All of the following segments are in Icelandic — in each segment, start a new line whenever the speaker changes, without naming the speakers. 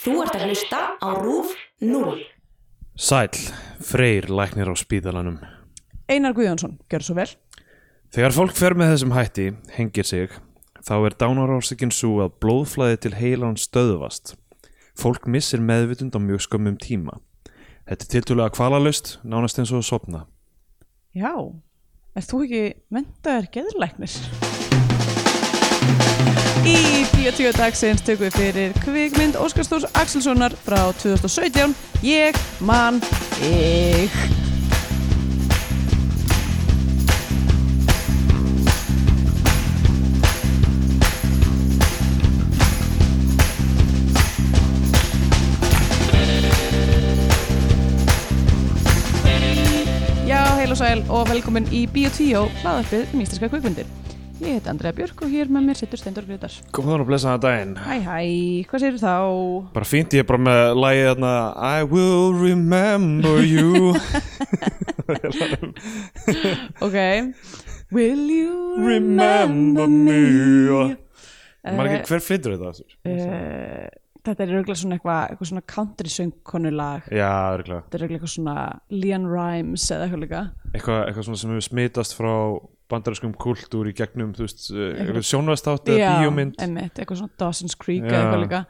Þú ert að hlusta á RÚF 0.
Sæl, freyr læknir á spítalanum.
Einar Guðjónsson, gjör svo vel
Þegar fólk fer með þessum hætti, hengir sig, þá er dánarársökin svo að blóðflæði til heilan stöðvast. Fólk missir meðvitund á mjög skömmum tíma. Þetta er tiltúlega kvalalaust, nánast eins og að sopna.
Já, er þú ekki menntaður geðurlæknir? Í Bíotvíu dagsins tökum við fyrir kvikmynd Óskarstúrs Axelssonar frá 2017 Ég man ég Já, heil og sæl og velkomin í Bíotvíu hlaðarpið um íslenska kvikmyndir Ég heiti Andrea Björk og hér með mér sittur Steindur Grétar
Kom þannig að blessa það daginn.
Hæ hæ, hvað séu þá?
Bara fínt ég er bara með lagið þarna I will remember you
Ok Will you
Remember me Margir,
Eh,
hver flyttur þetta?
Eh, þetta er örgulega svona eitthvað eitthvað svona country söngkonulag
Já, örgulega
þetta er örgulega eitthvað svona Leon Rimes eða eitthvað líka
eitthvað, eitthvað svona sem hefur smitast frá bandariskum kultúr í gegnum þú veist, eh, eitthvað sjónvastátt eða bíómynd
einmitt, eitthvað svona Dawson's Creek
Já.
eða eitthvað líka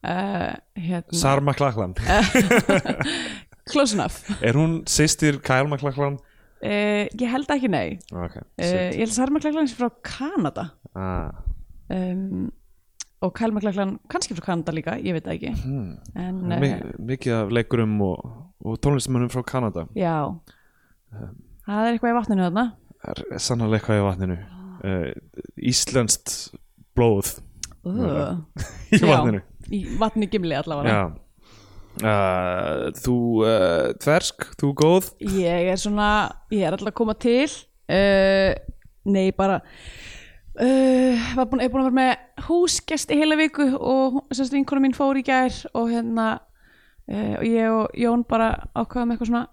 uh, hérna,
Sarah McLachlan
close enough
er hún sýstir Kyle McLachlan?
uh, ég held ekki nei uh,
ok,
ég held að Sarah McLachlan sé frá Kanada
ah,
um, og Kyle McLachlan kannski frá Kanada líka, ég veit það ekki hmm. en
Mi
eh,
mikið af leikurum og, og tónlistamönnum frá Kanada
já
Ehm.
það er eitthvað í vatninu þarna
er sannarlega eitthvað í vatninu uh, Íslenskt blóð
uh.
í vatninu
í vatni gimli allavega
Já. Uh, þú uh, tversk, þú góð
Ég er svona, ég er alltaf að koma til uh, Nei, bara uh, var búin, er búin að vera með húsgest í heila viku og hún- sem sagt vinkona mín fór í gær og hérna uh, og ég og Jón bara ákvaðum eitthvað svona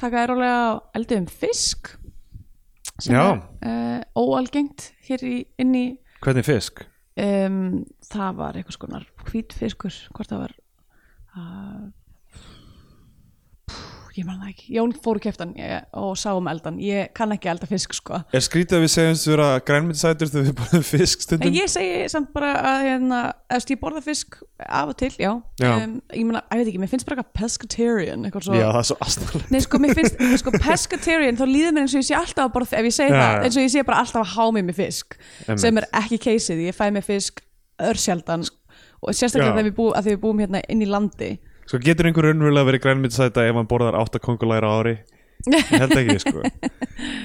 taka þér rólega á eldum fisk sem
Já.
er uh, óalgengt hér í, inn í
hvernig fisk?
um, það var eitthvað skonar hvítfiskur, hvort það var uh, pff, ég man það ekki Jón fór og keftan ég, og sá um eldan ég kann ekki elda fisk sko
Er skrítið að við segjumst vera grænmyndisætur þegar við bara fisk stundum?
en ég segi samt bara að hérna, eðst, ég borða fisk af og til, já, Um,
Já.
ég, meina, ég veit ekki, mér finnst bara eitthvað pescatarian eitthvað svo
Já, það er svo astanlega
Nei, sko, mér finnst, sko, pescatarian þá líður mér eins og ég sé alltaf að borða ef ég segi
Já, já.
það, eins og ég sé bara alltaf að hámi með fisk
Einmitt.
sem er ekki keisið, ég fæ með fisk örsjaldan og sérstaklega
Já.
þegar við, bú, að því við búum hérna inn í landi
Sko getur einhver raunverulega verið grænmyndisæta ef hann borðar átta kongulæra á ári? Ég held ekki, sko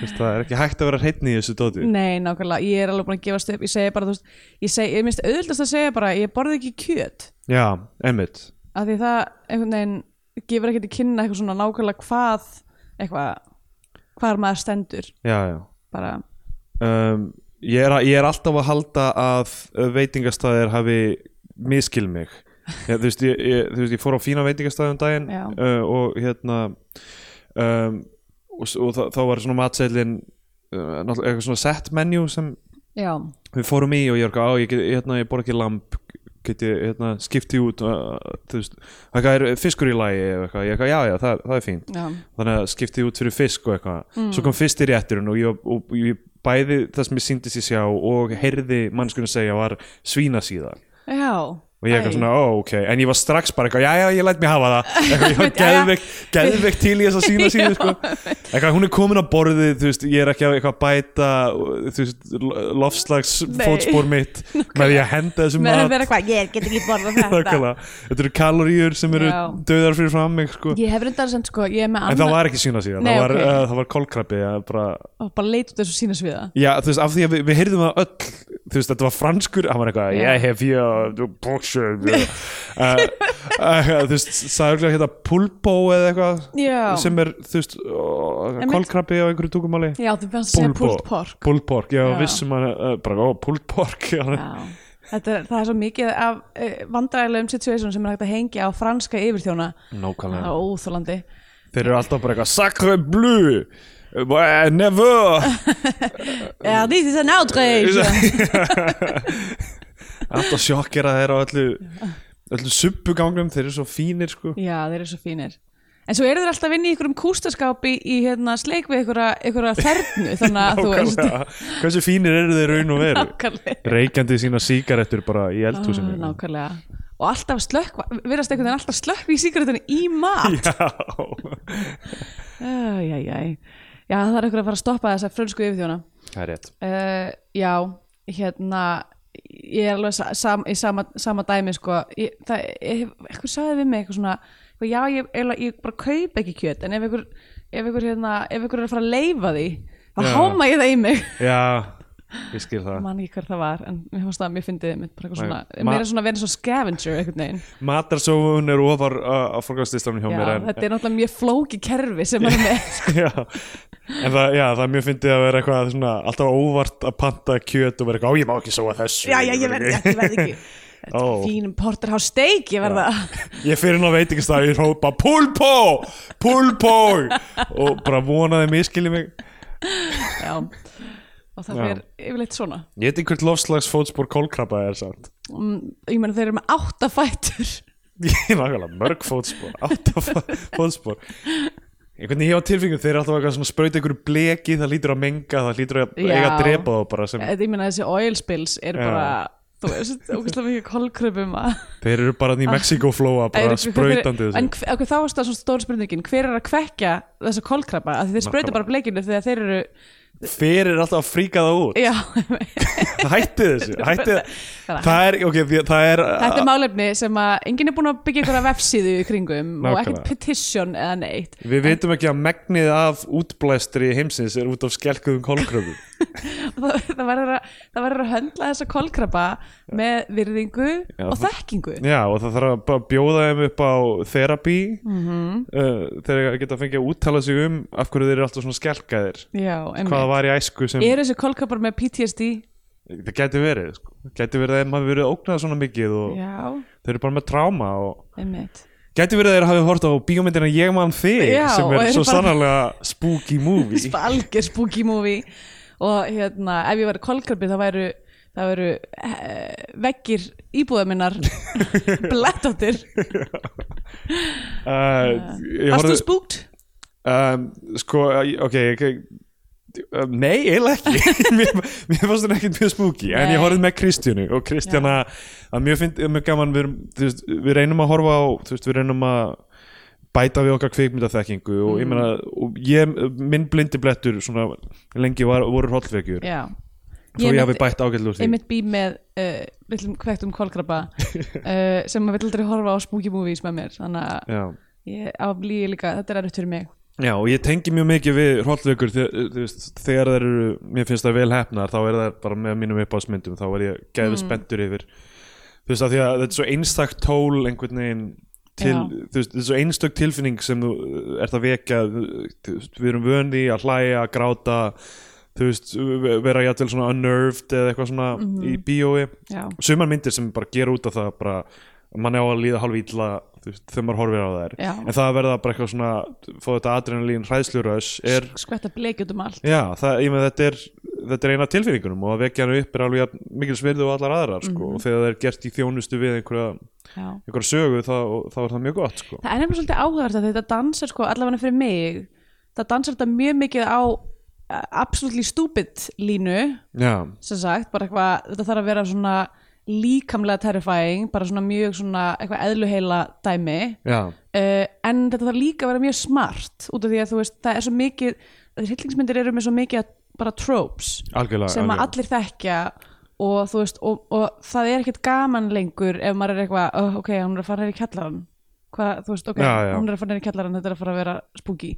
Vist, Það er ekki hægt að vera hreitni í þessu dóti
Nei, nákvæmlega, ég er alveg búin að gefast upp ég segi bara, þú veist, ég segi, ég minnst auðvildast að segja bara, ég borði ekki kjöt
Já, einmitt
af því það, einhvern veginn gefur ekki til kynna eitthvað svona nákvæmlega hvað eitthvað, hvar maður stendur
Já, já
bara,
um, ég, er, ég er alltaf að halda að veitingastæðir hafi miskil mig ég, þú, veist, ég, ég, þú veist, ég fór á fína veitingastæði um daginn
Já.
uh, og hérna um, og, s- og þá, þá var svona matseilin uh, náttúrulega eitthvað svona set menu sem
já,
við fórum í og ég var eitthvað á ég, get- hérna, ég bor ekki lamp get ég hérna, skipti út uh, þú veist, eitthvað er fiskur í lagi eða eitthvað, ég eitthvað, já já, það, það er fínt
já,
þannig að skipti út fyrir fisk og eitthvað svo kom fyrst í rétturinn og ég, og, og ég bæði það sem ég síndi sér sjá og heyrði mannskunni segja var svínasíða
já
og ég
Æ.
eitthvað svona, ó ok, en ég var strax bara eitthvað, já já, ég læt mér hafa það eitthvað, ég var
Já, já.
geðveikt- geðveikt til í þess að sína síðu sko. eitthvað, hún er komin á borðið, þú veist, ég er ekki að eitthvað bæta, þú veist, lofslags
Nei.
fótspór mitt með því að henda þessu
með að
mat
vera eitthvað, ég get ekki borðað þetta
Nákvæmlega. þetta eru kaloríur sem eru
Já.
döðar fyrir fram mig, sko.
Ég hef reyndar sem sko, ég er með
en það
annað
var ekki sína síðan,
Nei,
það var,
ok.
uh, það var kolkrabbi ja, bara,
og bara leit út þessu sínasviða
já, þú veist, af því að við, við heyrðum það öll þú veist, þetta var franskur, hann var eitthvað
Já.
ég hef ég, bóksjör Eh, þú veist, sagði hérna pulpo eða eitthvað
Já.
sem er, þú veist, ó,
Einmitt.
kolkrabbi á einhverju tungumáli
Já, þú fannst að segja pulled pork
pulled pork, já,
Já.
vissum hann uh, bara, ó, pulled pork já,
Já, þetta er, það er svo mikið af uh, vandræðilegum situation sem er hægt að hengja á franska yfirþjóna
nákvæmlega
Það er óþólandi
Þeir eru alltaf bara eitthvað Sacre bleu Eh, Never
Já, this is an outrage
Alltaf sjokkera þeir á öllu öllu subbugangnum, þeir eru svo fínir sko
Já, þeir eru svo fínir En svo eru þeir alltaf vinni í ykkur um kústaskapi í hérna, sleik við ykkur að þernu þannig að þú veist
Nákvæmlega. hversu fínir eru þeir raun og veru
Nákvæmlega.
reykjandi sína sígarettur bara í eldhúsinu
Ah, Nákvæmlega Og alltaf slökk, verðast einhvern veginn alltaf slökk í sígarettunni í mat
já,
Æ, æ, æ. Já, það er ykkur að fara að stoppa þessa frönsku yfirþjóna.
það er rétt
Uh, já, hérna, ég er alveg sa sam í sama, sama dæmi, sko. Ég, það, ég, eitthvað sagði við mig eitthvað svona, eitthvað, já, ég, eiginlega- ég bara kaup ekki kjöt, en ef ykkur, ef ykkur, hérna, ef ykkur er að fara að leifa því, þá
Já.
háma ég það í mig.
já, ég skil það
Man ekki hver það var, en mér finnst það að mér fyndið mitt bara eitthvað
Nei,
svona,
ma-
mér er svona að vera svo scavenger eitthvað neginn.
matarsóun er ofar uh, á fólkastislanum hjá
Já,
mér en,
þetta er náttúrulega mjög flóki kerfi sem maður er með, sko.
já, en það, já, það er mjög fyndið að vera eitthvað svona, alltaf óvart að panta kjöt og vera eitthvað, á ég má ekki sóa þessu
Já, já, ég verði ekki, ég verði ekki. Þetta
Ó.
er fínum porterhouse steak, ég verða.
ég fyrir ná veit ekki stað, ég hrópa púlpó, púlpó og bara vonaði miskili mig
Já. Og það
Já.
er yfirleitt svona.
ég veit ekki hvert lofslags fótspór kólkrabba er samt
Um, ég meina þeir eru með átta fætur.
ég er nákvæmlega mörg fótspór átta fó- fótspór einhvern veginn ég á tilfengum, þeir eru alltaf eitthvað svona sprauta einhverju bleki, það lítur að menga það lítur að
Já.
eiga að drepa þá bara sem
Þetta, ég meina þessi oil spills er
Já.
bara, þú veist, ógæslega mikið kolkröpum að...
þeir eru bara í Mexikoflóa
Æ,
bara
hver-
sprautandi
Ah. En
þessu
hver- ok, þá varst það svona stór spurningin, hver er að kvekja þessa kolkrabba? Af því þeir sprauta
Nákvæmlega.
bara bleikinu þegar þeir eru...
þeir eru alltaf að fríka það út
Já,
hætti þessu, hætti
Þannig að-
það er, ok, því- það er
þetta er málefni sem að enginn er búin að byggja einhverja vefsíðu í kringum og ekkert
Nákvæmlega.
petition eða neitt.
Við vitum ekki að megnið af útblæstri heimsins er út af skelkuðum kolkröfum.
það það verður að, það verður að höndla þessa kolkrabba með virðingu
Já,
og
það-
þekkingu
Já, og það þarf að bara bjóða þeim upp á therapy
Mhm.
uh, þegar þeir geta fengið að úttala sig um af hverju þeir eru alltaf svona skelkaðir.
já,
Hvað
einmitt
var í æsku sem,
eru þessi kolkrabbar með PTSD
það gæti verið, sko. Gæti verið að þeim hafi verið ógnað svona mikið og
já,
þeir eru bara með tráma og
einmitt
gæti verið að þeir hafi hort á bíómyndina Ég mann þig
Já,
sem
og
er
þeir
svo
bara-
sannarlega spooky movie.
Sp- algjör spooky movie og hérna, ef ég væri kolkrabbi þá væru það væru eh, veggir íbúða minnar blettóttir,
Uh, ég
varstu
horfði-
spookt?
um, sko, eh, ok, ok eh, Nei, eiginlega ekki mér, mér fannst hún ekkert mjög spooky En ég
Nei.
horfði með Kristjánu og Kristjana að mjög, find, mjög gaman við, erum, þú veist, við reynum að horfa á þú veist, við reynum að bæta við okkar kvikmyndaþekkingu og ég meina og ég, minn blindi blettur svona lengi var, voru hrollvekjur
já
þó ég
mitt-
hafi bætt ágætlega úr því
einmitt bý með uh, villum kvektum kolkrabba uh, sem maður vill aldrei horfa á spooky movies með mér þannig að
Já.
Ég aflýi líka, þetta er erfitt fyrir mig
Já, og ég tengi mjög mikið við hrollvökur þegar, þegar þær eru, mér finnst það vel hefnar þá er það bara með mínum uppáðsmyndum þá er ég gæðu
Mm.
spenntur yfir þú veist að því að þetta er svo einstakt tól einhvern veginn til,
Já.
þú veist, þetta er svo einstök tilfinning sem þú uh, ert að vekja þú þú veist, við erum vöndi að hlæja, að gráta þú veist, ve- vera jættil svona unnerved eða eitthvað svona í bíói
Mhm. Já.
sumar myndir sem bara gera út af það bara, mann á að líða hálf illa þú veist, þegar maður horfir á þær
Já.
en það að verða bara eitthvað svona fá þetta adrenalín hræðsluröðs er,
Skvetta bleik út um allt
já, það, ég með þetta er þetta er eina tilfinningunum og að vekja hann upp er alveg jafn mikil svirðu og allar aðrar sko,
Mhm.
og þegar það er gert í þjónustu við einhverja,
Já.
einhverja sögu þá, þá er það mjög gott sko.
Það er nefnilega svolítið áhugavert að þetta dansar sko allavega fyrir mig Það dansar þetta mjög mikið á uh, absolutely stupid línu
já,
sem sagt, bara eitthvað, þetta þarf að vera svona líkamlega terrifying bara svona mjög svona eitthvað eðluheila dæmi
já,
uh, en þetta þarf líka að vera mjög smart út af því að þú veist, það er svo mikið hryllingsmyndir eru með svo mikið að- bara tropes
algjörlega
sem að
algjörlega.
allir þekkja og þú veist, og, og það er ekkert gaman lengur ef maður er eitthvað, oh, ok, hún er að fara neyri kjallaran hvað, þú veist, ok,
Já, já.
hún er að fara neyri kjallaran þetta er að fara að vera spooky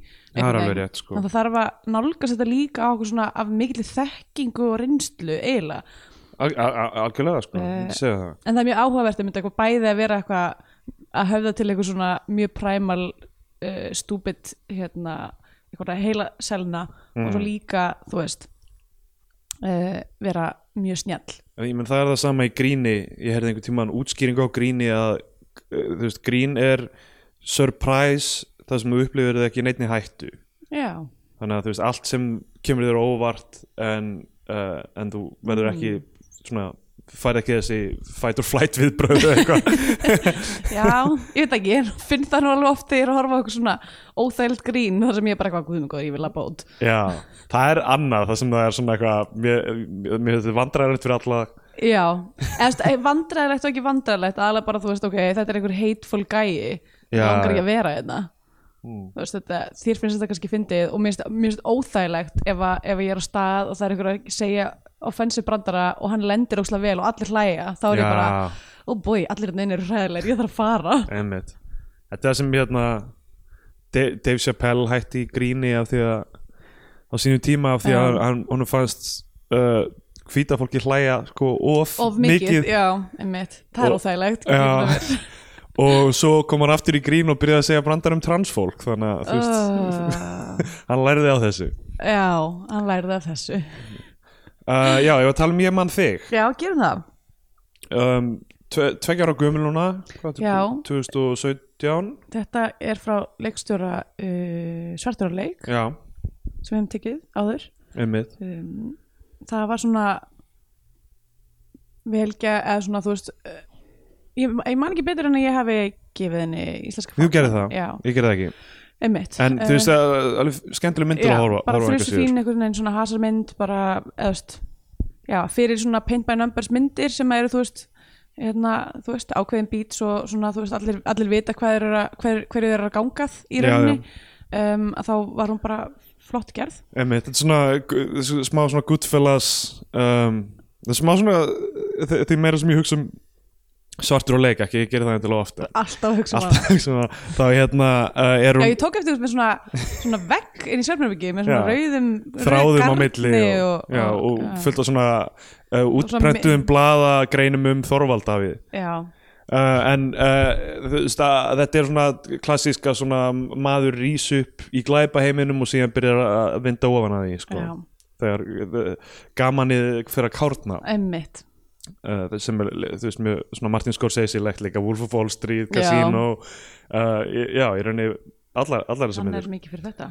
Það er
einhvern
alveg
veginn.
rétt, sko.
Þannig að það þarf að nálgast þetta líka á okkur svona af mikilli þekkingu og reynslu eiginlega,
Al- al- al- algjörlega
Eh.
sko, ég segi það
en það er mjög áhugavert að mynda eitthvað bæði að vera eitthvað að höfða til eitthvað svona mjög primal uh, stúbit hérna, eitthvað heila selna og
Mhm.
svo líka, þú veist uh, vera mjög snjall
En Ég menn það er það sama í gríni ég heyrði einhvern tímann útskýringu á gríni að uh, þú veist, grín er surprise, það sem þú upplifir það ekki í neinni hættu
Já,
þannig að þú veist, eh, allt sem kemur þér á óvart en, uh, en þú verður ekki svona fær ekki þessi fight or flight viðbröð eða eitthvað
Já, ég veit ekki, ég finn það nú alveg oft þegar ég er að horfa á eitthvað svona óþægild grín þar sem ég er bara eitthvað guðum góður, ég vil að bót
Já, það er annað það sem það er svona eitthvað mér, mér- mér þetta vandræðilegt fyrir alla
Já, eða vandræðilegt og ekki vandræðilegt aðalega bara þú veist, ok, þetta er einhver hateful gæi það
Já. Hmm.
langar ekki að vera hérna þú veist þetta, þér finnst þetta kannski fyndið og mér finnst- mér finnst óþægilegt ef, að, ef ég er á stað og það er einhver að segja offensive brandara og hann lendir óslega vel og allir hlæja, þá er ég
Já.
bara ó oh boi, allir hérna inni eru hræðilegir, ég þarf að fara
Einmitt. Þetta er sem hérna Da- Dave Chappelle hætti í gríni af því að á sínum tíma af því að
Já.
hann, honum fannst uh, hvíta fólki hlæja sko of,
of mikið, já, einmitt, það er
Og-
óþægilegt
Já. og svo kom hann aftur í grín og byrjaði að segja brandar um transfólk þannig að þú veist,
uh,
hann læriði á þessu
já, hann lærði af þessu
uh, Já, ég var að tala um ég mann þig
já, gerum það
um, tve, Tveggjar á gömul núna hvað,
Já.
2017
þetta er frá leikstjóra uh, svartur á leik
Já,
sem við hefum tekið áður
einmitt
um, það var svona velgja eða svona þú veist uh, ég, ég man ekki betur en að ég hafi gefið henni íslenska
Þú
fána.
gerði það,
já,
ég gerði það ekki
einmitt Eh,
En þú veist að alveg skemmtileg myndir
Um, já,
að horfa
bara
horfa engu
þrjusu
síður.
fín einhvern veginn svona hasarmynd bara, eða þú veist já, fyrir svona paint by numbers myndir sem eru, þú veist hérna, þú veist, ákveðin beats og svona, þú veist, allir, allir vita hvað þeir eru að, hver, hverju þeir eru að gangað í
Já,
rauninni um, að þá var hún bara flott gerð
Einmitt, þetta er svona gu- þessu smá svona Goodfellas um, það er smá svona þe- þetta er meira sem ég hugsa um svartur og leik, ekki, ég gerir það endilega ofta
alltaf að hugsa um hana
alltaf svona, þá hérna uh, er
Já,
hún
ég tók eftir þú veist, með svona, svona vegg inn í svefnherbyggi með svona
Já.
rauðum
þráðum á
rauðu
milli
garni
og,
og,
já,
og,
og fullt á svona uh,
svona mi-
útprentuðum bladagreinum um Þorvaldafið
já,
Uh, en uh, þú veist að þetta er svona klassíska svona maður rís upp í glæpaheiminum og síðan byrjar að vinda ofan að því sko.
Já.
þegar uh, gamanið fyrir að kárna
emmitt
uh, sem er, þú veist, mjög, svona Martin Scorsese legt líka, Wolf of Wall Street,
Já.
Casino uh, í- já, ég raunni allar, allar þessar
hann er
myndir
mikið fyrir þetta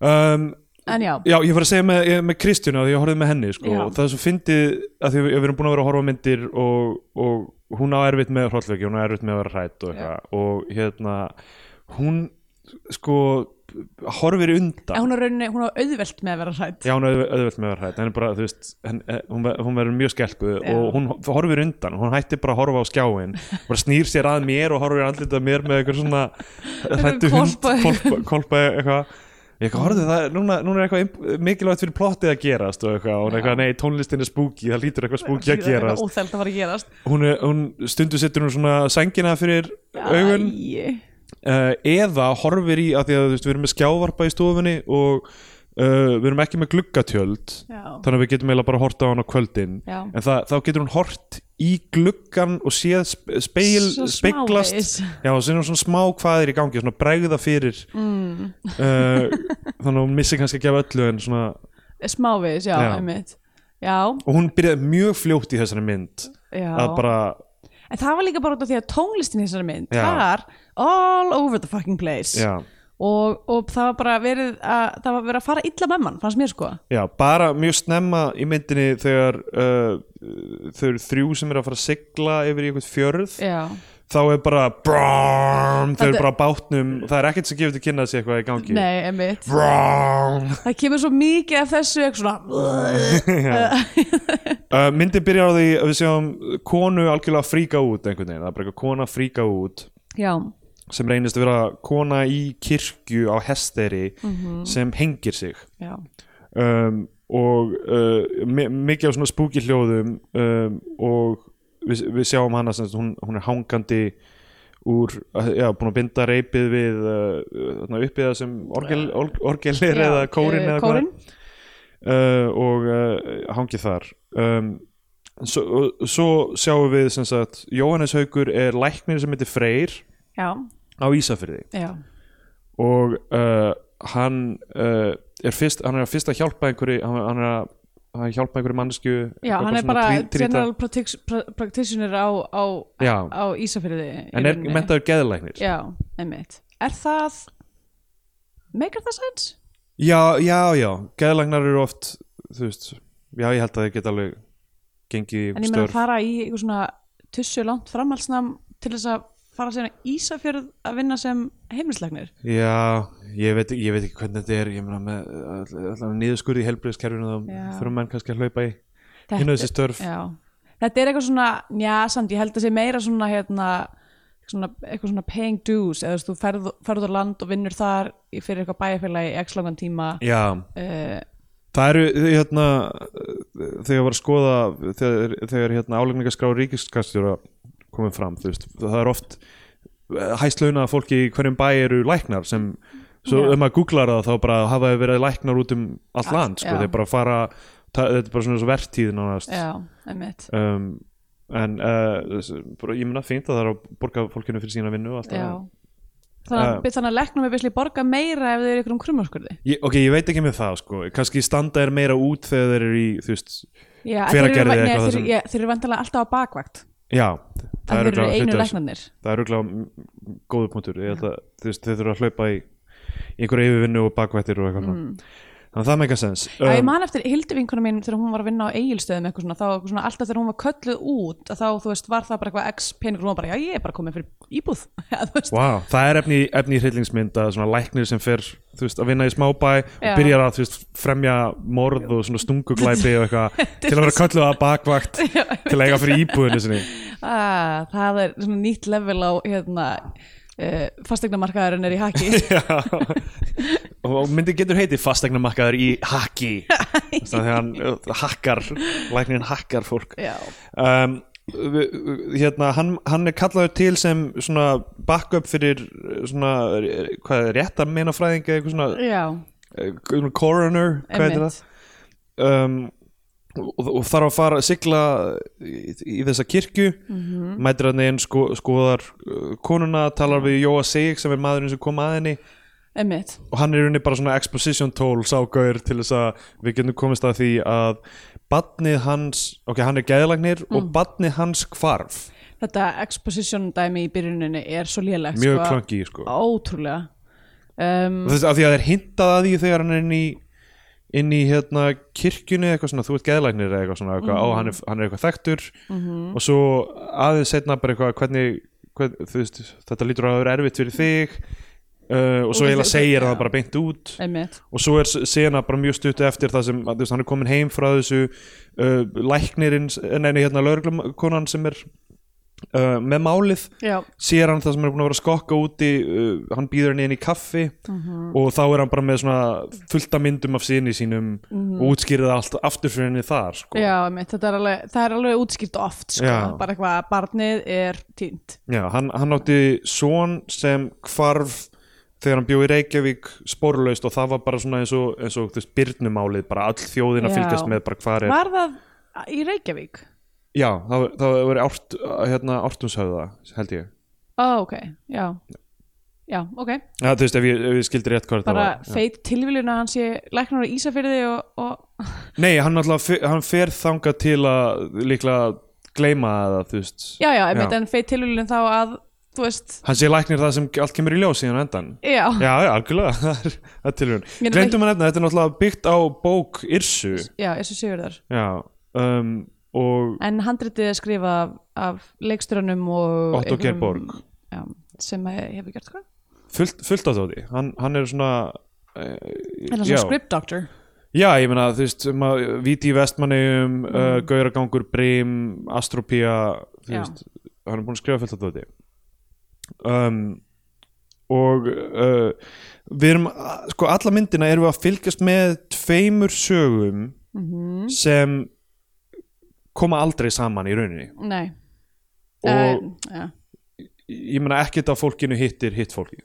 um,
en já,
Já, ég var að segja með, ég- með Kristjánu að ég horfði með henni sko,
Já.
og það er svo fyndið að því við, við erum búin að vera að horfa á myndir og, og hún á erfitt með hrollveki, hún á erfitt með að vera hrætt og eitthvað og hérna hún sko horfir undan
en hún er rauninni, hún er auðvelt með að vera hrætt
Já, hún er auð- auðvelt með að vera hrætt en bara, þú veist, henn, eh, hún, ver- hún verður mjög skelkuð
Já.
og hún ho- horfir undan, hún hættir bara að horfa á skjáin bara snýr sér að mér og horfir andlitað mér með eitthvað svona hrættu hund,
Hvolpa.
kolpa, kolpa eitthvað ég eitthvað horfði það, núna, núna er eitthvað imp- mikilvægt fyrir plottið að gerast og eitthvað, og hún er eitthvað, nei, tónlistin er spooky, það lítur eitthvað spooky að gerast
óþælt að fara að gerast
hún, er, hún stundu setur hún svona sængina fyrir augun
Æi.
uh, eða horfir í að því að þú veist, við erum með skjávarpa í stofunni og uh, við erum ekki með gluggatjöld
Já.
þannig að við getum eiginlega bara að horta á hann á kvöldin
Já.
en það, þá getur hún hort í gluggan og séð sp- speil,
Svo
speiklast
smávegis.
já, og sinna svona smá hvað er í gangi svona bregða fyrir mm. þannig að hún missi kannski ekki af öllu en svona
smávegis, já,
Já.
emmitt já,
og hún byrjaði mjög fljótt í þessari mynd
já
að bara,
en það var líka bara út af því að tónlistin í þessari mynd
Já.
var all over the fucking place
já
og, og það var bara verið að það var verið að fara illa með mann, fannst mér sko
Já, bara mjög snemma í myndinni þegar uh, þau eru þrjú sem eru að fara að sigla yfir í eitthvað fjörð
já,
þá er bara brrrm, þau eru
Þetta-
bara á bátnum það er ekkert sem gefur til kynna að sé eitthvað í gangi
nei, emmitt
Brrrm.
það kemur svo mikið af þessu eitthvað svona
uh, myndin byrjar á því að við sjáum konu algjörlega fríka út einhvern veginn, það er bara eitthvað kona fríka út
já,
sem reynist að vera kona í kirkju á hesteri
Mhm.
sem hengir sig
já,
um, og uh, mi- mikið á svona spooky hljóðum um, og við, við sjáum hana sem sagt, hún, hún er hangandi úr, uh, já, búin að binda reypið við uh, uppið það sem orgel, org- orgelir
Já,
eða kórin
eh,
eða
kórinn.
uh, og uh, hangið þar um, svo, og, svo sjáum við sem sagt, Jóhannes Haugur er læknir sem heitir Freyr
já,
á Ísafyrði
já
og uh, hann uh, er fyrst hann er að fyrst að hjálpa einhverju hann, hann er að hann hjálpa einhverju mannesku
Já,
eitthvað
hann er
svona
bara
trí- tríta-
general practic- pra- practitioner á, á,
Já.
á Ísafyrði í
en er
rauninni.
mentaður geðlæknir já.
Já, einmitt Er það Maker það sense?
já, já, geðlæknar eru oft þú veist, já ég held að þeir geta alveg gengið
en
í
ég meina að
störf
fara í eitthvað svona tussu langt framhaldsnam til þess að fara sérna Ísafjörð að vinna sem heimilslegnir
Já, ég veit, ég veit ekki hvernig þetta er ég meina með allavega nýðuskurði í helbriðskerfinu þá
Já.
þurfum menn kannski að hlaupa í hinn þessi störf
já. þetta er eitthvað svona, já samt ég held að sé meira svona hérna svona, eitthvað svona paying dues eða þú veist, þú ferð, ferð á land og vinnur þar í- fyrir eitthvað bæjarfélagi í x langan tíma
Já,
uh,
það eru hérna þegar ég var að skoða þegar, þegar hérna álegningaskrá ríkiskastjóra komið fram, þú veist, það er oft eh, hæstlauna fólki í hverjum bæ eru læknar sem svo
Já.
um að googlar það þá bara hafa þeir verið læknar út um allt
Allt,
land, sko,
já.
þeir bara fara það, þetta er bara svona svo vertíð nánast
já, einmitt
um, en uh, s- bara- ég meina fínt að það er að borga fólkinu fyrir sína vinnu og allt
já.
það.
Þannig,
Eh.
uh, þannig að leknum er visli borga meira ef þau eru ykkur um krummarskurði
ég, ok, ég veit ekki með það sko kannski standa er meira út þegar þeir eru í þú veist,
Já,
Hver að
þeir eru-
gerði
nei,
eitthvað
þeir-
sem-
já, Þeir eru vantilega alltaf á bakvakt
já
Það eru
örugglega
einu
hluti af-
læknarnir
það er örugglega m- m- góður punktur Ég held að, þú veist, þeir þurfa að hlaupa í í einhverju yfirvinnu og bakvættir og eitthvað mm. þannig að það meika sens
Já, ég
um,
man eftir hilduvinkuna mín þegar hún var að vinna á eigilstöðum eitthvað svona, þá eitthvað svona alltaf þegar hún var kölluð út að þá, þú veist, var það bara eitthvað x peningur hún var bara, já, ég er bara komin fyrir íbúð Já, þú veist,
Wow, það er efni, efni í hryllingsmynd að svona læknir sem fer þú veist, að vinna í smábæ
Já.
og byrjar að þú veist, fremja morð og svona stunguglæpi og eitthvað til að vera kölluð að bakvakt til að eiga fyrir íbúðinu sinni
að, "Ah, það er svona nýtt level á hérna, uh, fastegnamarkaðurinn er í haki
Já. og myndi getur heiti fastegnamakkaður í haki þannig að hann uh, hakkar læknirinn hakkar fólk
Já,
um, við- við- hérna, hann, hann er kallaður til sem svona backup fyrir uh, svona, uh, hvað er rétt að meina fræðinga eitthvað svona,
já,
uh, svona coroner hvað heitir
emmitt
það um, og, og þarf að fara að sigla í, í þessa kirkju mætir hann einn sko, skoðar uh, konuna, talar við Jóa Sig sem er maðurinn sem kom að henni
Emmitt,
og hann er í rauninni bara svona exposition tool ságaur til þess að við getum komist að því að badnið hans, ok, hann er geðlagnir og badnið hans hvarf
þetta exposition dæmi í byrjuninni er svo lélegt
mjög
sko,
klangi, sko
Ótrúlega um,
og þess að því að þeir hintað að því þegar hann er inn í inn í hérna kirkjunni eitthvað svona, þú ert geðlagnir eða eitthvað svona eitthvað, á, hann, er, hann er eitthvað þekktur og svo aðeins setna bara eitthvað hvernig, hvern, þú veist, þetta lítur að vera erfitt fyrir þig uh, og svo
Og
eiginlega
þau-
segir
já.
það bara beint út
Emmitt,
og svo er sena bara mjög stuttu eftir það sem að, þú veist, hann er komin heim frá þessu uh, læknirinn, neina hérna lögreglukonan sem er uh, með málið
já
sér hann það sem er búin að vera að skokka úti uh, hann býður henni inn í kaffi
Mhm.
og þá er hann bara með svona fullta myndum af sinni sínum og útskýrið allt aftur fyrir henni þar sko.
Mhm. Já, mitt, þetta er alveg, það er alveg útskýrt oft sko,
Já.
bara eitthvað að barnið er týnt
Já, hann, hann átti son sem hvarf þegar hann bjó í Reykjavík sporlaust og það var bara svona eins og, eins og þú veist, byrnumálið, bara all þjóðin að
Já.
fylgjast með bara hvar er
Var það í Reykjavík?
Já, það, það verið árt, hérna, ártumshöfða, held ég.
Ó, ok, já Já, ok,
Já, þú veist, ef ég, ef ég skildi rétt hvað
bara
það var.
feit tilviljun að hann sé læknar á Ísafyrði og, og
Já. Nei, hann, náttúrulega fe- hann fer þangað til að líklega gleyma það, þú veist.
já, já, einmitt, en feit tilviljun þá að, þú veist,
Hann sé læknir það sem allt kemur í ljós síðan á endan.
já
Já, já, algjörlega, það er- það er tilhjörn.
Mér er
Glemdum að nefna, þetta er náttúrulega byggt á bók Yrsu.
Já, þessu sigur þar
Já, um, og
En handritið er skrifað af, af leikstörunum og
Otto
einhverjum-
Geirborg.
Já, sem að hefur gert sko. hvað?
fullt, fullt á þótti. Hann, hann er svona... Uh,
Þannig að
já.
svona script doctor
Já, ég meina, þú veist, um að Víti í Vestmanneum, uh, Gauragangur, Brim, Astropía, þú
Já.
veist, hann er búin að skrifa fullt af þetta. Um, og uh, við erum, a- sko, alla myndina erum við að fylgjast með tveimur sögum
Mhm.
sem koma aldrei saman í rauninni.
Nei
Og
Eh, já,
ég meina, ekkert af fólkinu hittir hitt fólki,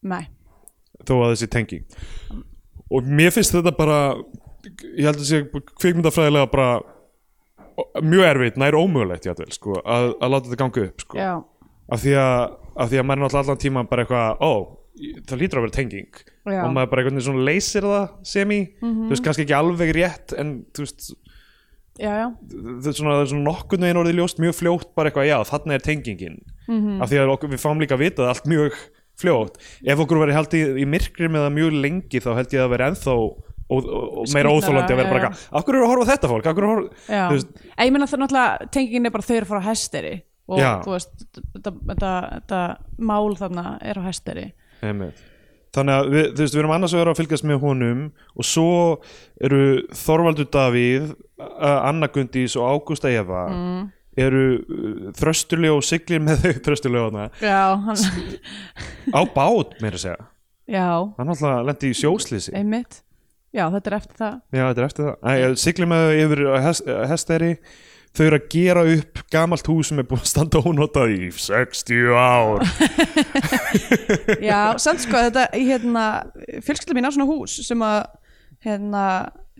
Nei
þó að þessi tengi. Og mér finnst þetta bara, ég held að sé kvikmyndafræðilega bara mjög erfitt, nær ómögulegt játvel, sko, að, að láta þetta ganga upp sko.
Já,
af því að, af því að maður er náttúrulega allan tíma bara eitthvað, ó, það lítur að vera tenging
Já. Mhm.
og maður bara einhvern veginn svona leysir það semi, þú veist kannski ekki alveg rétt en þú veist
já, já,
það er svona, það er svona nokkurn veginn orðið ljóst mjög fljótt bara eitthvað, já, þarna er tengingin
Mhm.
af því að okkur, við fáum líka að vita það allt mjög fljótt, ef okkur verið haldið í myrkri með það mjög lengi þá held ég að vera ennþá og, og, og meira
Skrýtnara,
óþólandi að vera bara
já.
eitthvað, af hverju eru að horfa á þetta fólk, af hverju eru að horfa
Já,
Þú veist-
en ég menna það er náttúrulega tengingin er bara þau eru að fara á hesteri og
Já.
þú veist, þetta, þetta, þetta mál þarna er á hesteri
Einmitt. Þannig að við, þú veist, við erum annars vegar að fylgjast með honum og svo eru Þorvaldur Davíð, uh, Anna Gundís og Ágústa Eva mm. eru uh, þröstuljó og siglir með þau þröstuljóna
Já, hann,
á bát meira að segja.
já,
Hann alltaf lendi í sjóslýsi.
einmitt Já, þetta er eftir það
Já, þetta er eftir það. Æ, ég siglir með þau yfir uh, á hest, hesteri. Þau eru að gera upp gamalt hús sem er búin að standa ónotað í 60 ár.
Já, samt sko, þetta, hérna, fjölskylda mín á svona hús sem að, hérna,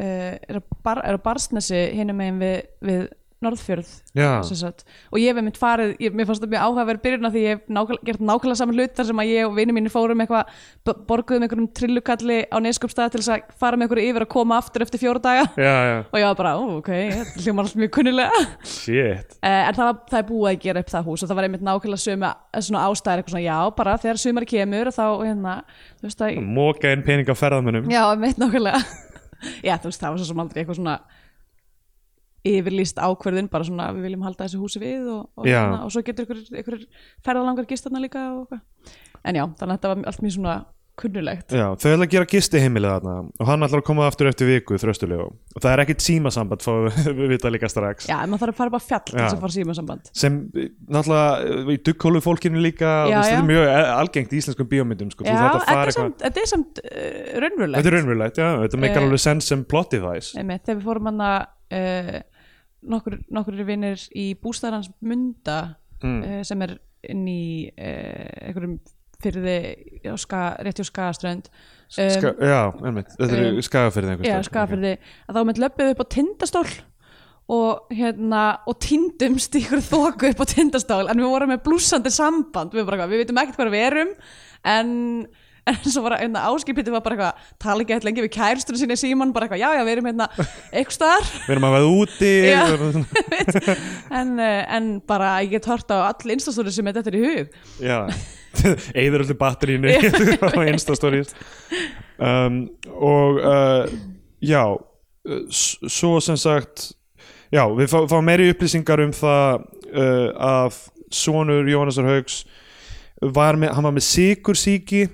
uh, er, að bar, er að barsnesi hinum megin við, við Norðfjörð
Já.
sem sagt. og ég hef einmitt farið, ég, mér fannst það mjög áhugaverð byrjun af því ég hef nákvæm, gert nákvæmlega saman hlut þar sem að ég og vinið mínir fórum eitthvað b- borguðum einhverjum trillukalli á neskupstað til þess að fara með einhverju yfir að koma aftur eftir fjóra daga
Já, já.
og ég var bara, ó, ok, þetta hljómar allt mjög kunnilega
Shit.
Eh, en það, var, það er búið að gera upp það hús og það var einmitt nákvæmlega sömu svona ástæðir eitthvað svona, já, bara þegar sömari kemur þá, hérna, þú veist að
Móka inn pening á ferðamönnum.
já, einmitt nákvæmlega já, þú veist, það var svo sem aldrei eitthvað svona yfirlýst ákverðin bara svona, við viljum halda þessu húsi við og, og,
Já.
og svo getur ykkur, ykkur ferðalangar gistarna líka og eitthvað en já, þannig að þetta var allt mjög svona kunnulegt
Já, þau ætla að gera gisti heimilið þarna og hann ætlar að koma aftur eftir viku þröstulegu og það er ekkit símasamband fáum við- við vita líka strax
já, en maður þarf að fara bara á fjall til
Já.
þess að fara símasamband
sem eh, náttúrulega eh, í dukkólu fólkinu líka já,
Já,
þetta er
já.
mjög eh, algengt í íslenskum bíómyndum sko. Þú
já,
þarft að
þetta
fara
er
eitthvað-
samt, þetta er samt uh, raunverulegt
þetta er raunverulegt, já, þetta meikar
Eh.
alveg sens sem plot device
Einmitt, þegar við fórum hann að uh, nokkur, nokkur vinnir í bústæðar hans Munda
Mm.
eh, sem er inn í uh, einhverjum fyrði á ska, rétti á Skagaströnd um,
Ska, já, einmitt, þetta er
um,
um, skagafyrði
já,
einhvers staðar.
Skagafyrði að þá með löppuð upp á tindastól og hérna og tindumst í ykkur þoku upp á tindastól en við vorum með blúsandi samband við, vorum bara, eitthvað, við veitum ekkert hvað við erum en, en svo var hérna, áskipitið var bara eitthvað tala ekki eitthvað lengi við kærstunum sinni síman bara eitthvað já já við erum hérna eitthvað staðar
við erum að veða úti
Já.
við erum-
en, eh, en bara ég get hort á all instastóri sem þetta er í hug
Já, eður öllu batterínu á instastorís um, og uh, já uh, s- svo sem sagt já, við fá, fáum meiri upplýsingar um það uh, að sonur Jónasar Haugs var með, hann var með sikursíki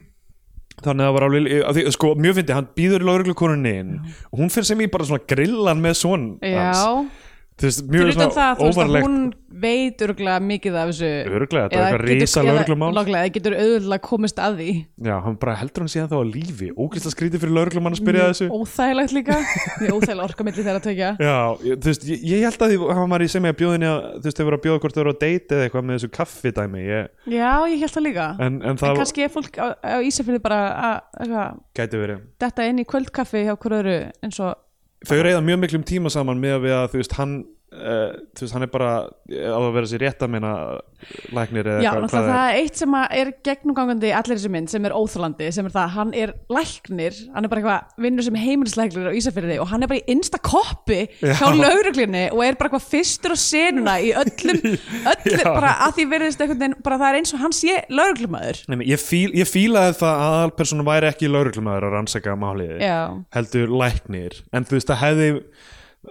þannig að það var alveg að því, sko, mjög fyndi, hann býður í lauruglukonunni inn og hún fyrir sem í bara svona grillan með son hans,
já,
þú veist,
til
mjög
utan það þú veist að
óvarlegt
hún veit örgulega mikið af þessu
Örugglega, þetta
Eða
var eitthvað
getur-
risa
eða-
lögreglumál.
nákvæmlega, það getur auðvitað komist að því
Já, hann bara heldur hann síðan þá á lífi Ógæsla skrítið fyrir lauruglumann að spyrja þessu
óþægilegt líka, mjög óþægilega orka milli þegar að tökja
Já, ég- þú veist, ég, ég held að því hann var í sem ég að bjóðinni að, þú veist, þau voru að bjóða hvort þau voru að deyta eða eitthvað með þessu kaffi dæmi ég,
já, ég held það líka en,
en, en það
kannski er fólk á, á Ísafjörði bara að eitthvað,
gæti verið
detta inn í kvöldkaffi hjá hver öðru eins og
Þau reyða mjög miklum tíma saman með að við að, þú veist, hann uh, þú veist, hann er bara eh, á að vera sér rétt að meina eh, læknir eða
Já,
hvað-
náttúrulega
hvað
það er eitt sem að er gegnumgangandi í allir þessu mynd sem er óþólandi sem er það, að hann er læknir hann er bara eitthvað vinnur sem heimilislæknir á Ísafyrði og hann er bara í innsta koppi hjá lauruglinni og er bara eitthvað fyrstur á senuna í öllum, öllum
Já.
bara að því verðist einhvern veginn bara það er eins og hann sé lauruglumadur
Nei, ég, fíl, ég fílaði það að aðalpersonan væri ekki lauruglumæður að rannsaka máliði
Já.
heldur læknir en þú veist það hefði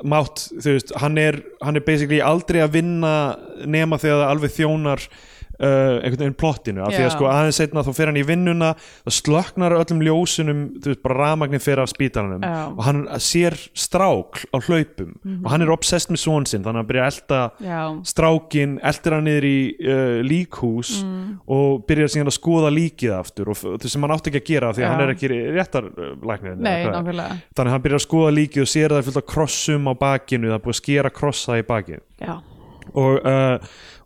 mátt, þú veist, hann er, hann er basically aldrei að vinna nema þegar það alveg þjónar uh, einhvern veginn plottinu, af því að
Já.
sko aðeins setna þá fer hann í vinnuna, það slöknar á öllum ljósunum, þú veist, bara rafmagnin fer af spítalanum
Já. Mhm.
og hann sér strákl á hlaupum og hann er obsessed með svon sinn, þannig að hann byrja að elta
Já.
strákin eldir hann niður í uh, líkhús
Mm.
og byrjar síðan að skoða líkið aftur og f- sem hann átti ekki að gera af því að
Já.
hann er ekki eh, réttarlæknirinn
Nei, nákvæmlega
þannig að hann byrjar að skoða líkið og sér að það er fullt af krossum á bakinu, það er búið að skera krossa í bakið
Já,
og, uh,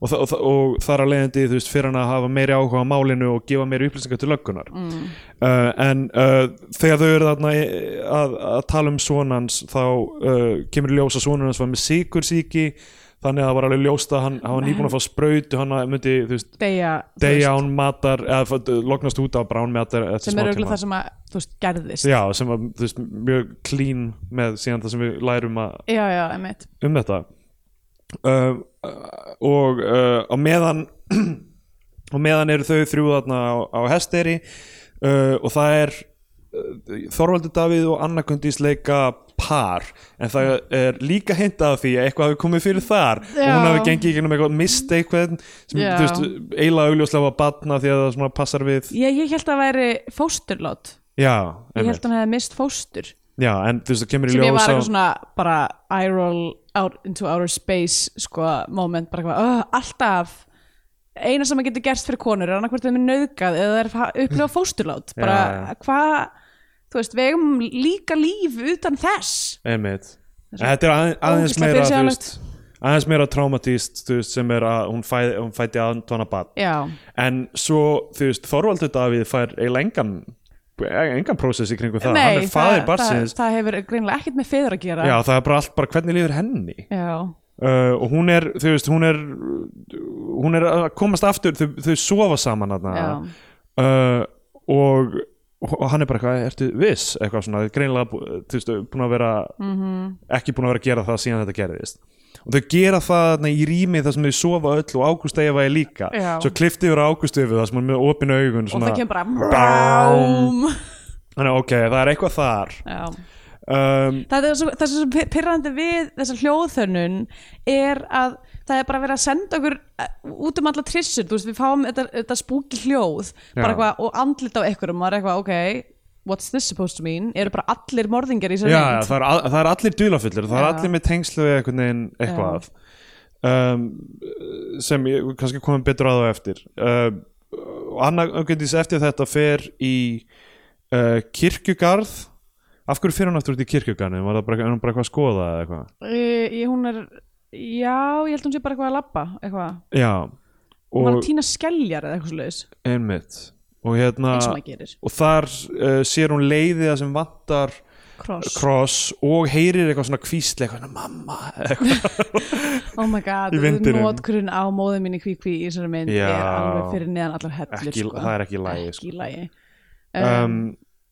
og, þa- og, þa- og þar að leiðandi þú veist, fyrir hann að hafa meiri áhuga á málinu og gefa meiri upplýsingar til löggunar mm. uh, en uh, þegar þau eru þarna í- að, að tala um sonans þá uh, kemur í ljós að sonur hans var með sikursíki þannig að það var alveg ljóst að hann, hann var nýbúin að fá sprautu hann að myndi, þú veist,
deyja þú
deyja
veist,
án matar eða f- lognast út af brán matar eftir
sem er
smá
auðvitað
tíma.
það sem að, þú veist, gerðist
Já, sem var þú veist, mjög clean með síðan það sem við lærum að
já, já einmitt
um þetta uh, uh, og uh, á meðan á meðan eru þau þrjú þarna á, á hesteri uh, og eh, það er uh, Þorvaldur Davíð og Anna Gundís leika par en það er líka hintað af því að eitthvað hafi komið fyrir þar og hún
Já.
hafi gengið í gegnum eitthvað mist eitthvað sem
Já.
þú veist, eiginlega augljóslega var batna því að það svona passar við
Ég, ég held að það væri fósturlát
já,
Ég
einmitt.
held að hann hefði mist fóstur
já, en þú veist það kemur í
sem ég
ljós
var
á-
eitthvað svona bara I roll out into outer space sko moment, bara eitthvað uh, alltaf eina sem að getur gerst fyrir konur er annarkvært þeim er nöðgað eða þeir fa- upplifa fósturlát bara
Já,
hvað, þú veist, við eigum líka líf utan þess
einmitt En þetta er aðe- aðeins
ógeðslega
meira þú
fyrirsjáanlegt.
veist, aðeins meira traumatíst þú veist, sem er að hún, fæ, hún fætti aðantona bat
Já,
en svo þú veist Þorvaldur Davíð fær eiginlega engan engan prósess í kringum það hann er faðir
það,
barsins
það hefur greinilega ekkert með feður að gera
já það er bara allt bara hvernig lífur henni
Já,
uh, og hún er þú veist hún er hún er að komast aftur þau, þau sofa saman þarna
já.
uh, og og hann er bara eitthvað, ertu viss eitthvað svona, greinilega bú- þú veist, búin að vera
Mhm.
ekki búin að vera að gera það síðan þetta gerðist og þau gera það þarna í rými þar sem þau sofa öll og Ágúst Eyfa er líka
Já.
svo klifti yfir Ágúst Eyfu þar sem hann er með opinu augun
og
svona,
það kemur bara BÁM
Þannig, ok, það er eitthvað þar
Já
um,
það er svo, það er svo pyrrandi við þessa hljóðþönnun er að það er bara verið að senda okkur eh, út um alla trissur, þú veist, við fáum þetta, þetta spúki hljóð,
Já.
bara eitthvað og andlit á ekkur og maður er eitthvað, ok what's this supposed to mean, eru bara allir morðingar í
já,
sér
já, það, er, al- það er allir dulafullir það er
Já.
allir með tengslu eða einhvern veginn eitthvað um, sem ég kannski komum betur að á eftir um, og Anna Öngundís eftir þetta fer í uh, kirkjugarð af hverju fer hún aftur út í kirkjugarðin var það bara, er hún bara eitthvað að skoða eða eitthvað
ég, Eh, hún er, já, ég held hún sé bara eitthvað að labba, eitthvað,
já,
hún var
og
að týna skeljar eða eitthvað svoleiðis,
einmitt og hérna
eins og maður gerir,
og þar uh, sér hún leiðið sem vantar
cross
kross og heyrir eitthvað svona kvísli eitthvað svona mamma eitthvað.
oh my god,
Í vindinum.
nótkurinn á móðum minni kvíkví í þessari mynd
Já.
er alveg fyrir neðan allar hellur
Ekki-
sko.
það er ekki í lagi, sko.
ekki í lagi
um,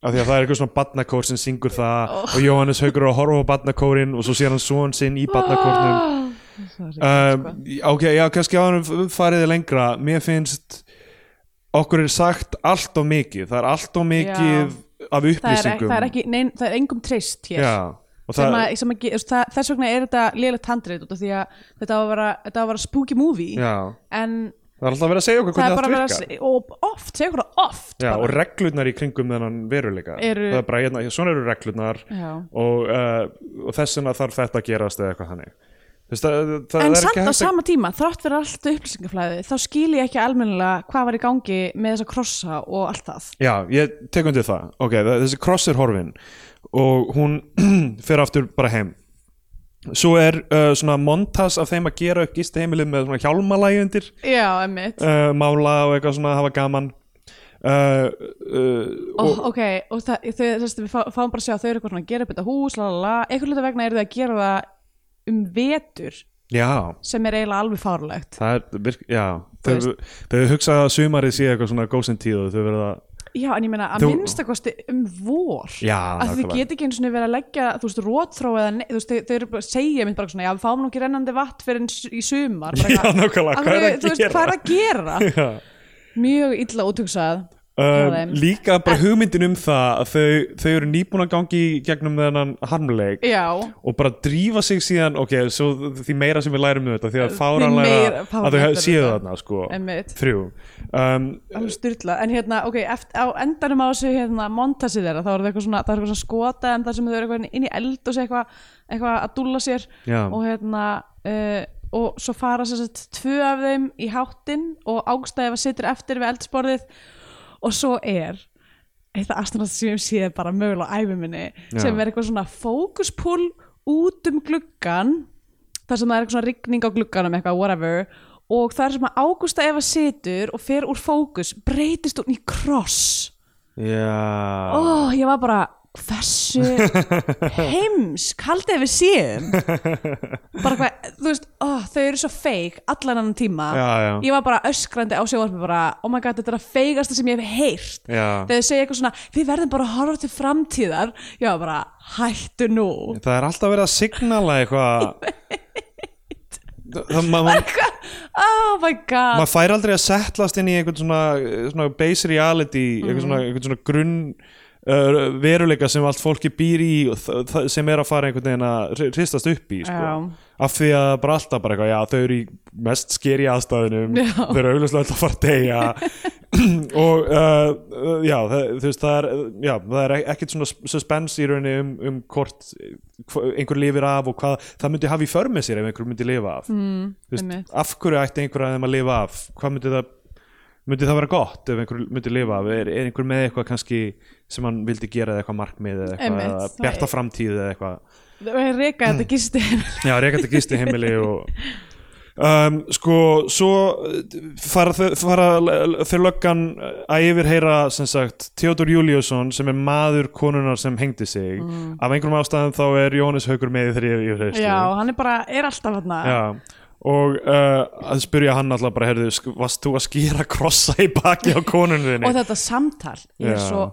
af því að það er eitthvað svona badnakór sem syngur það og Jóhannes Haugur er að horfa á badnakórin og svo sér hann svon sinn í badnakórnum um,
Sko.
ok, já, kannski á hann fariði lengra mér finnst okkur er sagt allt of mikið það er allt of mikið af
það er, ekki,
upplýsingum
það, er ekki, nein, það er engum treyst hér
já, og
sem
það,
að, sem að, ge- þú veist, það, þess vegna er þetta lélegt handrið út af því að þetta á að vera, þetta á að vera spooky movie
já,
en
það er alltaf verið að segja okkur
það er
hvernig
bara
allt
að vera
virkar
s- og oft, segjum hverja oft
Já, og
bara.
reglurnar í kringum þennan veruleika
Eru-
það er bara, hérna, svona eru reglurnar
Já.
og, uh, og þess vegna þarf þetta að gerast eða eitthvað þannig Þess, það, það
en
er ekki
samt á
hægt að-
sama tíma, þrátt fyrir allt upplýsingaflæði þá skil ég ekki almennilega hvað var í gangi með þessa krossa og allt það
Já, ég tek undir það ok, það- þessi kross er horfin og hún fer aftur bara heim svo er uh, svona montas af þeim að gera upp gista með svona hjálmalægi undir
já, emmitt
uh, mála og eitthvað svona hafa gaman uh, uh,
og, ok, og það, þau, þessi, við fá- fáum bara að sjá að þau eru eitthvað svona að gera upp þetta hús lalala, einhvern hluta vegna eru þau að gera það um vetur
já,
sem er eiginlega alveg fárlegt
það er virk, já,
Þú
þau, þau hugsa að sumarið sé eitthvað svona góðsinn tíð og þau verða
já, en ég meina að
Þú-
minnstakosti um vor
Já,
að þau
nákvæmlega.
get ekki einu svona verið að leggja þú veist, rótþró eða ne- þú veist, þau, þau eru bara að segja mitt bara svona, já, við fáum nú ekki rennandi vatt fyrir en s- í sumar bara
Já,
eitthvað.
nákvæmlega, hvað
Af
er
hverju-
að
þú veist,
gera?
hvað er að gera
já.
mjög illa útugsað
Um, líka bara hugmyndin um það að þau, þau eru nýbúin að gangi í gegnum þennan harmleik
já,
og bara drífa sig síðan ok, svo því meira sem við lærum um þetta því að fáranlega
meira
að
fáránlegra
þau séu
þetta.
þarna sko,
Einmitt.
þrjú um,
alveg styrla en hérna, ok, eftir, á endanum á þessu hérna, montasi þeirra, þá er það eitthvað svona, það er eitthvað svona skota en það sem þau eru eitthvað inn í eld og sé eitthvað eitthvað að dúlla sér
Já.
og hérna uh, og svo fara sér sett tvö af þeim í háttinn og ágstæði að situr eftir við eldsporðið og svo er eitt af astronast sem ég séð bara mögulega á æfiminni
Já.
sem er eitthvað svona fókuspúl út um gluggan þar sem það er eitthvað svona rigning á glugganum eitthvað, whatever og það er sem að Ágústa Eva situr og fer úr fókus breytist hún í kross
já
og ég var bara hversu heims kaldið við séum bara hvað, þú veist ó, þau eru svo feik allan annan tíma
Já, já.
ég var bara öskrandi á sjóvarpi bara, oh my god, þetta er að feigasta sem ég hef heyrt
Já.
þegar þau segja eitthvað svona, við verðum bara að horfa til framtíðar já, bara, hættu nú
það er alltaf verið að signala eitthvað það, ma, ma,
oh my god
maður
Mhm.
fær aldrei að settlast inn í einhvern svona, svona base reality einhvern svona, einhvern svona grunn uh, veruleika sem allt fólki býr í og þ- þ- sem er að fara einhvern veginn að hri- hristast upp í sko.
Já.
af því að bara alltaf bara eitthvað, já þau eru í mest skeri aðstæðunum
Já.
þau eru auðvitað alltaf að fara að deyja og uh, uh, já það, þú veist það er, já, það er ekkert svona suspense í rauninni um, um hvort hva- einhver lifir af og hvað það myndi hafa í för með sér ef einhver myndi lifa af mm,
einmitt.
af hverju ætti einhver að þeim að lifa af hvað myndi það myndi það vera gott ef einhver myndi lifa af er, er einhver með eitthvað kannski sem hann vildi gera eða eitthvað markmið eða eitthvað
Einmitt,
eða
það
bjarta
er-
framtíð eða eitthvað
það er reyka þetta gisti
Já, reykjandi gisti heimili og um, sko, svo uh, fara, þau- fara fyrir löggan að yfirheyra sem sagt, Theodor Júliusson sem er maður konunar sem hengdi sig af einhverjum ástæðum þá er Jónis Haugur með í þeirri yfirheyrslu
Mm. já, hann er bara, er alltaf hann
Já. og uh, að spyrja hann alltaf bara, heyrðu, sk- varst þú að skýra krossa í baki á konunni þinni
og þetta samtal er
Já.
svo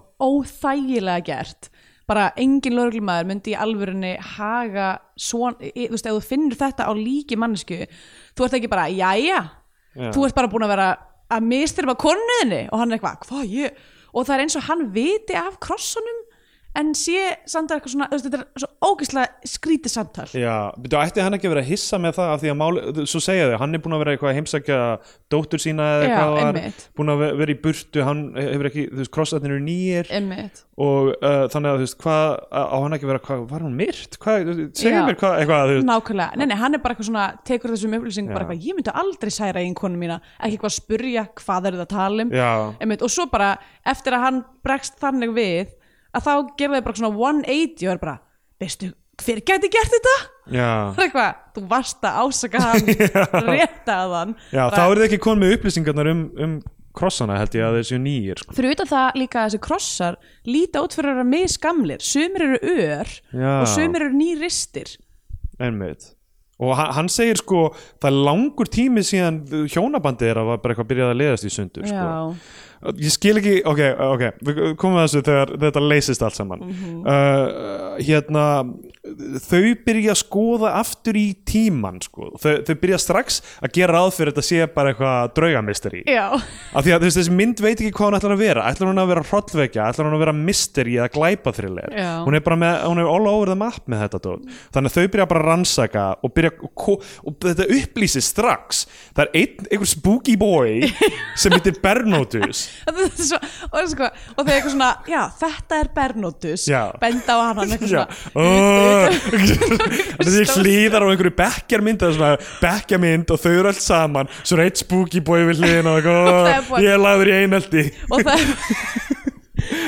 óþægilega gert bara engin lögreglumæður myndi í alvörunni haga svona, í- þú veist, ef þú finnur þetta á líki mannesku þú ert ekki bara, jæja
Já.
þú ert bara búin að vera að mistyrfa konuðinni og hann er eitthvað, hvað ég og það er eins og hann viti af krossunum en sé samt eitthvað svona þú veist, þetta er svo ógeðslega skrítið samtal
Já, betur ætti hann ekki að vera að hissa með það af því að máli, svo segja þau, hann er búin að vera eitthvað að heimsækja dóttur sína eða
Já,
eitthvað var,
einmitt.
búin að ve- vera í burtu, hann hefur ekki, þú veist, krossatnir eru nýjir
Einmitt.
og uh, þannig að þú veist, hvað, á hann ekki að vera, hvað, var hún myrt? Hvað, segja
Já.
mér hvað, eitthvað, þú veist,
Nákvæmlega, nei, nei, hann er bara eitthvað svona tekur þessum upplýsingum bara eitthvað, ég myndi aldrei særa einn konu mína, ekki eitthvað að spurja hvað er það að tala um
Já.
Einmitt, og svo bara eftir að hann bregst þannig við að þá gerði þau bara svona 180 og er bara, veistu, hver gæti gert þetta?
já.
Það er eitthvað, þú varst að ásaka hann rétta að hann
Já, þá eru þið ekki konum með upplýsingarnar um, um krossana held ég að þeir séu nýjir, sko.
fyrir utan það líka að þessi krossar líta út fyrir að vera misgamlir sumir eru ör
Já.
og sumir eru nýristir
Einmitt. Og hann, hann segir sko, það er langur tími síðan hjónabandið er að var bara eitthvað byrjað að leiðast í sundur, sko.
Já.
Ég skil ekki, ok, ok, við komum að þessu þegar þetta leysist allt saman uh, Hérna, þau byrja að skoða aftur í tíman, sko Þau, þau byrja strax að gera ráð fyrir þetta sé bara eitthvað draugamisteri
Já.
Af því að þú veist, þessi mynd veit ekki hvað hún ætlar að vera Ætlar hún að vera hrollvekja, ætlar hún að vera misteri eða glæpa
Já.
Hún er bara með, hún er all over the map með þetta dót Þannig að þau byrja bara að rannsaka og, byrja, og, ko- og þetta upplýsi strax Það er einn, einhver spooky boy sem heitir Bernótus
Þetta er svo, og, sko, og þegar eitthvað svona já, þetta er Bernótus
Já.
benda á hann hann eitthvað
Já,
svona
það er hlýðar á einhverju bekkjarmynd eða svona bekkjarmynd og þau eru allt saman svo er eitt spooky boy við hliðin og
Og
eitthvað,
það er
"Ó,
búið."
ég er lagður í einaldi
og það er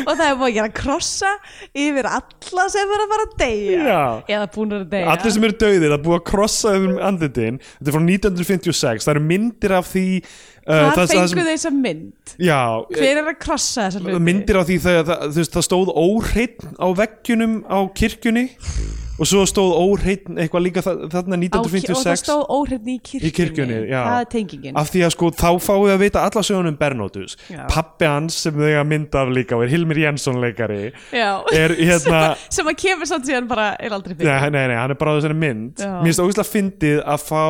og það er búið að gera krossa yfir alla sem er að fara að deyja
Já.
eða búin að deyja
Allir sem eru dauðir, það er búið að krossa um andlitin Þetta er frá 1956, það eru myndir af því uh,
hvað fengu
sem,
sem... þess að mynd
Já, eh,
hver er að krossa þessa hluti
myndir af því þegar það, þú veist, það stóð óhreitn á veggjunum á kirkjunni og svo stóð óhreitn eitthvað líka þa- þarna
Á ki- og það
1956
stóð óhrifni í kirkjunni,
í kirkjunni, já
það er tengingin
af því að sko þá fáið að vita alla sögunum Bernótus,
Já.
pappi hans sem þau að mynda af líka og er Hilmir Jensson leikari
Já.
er
sem,
hérna
að, sem að kemur samt síðan bara er aldrei fyrir
Nei, nei, nei, hann er bara á þessari mynd
Já.
Mér finnst ógæslega fyndið að fá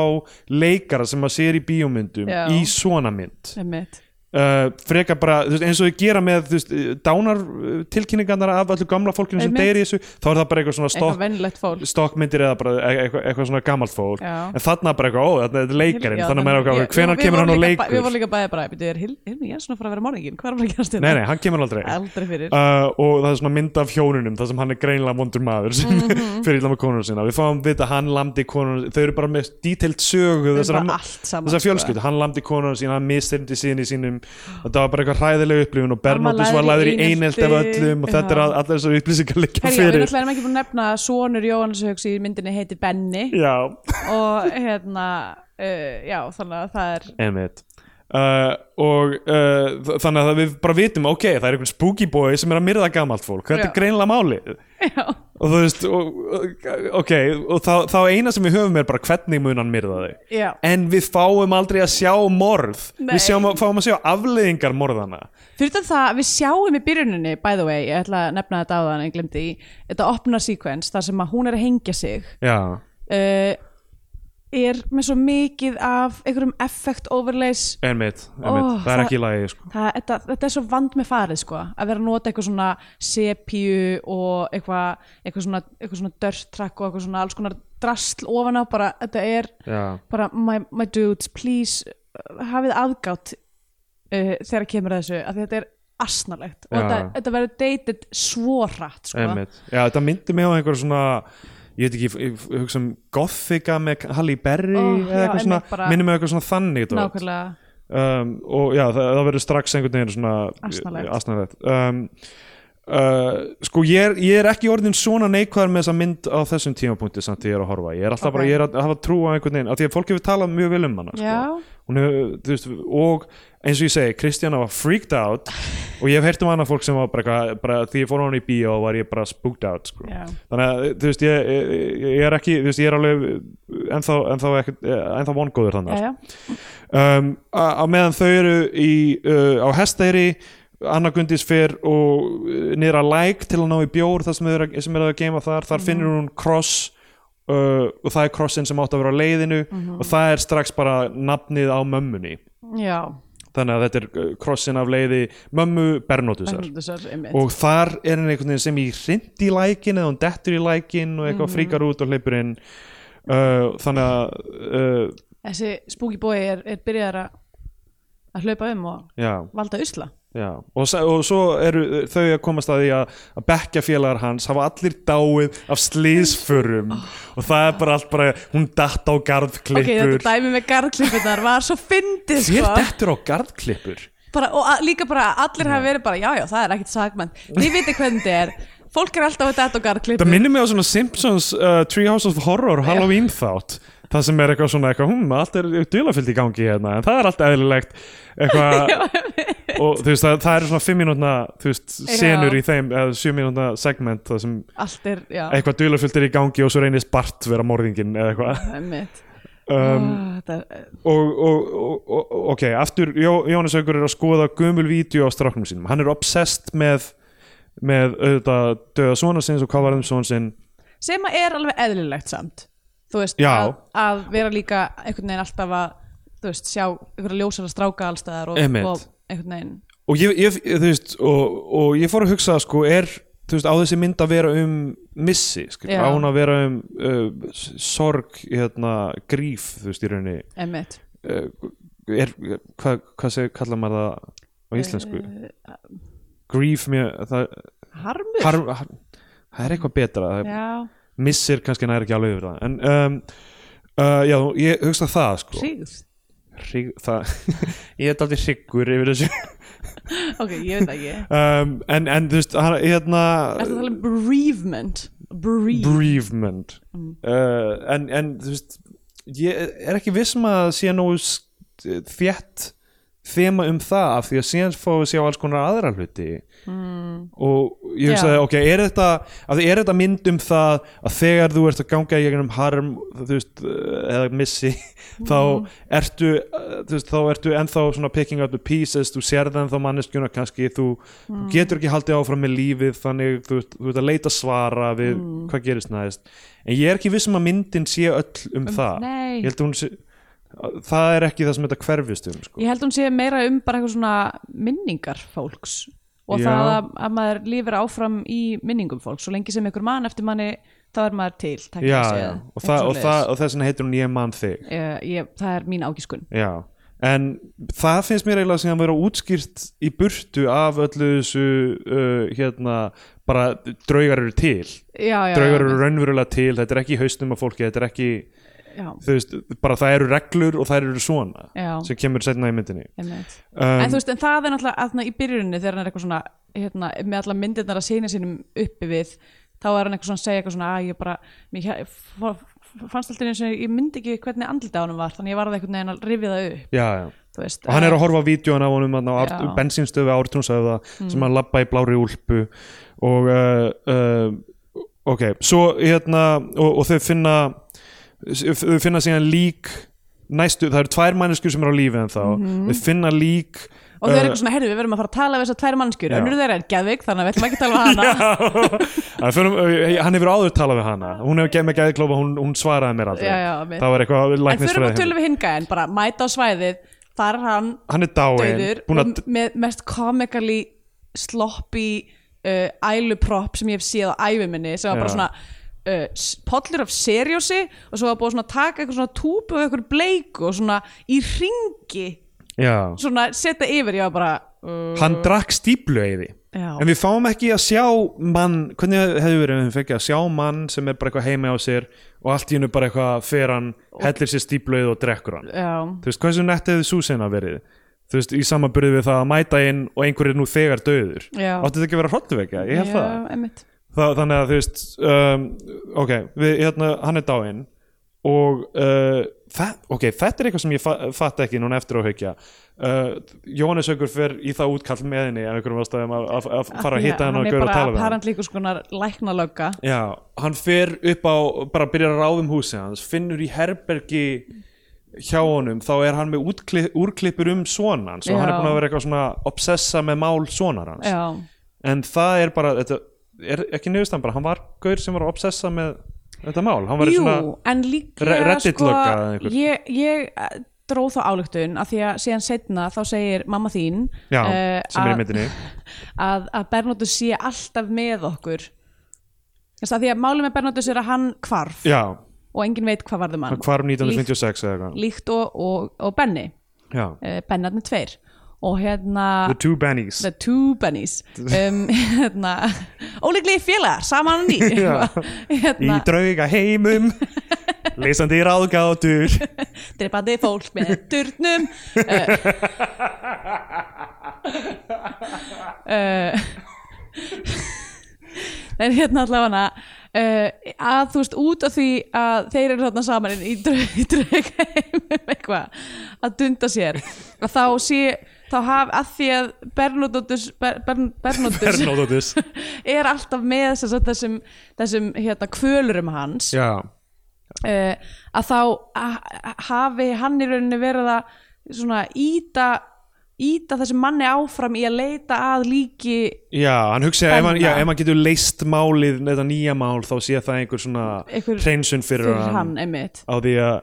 leikara sem maður sér í bíómyndum
Já.
í svona mynd
Einmitt.
uh, Freka bara, þú veist, eins og þau gera með þú veist, dánartilkynningarnar af öllu gamla fólkinu sem
Einmitt.
deyri þessu þá er það bara eitthvað svona
eitthvað
stokk
vennilegt fólk
stokkmyndir eða bara e- eitthvað, eitthvað svona gamalt fólk
Já.
en þarna bara eitthvað, ó, þarna er þetta leikarinn
Já,
þannig að maður er
ég-
eitthvað, hvenær
við
kemur
vorum
hann og
líka ba-
leikur
Við vorum líka bæðið bara, "Bíddu, er Hil- Hilmi Jensson að fara að vera morðingin? Hvað er hann að gera stjórn?
Nei, nei, hann kemur aldrei
Aldrei fyrir
uh, og það er svona mynd af hjónunum það sem hann er greinilega vondur maður sem
Mhm.
fyrir illa með konunum sína við fáum vita að hann lamdi konunum þau eru bara með detailed sögu þessara,
bara allt saman,
þessara
sko.
fjölskyldu, hann lamdi konunum sína hann mistyrndi síðan í sínum þetta var bara eitthvað hræðilega upplifun og Bernóttus var
lagður
læður
í
í einelt af
einelti.
öllum og þetta er
Já.
að allar þessar upplýsingar liggja
Herja, við
fyrir
náttúrulega erum ekki búin að nefna að sonur Jóhannes Hauks í myndinni heitir Benny
Já,
og hérna uh, já, þannig að það er
einmitt Uh, og uh, þ- þannig að við bara vitum ok, það er einhvern spooky boy sem er að myrða gamalt fólk, þetta er
Já.
greinilega málið
já,
og þú veist og, ok, og þá, þá eina sem við höfum er bara hvernig mun hann myrða þau
Já.
en við fáum aldrei að sjá morð
Nei.
við sjáum, að- fáum að sjá afleiðingar morðana
fyrir utan það við sjáum í byrjuninni by the way, ég ætla að nefna þetta á þann en glemdi í, þetta opna sequence þar sem að hún er að hengja sig
já,
uh, er með svo mikið af einhverjum effekt overlays
Einmitt, einmitt.
Ó,
það er
það-
ekki í lagi sko.
Það, þetta, þetta er svo vand með farið sko, að vera að nota eitthvað svona sepju og eitthvað eitthvað svona, eitthvað svona dirt track og eitthvað svona alls konar drasl ofan á bara, þetta er
Já,
bara my, my dudes, please uh, hafið aðgátt uh, þegar kemur að þessu, af því þetta er asnalegt
Já.
og þetta, þetta verður dated svo rætt sko.
einmitt Já, þetta myndi mig á einhver svona ég veit ekki, ég, ég hugsa um Gothica með Halle Berry
Ó,
eða
já,
eitthvað svona,
einmitt, bara-
minnir mig á eitthvað svona þannig dót.
nákvæmlega
um, og já, það, það verður strax einhvern veginn svona
Asnalegt.
asnalegt. Um, uh, sko ég er, ég er ekki orðin svona neikvæðar með þessa mynd á þessum tímapunkti samt því ég er að horfa, ég er alltaf
Ok.
bara ég er að hafa trú á einhvern veginn, af því að fólk hefur talað mjög vel um hana sko.
Já.
Hún hefur, þú veist, og eins og ég segi, Kristjana var freaked out og ég hef heyrt um annað fólk sem var bara, eitthvað- bara því ég fór á hann í bíó var ég bara spooked out sko.
Já.
þannig að þú veist ég, ég, ég er ekki, þú veist ég er alveg ennþá, ennþá, ekkert- ennþá vongóður þannig
Já, já.
um, á á meðan þau eru í, uh, á hestæri Anna Gundis fer og uh, niður að læk til að ná í bjór þar sem er, sem er að geima þar, þar finnur hún kross uh, og það er krossin sem átt að vera á leiðinu og það er strax bara nafnið á mömmunni
Já,
þannig að þetta er uh, krossin af leiði mömmu Bernótusar
Bernhardusar, einmitt.
og þar er henni einhvern veginn sem í hrind í lækin eða hún dettur í lækin og eitthvað fríkar út og hleypur inn uh, þannig að uh,
þessi spooky boy er, er byrjaðar að að hlaupa um og
já
valda usla
Já, og, sa- og svo eru þau að komast að því að, að bekkjafélagar hans hafa allir dáið af slísförum og það er bara allt bara hún datt á
Ah. ok,
garðklippur
þetta dæmi með garðklippunar var svo fyndið
Þér
sko.
dettur á garðklippur?
bara, og að, líka bara að allir hafa verið bara já, já, það er ekkit sagmenn, þið viti hvernig þetta er fólk er alltaf að þetta á
Það
garðklippur
minnir mig á svona Simpsons uh, Treehouse of Horror Halloween þátt Það sem er eitthvað svona eitthvað, hún, allt er dulafyllt í gangi hérna, en það er allt eðlilegt eitthvað, og þú veist, það, það eru svona 5 mínútna, þú veist, senur í þeim, eða 7 mínútna segment það sem
allt er, já,
eitthvað dulafyllt er í gangi og svo reynist Bart vera morðingin eða eitthvað
einmitt
um,
Ó, þetta er,
og, og, og, og ok, aftur Jó, Jónas Haugur er að skoða gömul vídeo á stráknum sínum, hann er obsessed með með auðvitað döða svona sinns og hvað var þeim svona sinn
sem að er alveg eðlilegt samt þú veist,
Já.
að, að vera líka einhvern veginn alltaf að þú veist, sjá einhverja ljósara stráka allstaðar og,
Einmitt.
og einhvern veginn
og ég, ég, þú veist og, og ég fór að hugsa sko, er þú veist, á þessi mynd að vera um missi, skil,
Já.
á hún að vera um uh, s- sorg, hérna gríf, þú veist, í rauninni
einmitt,
uh, er, hvað, hvað segir, kallar maður það á íslensku
Eh.
gríf, mér, það
harmur
har, har, það er eitthvað betra það er
já,
missir kannski næri ekki alveg yfir það en um, uh, já, ég hugsa það sko
hríð
Hrig, það, ég er aldrei hryggur yfir þessu
ok, ég veit það ekki
um, en, en þú veist, hann, hérna
Er það að tala um bereavement? Bereave.
bereavement uh, en, en þú veist ég er ekki viss um að sé nógu s- þétt þema um það af því að síðan fá við sjá alls konar aðra hluti mm. og ég hugsaði,
Já.
ok, er þetta af því er þetta mynd um það að þegar þú ert að ganga í gegnum harm þú veist, uh, eða missi þá
Mm.
ertu uh, þú veist, þá ertu ennþá svona picking up the pieces þú sérð ennþá manneskjuna kannski þú,
Mm.
þú getur ekki haldið áfram með lífið þannig þú, veist, þú ert að leita svara við
Mm.
hvað gerist næst en ég er ekki viss um að myndin sé öll um, það
nei.
ég held að hún sé það er ekki það sem þetta hverfist um sko.
Ég held hún sé meira um bara eitthvað svona minningar fólks og
Já.
það að, að maður lifir áfram í minningum fólks svo lengi sem ykkur mann eftir manni þá er maður til tæknilega
já,
séð.
já. Og,
Eitthvað
það, og,
svoleiðis.
það, og þess vegna heitir hún ég mann þig
Eh, ég, það er mín ágiskun
já. en það finnst mér eiginlega sem að vera útskýrt í burtu af öllu þessu uh, hérna, bara draugar eru til
já, já,
draugar eru
já,
raunverulega til, þetta er ekki í haustum af fólki, þetta er ekki
já,
þú veist, bara það eru reglur og það eru svona
Já.
sem kemur setna í myndinni
einmitt.
um,
en þú veist, en það er náttúrulega aðna, í byrjunni þegar hann er eitthvað svona hérna, með alla myndirnar að sína sínum uppi við þá er hann eitthvað svona að segja eitthvað svona að ég bara, mér hjá- f- f- fannst alltaf eins og ég myndi ekki hvernig andlita á hann var þannig ég varði einhvern veginn að rifja það upp
já, já.
þú veist,
og hann er að horfa á vídjóan af honum þarna á
Já. Mm.
art- bensínstöfu ártúnsöfða sem hann labba í blári úlpu og uh, uh, ok, svo hérna og, og þau finna þau finna síðan lík eh, næstu, það eru tvær manneskjur sem eru á lífi en þá þau finna lík
og Mhm. og þau eru eitthvað svona, herðu, við verðum að fara að tala við þessar tvær mannskjur,
Já.
önnur þeirra er geðvik þannig að við ætlum ekki að tala við hana
Hann fyrir- eh, hann hefur áður talað við hana hún hefur gefið mig gæðklófa, hún, hún svaraði mér aldrei
Já, já, mitt.
það var eitthvað
en þurfum að
læknisfræði
tölum við hinga en bara mæta á svæðið þar er hann
hann er dáin
dauður um-
búin
og
að
með mest komikali sloppy uh, ælupropp sem ég hef séð á æfiminni sem var bara
Já.
svona uh, s- pollur af seriósi og svo var búið svona að taka eitthvað svona túpu og eitthvað bleiku og svona í ringi
já.
svona setja yfir, ég var bara uh,
hann drakk stíplu eiði
Já.
en við fáum ekki að sjá mann hvernig hefur verið ef við fengið að sjá mann sem er bara eitthvað heima á sér og allt í hennu bara eitthvað fer hann hellir sér stíplu eiði og drekkur hann
já,
þú veist, hversu nett hefði sú sena verið þú veist, í samanbyrði við það að mæta inn og einhver er nú þegar döður
Já.
áttu þetta ekki að vera hrottuvekja, ég held það
já, einmitt
Þa, þannig að þú veist um, ok, við, hérna, hann er dáinn og uh, það, ok, þetta er eitthvað sem ég fa fatt ekki núna eftir að haukja uh, Jóhannes Haukur fer í það útkall með henni af einhverjum ástæðum að- að að fara að
Já,
hitta hann og
er
gauður að
bara
tala við hann
apparent líka skonar læknalögga
Já, hann fer upp á bara byrjar að ráðum húsið hans, finnur í herbergi hjá honum þá er hann með útkli, úrklippur um sonan svo hann er
Já.
búin að vera eitthvað svona obsessa með mál sonar hans
já,
en það er bara þetta, er ekki niðurstaðan bara, hann var gaur sem var að obsessa með þetta mál, hann var í
Jú,
svona
en
Re-
líklega
Reddit
sko,
lögga eða einhver.
ég, ég eh, dró þá áluktun að því að síðan setna þá segir mamma þín
já,
eh,
sem er í
að-
myndinni
að, að Bernóttus sé alltaf með okkur þess að því að máli með Bernóttus er að hann hvarf
já,
og enginn veit hvað varðum hann
hann hvarf 1956 eða eitthvað
líkt og, og, og Benni
já,
uh, Bennarnir tveir og hérna
The Two Bennies
The Two Bennies um, hérna, ólíklegi félagar saman á ný
Já. í
hérna,
drauga heimum leysandi ráðgátur
dreipandi fólk með durnum uh, uh, en hérna allavega uh, að þú veist út af því að þeir eru þarna saman í draugaheimum eitthvað að dunda sér að þá sé þá haf að því að Bernóttus Ber, Bern, Bernóttus
Bernóttus
er alltaf með sem sagt, þessum, þessum hérna, kvölurum hans
já,
uh, að þá a- hafi hann í rauninni verið að svona íta íta þessum manni áfram í að leita að líki
já, hann hugsaði ef, hann- já,
Benna.
ef hann getur leist málið þetta nýja mál þá sé það einhver svona
Einhver-
hreinsun fyrir,
fyrir hann, einmitt,
á því að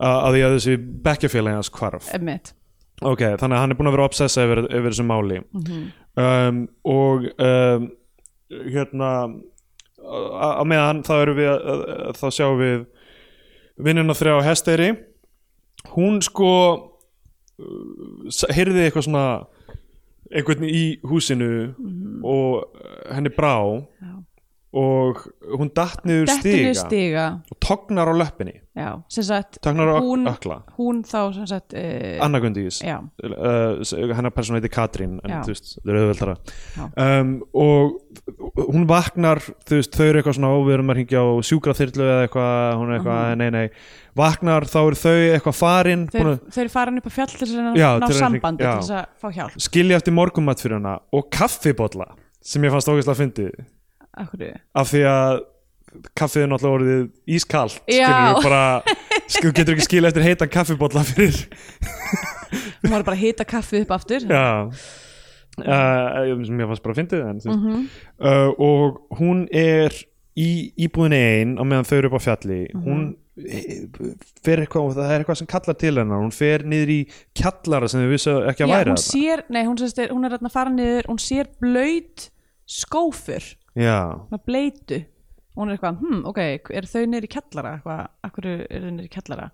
á því að þessi bekkjafélagi hans hvarf
einmitt.
Ok, þannig að hann er búin að vera obsessa yfir, yfir þessu máli
Mhm.
um, og um, hérna á á meðan þá erum við að- að- að- þá sjáum við vinnuna þrjá á Hesteyri hún sko heyrði eitthvað svona einhvern í húsinu og henni brá
Mhm. Já.
og hún datt niður
Dettur niður
stiga
stiga
og tognar á löppinni
já, sem sagt
tognar á hún...
Hún-
ökla
hún þá sem sagt uh,
Anna Gundís
já,
uh, s- hennar persónu heiti Katrín en
Já.
þú veist, þau eru auðveldara
Já.
um, og hún vaknar þú veist, þau eru eitthvað svona óverum að hringja á sjúkraþyrlu eða eitthvað, hún er eitthvað nei, nei, vaknar, þá eru þau eitthvað farin
þeir,
búin að
þeir farin upp á fjall til þess að
Já,
ná
til að-
sambandi
já.
til þess að fá hjálp
skilja eftir morgumat fyrir hana og kaffibolla sem ég fannst ógeðslega að fyndi
Af hverju?
af því að kaffið er náttúrulega orðið ískalt
Já.
skilur bara skilur, getur ekki skilja eftir heitan kaffibolla fyrir
hún var bara að hita kaffið upp aftur
já uh, sem ég fannst bara að fyndið en, mm
Mhm.
uh, og hún er í íbúðinni ein á meðan þau eru upp á fjalli
Mhm.
hún eh, fer eitthvað og það er eitthvað sem kallar til hennar hún fer niður í kjallara sem þau vissu ekki að
Já,
væri
hún
þarna.
sér, nei, hún, sérst, er, hún er að fara niður hún sér blöyt skófur
já,
svona bleitu og hún er eitthvað, hm, ok, er þau niður í kjallara eitthvað, akkur er þau niður í kjallara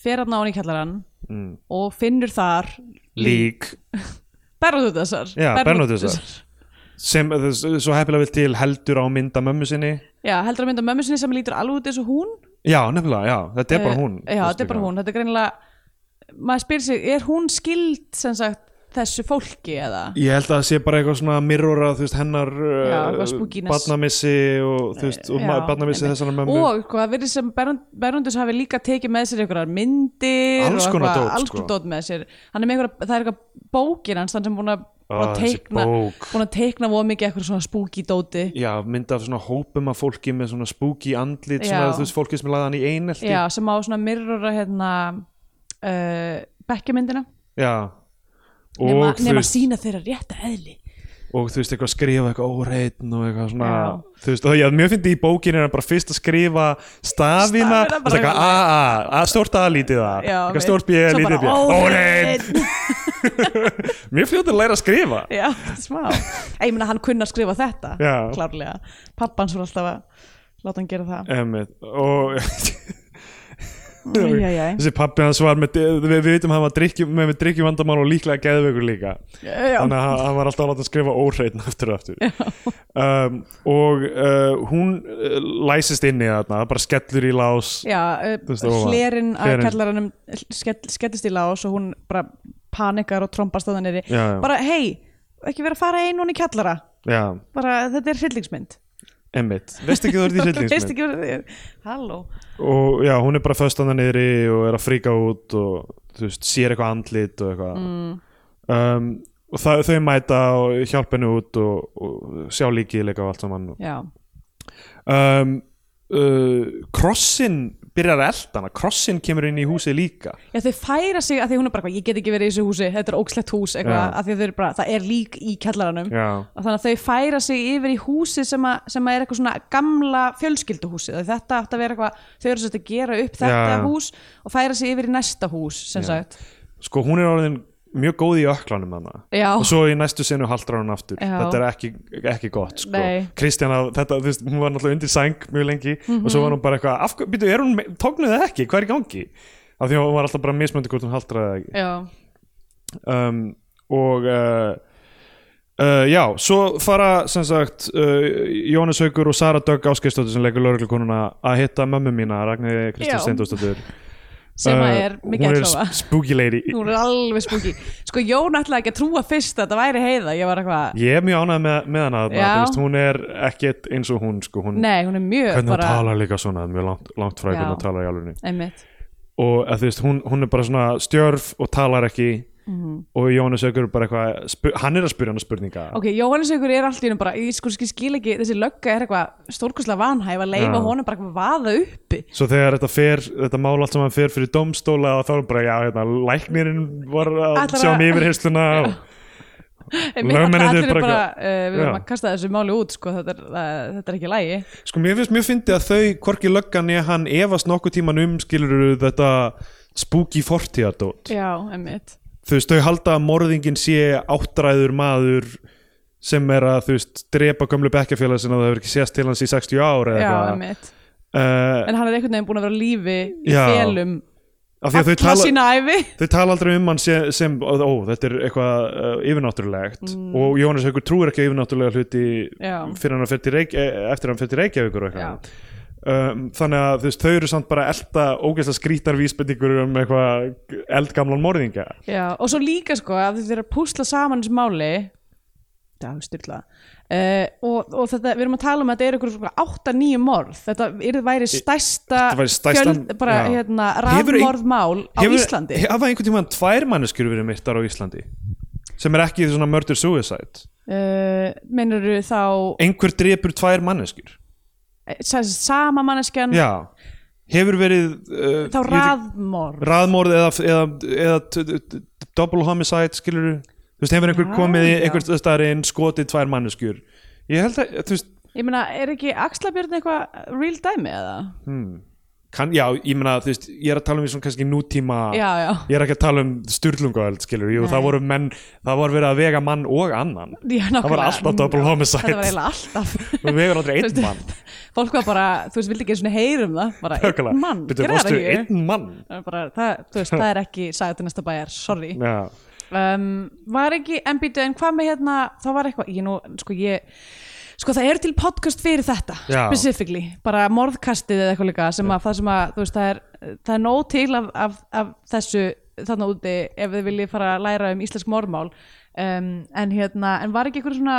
fer hann á hann í kjallaran
mm.
og finnur þar
lík
Bernóttusar
Já, Bernódusar. sem eh, þess- svo heppilega vill til heldur á mynda mömmu sinni
Já, heldur að mynda mömmu sinni sem lítur alveg út eins og hún
já, nefnilega, já, þetta er bara
Eh,
hún þú
Já,
veist
þetta er bara
líka.
hún, þetta er greinilega maður spyr sig, er hún skild sem sagt þessu fólki eða
Ég held að það sé bara eitthvað svona mirrora þú veist hennar eh,
eitthvað spookiness. Eh,
barnamissi og þú veist og
Já,
barnamissi
einmitt.
þessara mömmu
og hvað verður sem Berndus hafi líka tekið með sér einhverjar myndir
Alls
og
konar
eitthvað-
dót,
alls
sko.
konar dót með sér hann er með einhverja, það er eitthvað bókin hans þannig sem búin að, búin
Ah,
að
þessi
teikna
bók.
búin að teikna voð mikið eitthvað svona spooky dóti
Já, mynda af svona hópum af fólki með svona spooky andlit svona
Já.
þú veist fólki sem laði hann í einelti
já, sem á svona mirrora hérna uh, bekkjamyndina
Já.
nema,
þú
nema
veist-
sína þeirra rétta eðli
og þú veist eitthvað skrifa eitthvað óreitn og eitthvað svona
Já.
þú veist, og já, mjög fyndi í bókinni er hann bara fyrst að skrifa stafina,
Stafina
þú veist
bara
eitthvað a, a, a, stórt a lítið a
Já,
Ah, eitthvað
mitt.
stórt b,
Svo
lítið b,
bara,
óreitn
óhreinn.
mjög fljótt að læra að skrifa
Já, þetta er smá Ég meina hann kunna að skrifa þetta
Já.
klárlega, pappans voru alltaf að láta hann gera það
Emmett, og
Æ, æ, æ.
þessi pappi hans var með, við, við vitum hann var drikkjum, með, með drikkjumvandamál og líklega geðveikur líka
Já,
þannig að hann- hann var alltaf að láta að skrifa óhreitn aftur og aftur um, og uh, hún uh, læsist inni þarna, bara skellur í lás
já
Þú veist,
uh,
ofan.
hlerinn að
Hlerinn.
kallaranum skell, skellist í lás og hún bara panikar og trombast að hann er
Já, já.
bara hei, ekki vera að fara einn hún í kjallara
já,
bara þetta er hryllingsmynd
Emmett, veist ekki þú ert í
Veist
hryllingsmynd
ekki hvað þetta er. Halló
og já, hún er bara föst hana niðri og er að fríka út og þú veist, sér eitthvað andlit og eitthvað mm. um, og það, þau mæta og hjálpa henni út og, og sjá líkileika og allt saman
Já,
um, uh, krossin byrjar að elda hana, krossin kemur inn í húsið líka
já þau færa sig að því hún er bara eitthvað, ég get ekki verið í þessu húsi, þetta er ógslegt hús
Já.
eitthvað, að því þau eru bara, það er lík í kjallaranum
já,
og þannig að þau færa sig yfir í húsi sem, að, sem að er eitthvað svona gamla fjölskylduhúsi Þau- þetta átt að vera eitthvað þau eru svolítið að gera upp þetta
Já, já.
hús og færa sig yfir í næsta hús sem sagt
sko hún er orðin mjög góð í öklanum hana
Já.
og svo í næstu senu haldrar hún aftur
Já.
þetta er ekki, ekki gott sko.
Nei.
Kristjana, þetta, þú veist, hún var náttúrulega undir sæng mjög lengi og
Mhm.
svo var hún bara eitthvað af hverju- býtu, er hún, tóknuð það ekki, hvað er í gangi af því að hún var alltaf bara mismöndi hvort hún haldraði það ekki
já,
um, og uh, uh, já, svo fara sem sagt uh, Jónas Haugur og Sara Dögg Áskeistóttur sem leikur lauruglukonuna að hitta mömmu mína, Ragnir
Já.
Kristján Steindóstóttur
sem að er
Uh, Eh, hún er
mikið að hlóa
sp- spooky lady
hún er alveg spúki sko Jón ætlaði ekki að trúa fyrst að þetta væri heiða ég var eitthvað,
Ég er mjög ánægð með, með hana þarna,
Já.
þú veist, hún er ekkert eins og hún, sko, hún,
nei hún er mjög
hvernig
bara
hún talar líka svona, það er mjög langt, langt frá
Já.
hvernig hún talar í alvegni.
einmitt,
Og að, þú veist, hún, hún er bara svona stjörf og talar ekki og Jónas Ögur er bara eitthvað, spu- hann er að spyrja hana spurninga.
Mhm. ok, Jóhannes ykkur er allt í hennu bara, ég sko ég skil ekki þessi lögga er eitthvað stórkurslega vanhæf að leifa
Já.
honum bara eitthvað vaða uppi
Svo þegar þetta fer, þetta mál allt saman fer fyrir domstóla þá er hún bara, já, hérna, læknirinn var að
Ætlar
sjá um
að-
yfirheysluna og
Einmitt,
Lögmennirnir
allir eru
bara
bara,
eitthvað-
uh, við erum
Já.
að kasta þessu máli út sko, þetta, er, uh, þetta er ekki lægi
Sko mér finnst mjög fyndið að þau, hvorki löggan eða hann efast nokkuð tíman um skilur þetta spooky fortíðardót.
Já, einmitt
þú veist, þau halda að morðingin sé áttræður maður sem er að, þú veist, drepa gömlu bekkjafélag sinna og það hefur ekki sést til hans í 60 ár
Já,
eða eitthvað
einmitt
uh,
En hann er einhvern veginn búin að vera á lífi í
Já.
félum
af því að þau
alla
tala,
sína ævi
þau tala aldrei um hann sem, sem ó, ó, þetta er eitthvað uh, yfirnáttúrulegt og Jónas Haukur trúir ekki á yfirnáttúrulega hluti
Mm. Já.
fyrir hann að fyrir reik, e- eftir hann fyrir til Reykjavíkur og
Já.
eitthvað Um, þannig að þú veist, þau eru samt bara að elta ógeðslega skrítar vísbendingur um eitthvað eldgamlan morðinga
Já, og svo líka sko að þau eru að púsla saman þessu máli Það er styrla uh, og, og þetta, við erum að tala um að þetta er einhver 8-9 morð Þetta er, væri stærsta,
Þetta væri stærstan-
bara,
já.
hérna,
Hefur ein-
rafmorðmál á
Hefur-
Íslandi
hafa einhvern tímann tvær manneskjur verið myrtar á Íslandi sem er ekki svona murder suicide
uh, Menurðu þá
einhver drepur tvær manneskjur
eh, sem sagt, sama manneskjan
já, hefur verið uh,
Mm. þá
ég veit ekki-
raðmorð
raðmorð eða, eða, eða t- t- t- double homicide skilur þú veist, hefur einhver
Já,
komið í
Ah, já.
einhver staðar inn skotið tvær manneskjur ég held að, þú veist
Ég meina, er ekki Axlabjörn eitthvað real dæmi eða?
kann, já, ég meina, þú veist, ég er að tala um í svona kannski nútíma
Já, já.
ég er ekki að tala um styrlungaöld skilur, jú,
Nei.
það voru menn það voru verið að vega mann og annan það
Já,
var
nákvæmlega.
alltaf double homicide
Þetta var eiginlega alltaf.
Þú vegur aldrei
Þú
einn
veist,
mann
Fólk var bara, þú veist, vildi ekki einu sinni heyra um það, bara
Nákvæmlega.
einn mann,
Bíddu,
gerðu
varstu
það ekki?
einn mann
Það er Bara, það, þú veist, það er ekki sagði til næsta bæjar, sorry
Já.
um, Var ekki, en býtu, en hvað með hérna þá var eitthvað, ég nú, sko ég Sko það eru til podcast fyrir þetta
Já.
specifically, bara morðkastið eða eitthvað líka sem að það sem að, þú veist, það er það er nóg til af, af, af þessu þarna úti ef þið viljið fara að læra um íslensk morðmál um, en hérna, en var ekki eitthvað svona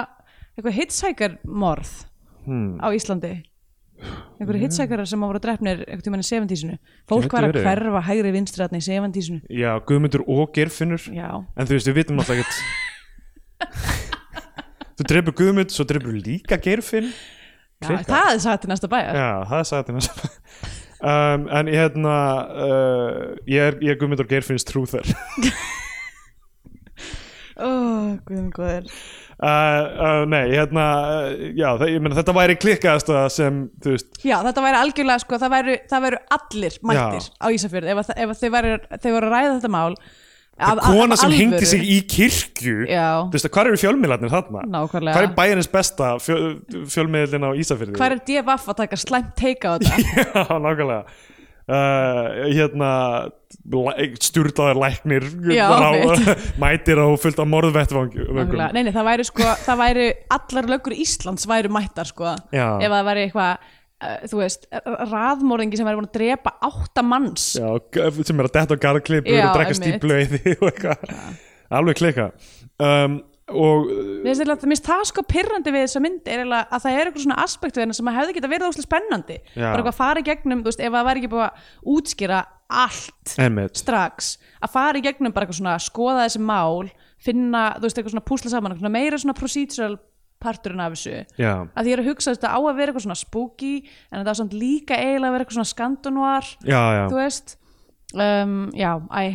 eitthvað hitchhiker morð
Hmm.
á Íslandi einhverju hitchhikerar sem voru drefnir einhvern tímann í 70-sinu fólk
Gæti
var að
verið.
hverfa hægri vinstri þarna í 70-sinu
Já, Guðmundur og Geirfinnur
já,
En þú veist, við vitum alltaf ekkert Þú dreipur Guðmund svo dreipur líka Geirfinn
já
Klikkað.
það er sagt til næsta bæjar
Já, það er sagði þetta um, En ég hérna uh, ég, er, ég er Guðmundur Geirfinns trúþar
oh, guðum góðir
uh, Nei, hérna uh, Já, það, ég meina þetta væri klikkaðast sem, þú veist,
Já, þetta væri algjörlega sko, það væru, það væru allir mættir
Já.
á Ísafjörð ef, að það- ef að þau væru, þau voru að ræða þetta mál af- af-
kona
af
sem
alvöru.
hengdi sig í kirkju
Já.
Þú veist, hvað eru fjölmiðlarnir þarna?
Nákvæmlega.
Hvað er bæjarins besta fjö, fjölmiðlin á Ísafirði?
Hvar er DFF að taka slæmt teika á þetta?
Já, nákvæmlega Uh, hérna stjúrtaðar læknir
Já,
var á,
einmitt.
mætir á fullt af morðvettvangum
Nákvæmlega. Nei, nei, það væri sko, það væru allar lögur Íslands væru mættar sko
Já.
ef það væri eitthvað, uh, þú veist raðmóringi sem væri búin að drepa átta manns
Já, g- sem er að detta á garðklipur
Já,
og drekka
einmitt.
stíplu eithi og eitthvað alveg klika um, og
Mér finnst eiginlega- mér finnst það sko pyrrandi við þessa mynd er eiginlega að það er eitthvað svona aspekt við hennar sem að hefði geta verið óslega spennandi
Já.
bara eitthvað að fara í gegnum, þú veist, ef það væri ekki búið að útskýra allt
einmitt,
strax að fara í gegnum bara eitthvað svona skoða þessi mál, finna, þú veist, eitthvað svona púsla saman, eitthvað svona meira svona procedural parturinn af þessu
já,
að því ég er að hugsa að þetta á að vera eitthvað svona spooky en þetta á samt líka eiginlega að vera eitthvað svona skandunuar,
já, já.
þú veist um, já, æ,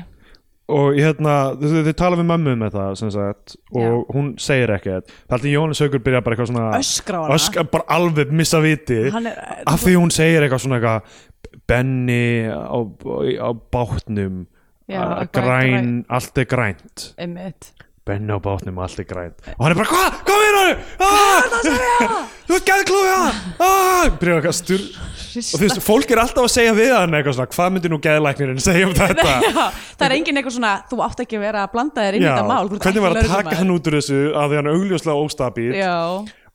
og hérna, þau, þau tala við mömmu með það sem sagt, og hún segir ekkert það er Jónis Haugur byrja bara eitthvað svona
Öskra á hana.
öskra, bara alveg missa viti
Hann er-
af því hún segir eitthvað svona eitthvað Benni á, á bátnum
Já,
uh,
eitthvað-
græn, allt er grænt
einmitt
Benni á bátnum, allt er grænt og hann er bara, hvað, hvað er hann? hvað er það þú ert gæðklófi hann byrja eitthvað styr og þú veist, fólk er alltaf að segja við hann eitthvað svona, hvað myndi nú gæðlæknirinn segja um þetta
Já, það er enginn eitthvað svona þú átt ekki að vera að blanda þér inn í
Já,
þetta mál þú ert
hvernig
ekki
var að taka
lögreglumaður.
hann út úr þessu að því hann er augljóslega óstabíl uh,
Já,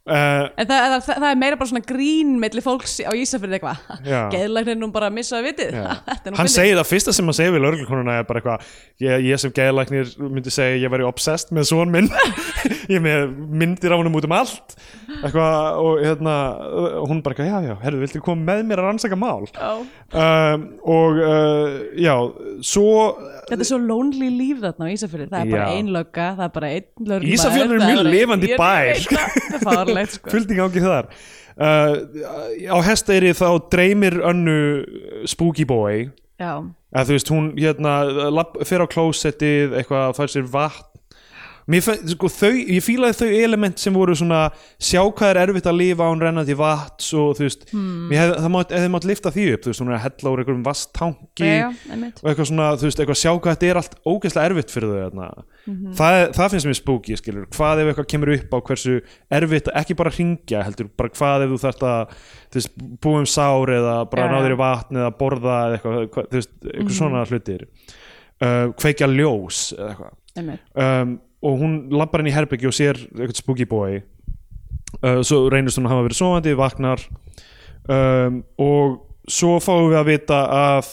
en það, það, það er meira bara svona grín melli fólks á Ísafjörði eitthvað
Já.
geðlæknir nú bara að missa að vitið Þetta er nú
hann
fyndið.
segir það fyrsta sem hann segir við lörgulkonuna er bara eitthvað ég, ég sem geðlæknir myndi segja ég væri obsessed með son minn ég er með myndir af honum út um allt eitthvað og hérna uh, hún bara eitthvað já já, herru, viltu koma með mér að rannsaka mál
Já.
um, og uh, já, svo
Þetta er svo lonely líf þarna á Ísafjörði það er bara
Já.
ein lögga, það er bara einn lögreglumaður
Ísafjörður er
það
mjög lifandi
Ég
bær.
veit það, það er fárlegt sko
fullt í gangi þar uh, á hesteyri þá dreymir önnu spooky boy
Já,
að þú veist, hún hérna lab, fer á klósettið, eitthvað, fær sér vatn Mér fe, sko, þau, ég fílaði þau element sem voru svona sjá hvað er erfitt að lifa án rennandi vatns og þú veist, hmm. hef, það mátt, eða mátt lifta því upp, þú veist, hún er að hella úr einhverjum vasttangi
Já, já, einmitt.
og eitthvað svona, þú veist, eitthvað sjá hvað þetta er allt ógeðslega erfitt fyrir þau þarna
Mhm.
það, það finnst mér spooky, skilur, hvað ef eitthvað kemur upp á hversu erfitt, ekki bara hringja heldur, bara hvað ef þú þarft að þú veist, búa um sár eða bara
Já, Mhm.
náður í
já.
vatn eða borða eða eitthvað, hvað- þú veist, eitthvað svona hlutir uh, kveikja ljós eða eitthvað
einmitt
um, og hún labbar inn í herbyggju og sér eitthvað spooky boy uh, svo reynist hún að hafa verið sofandi, vaknar um, og svo fáum við að vita að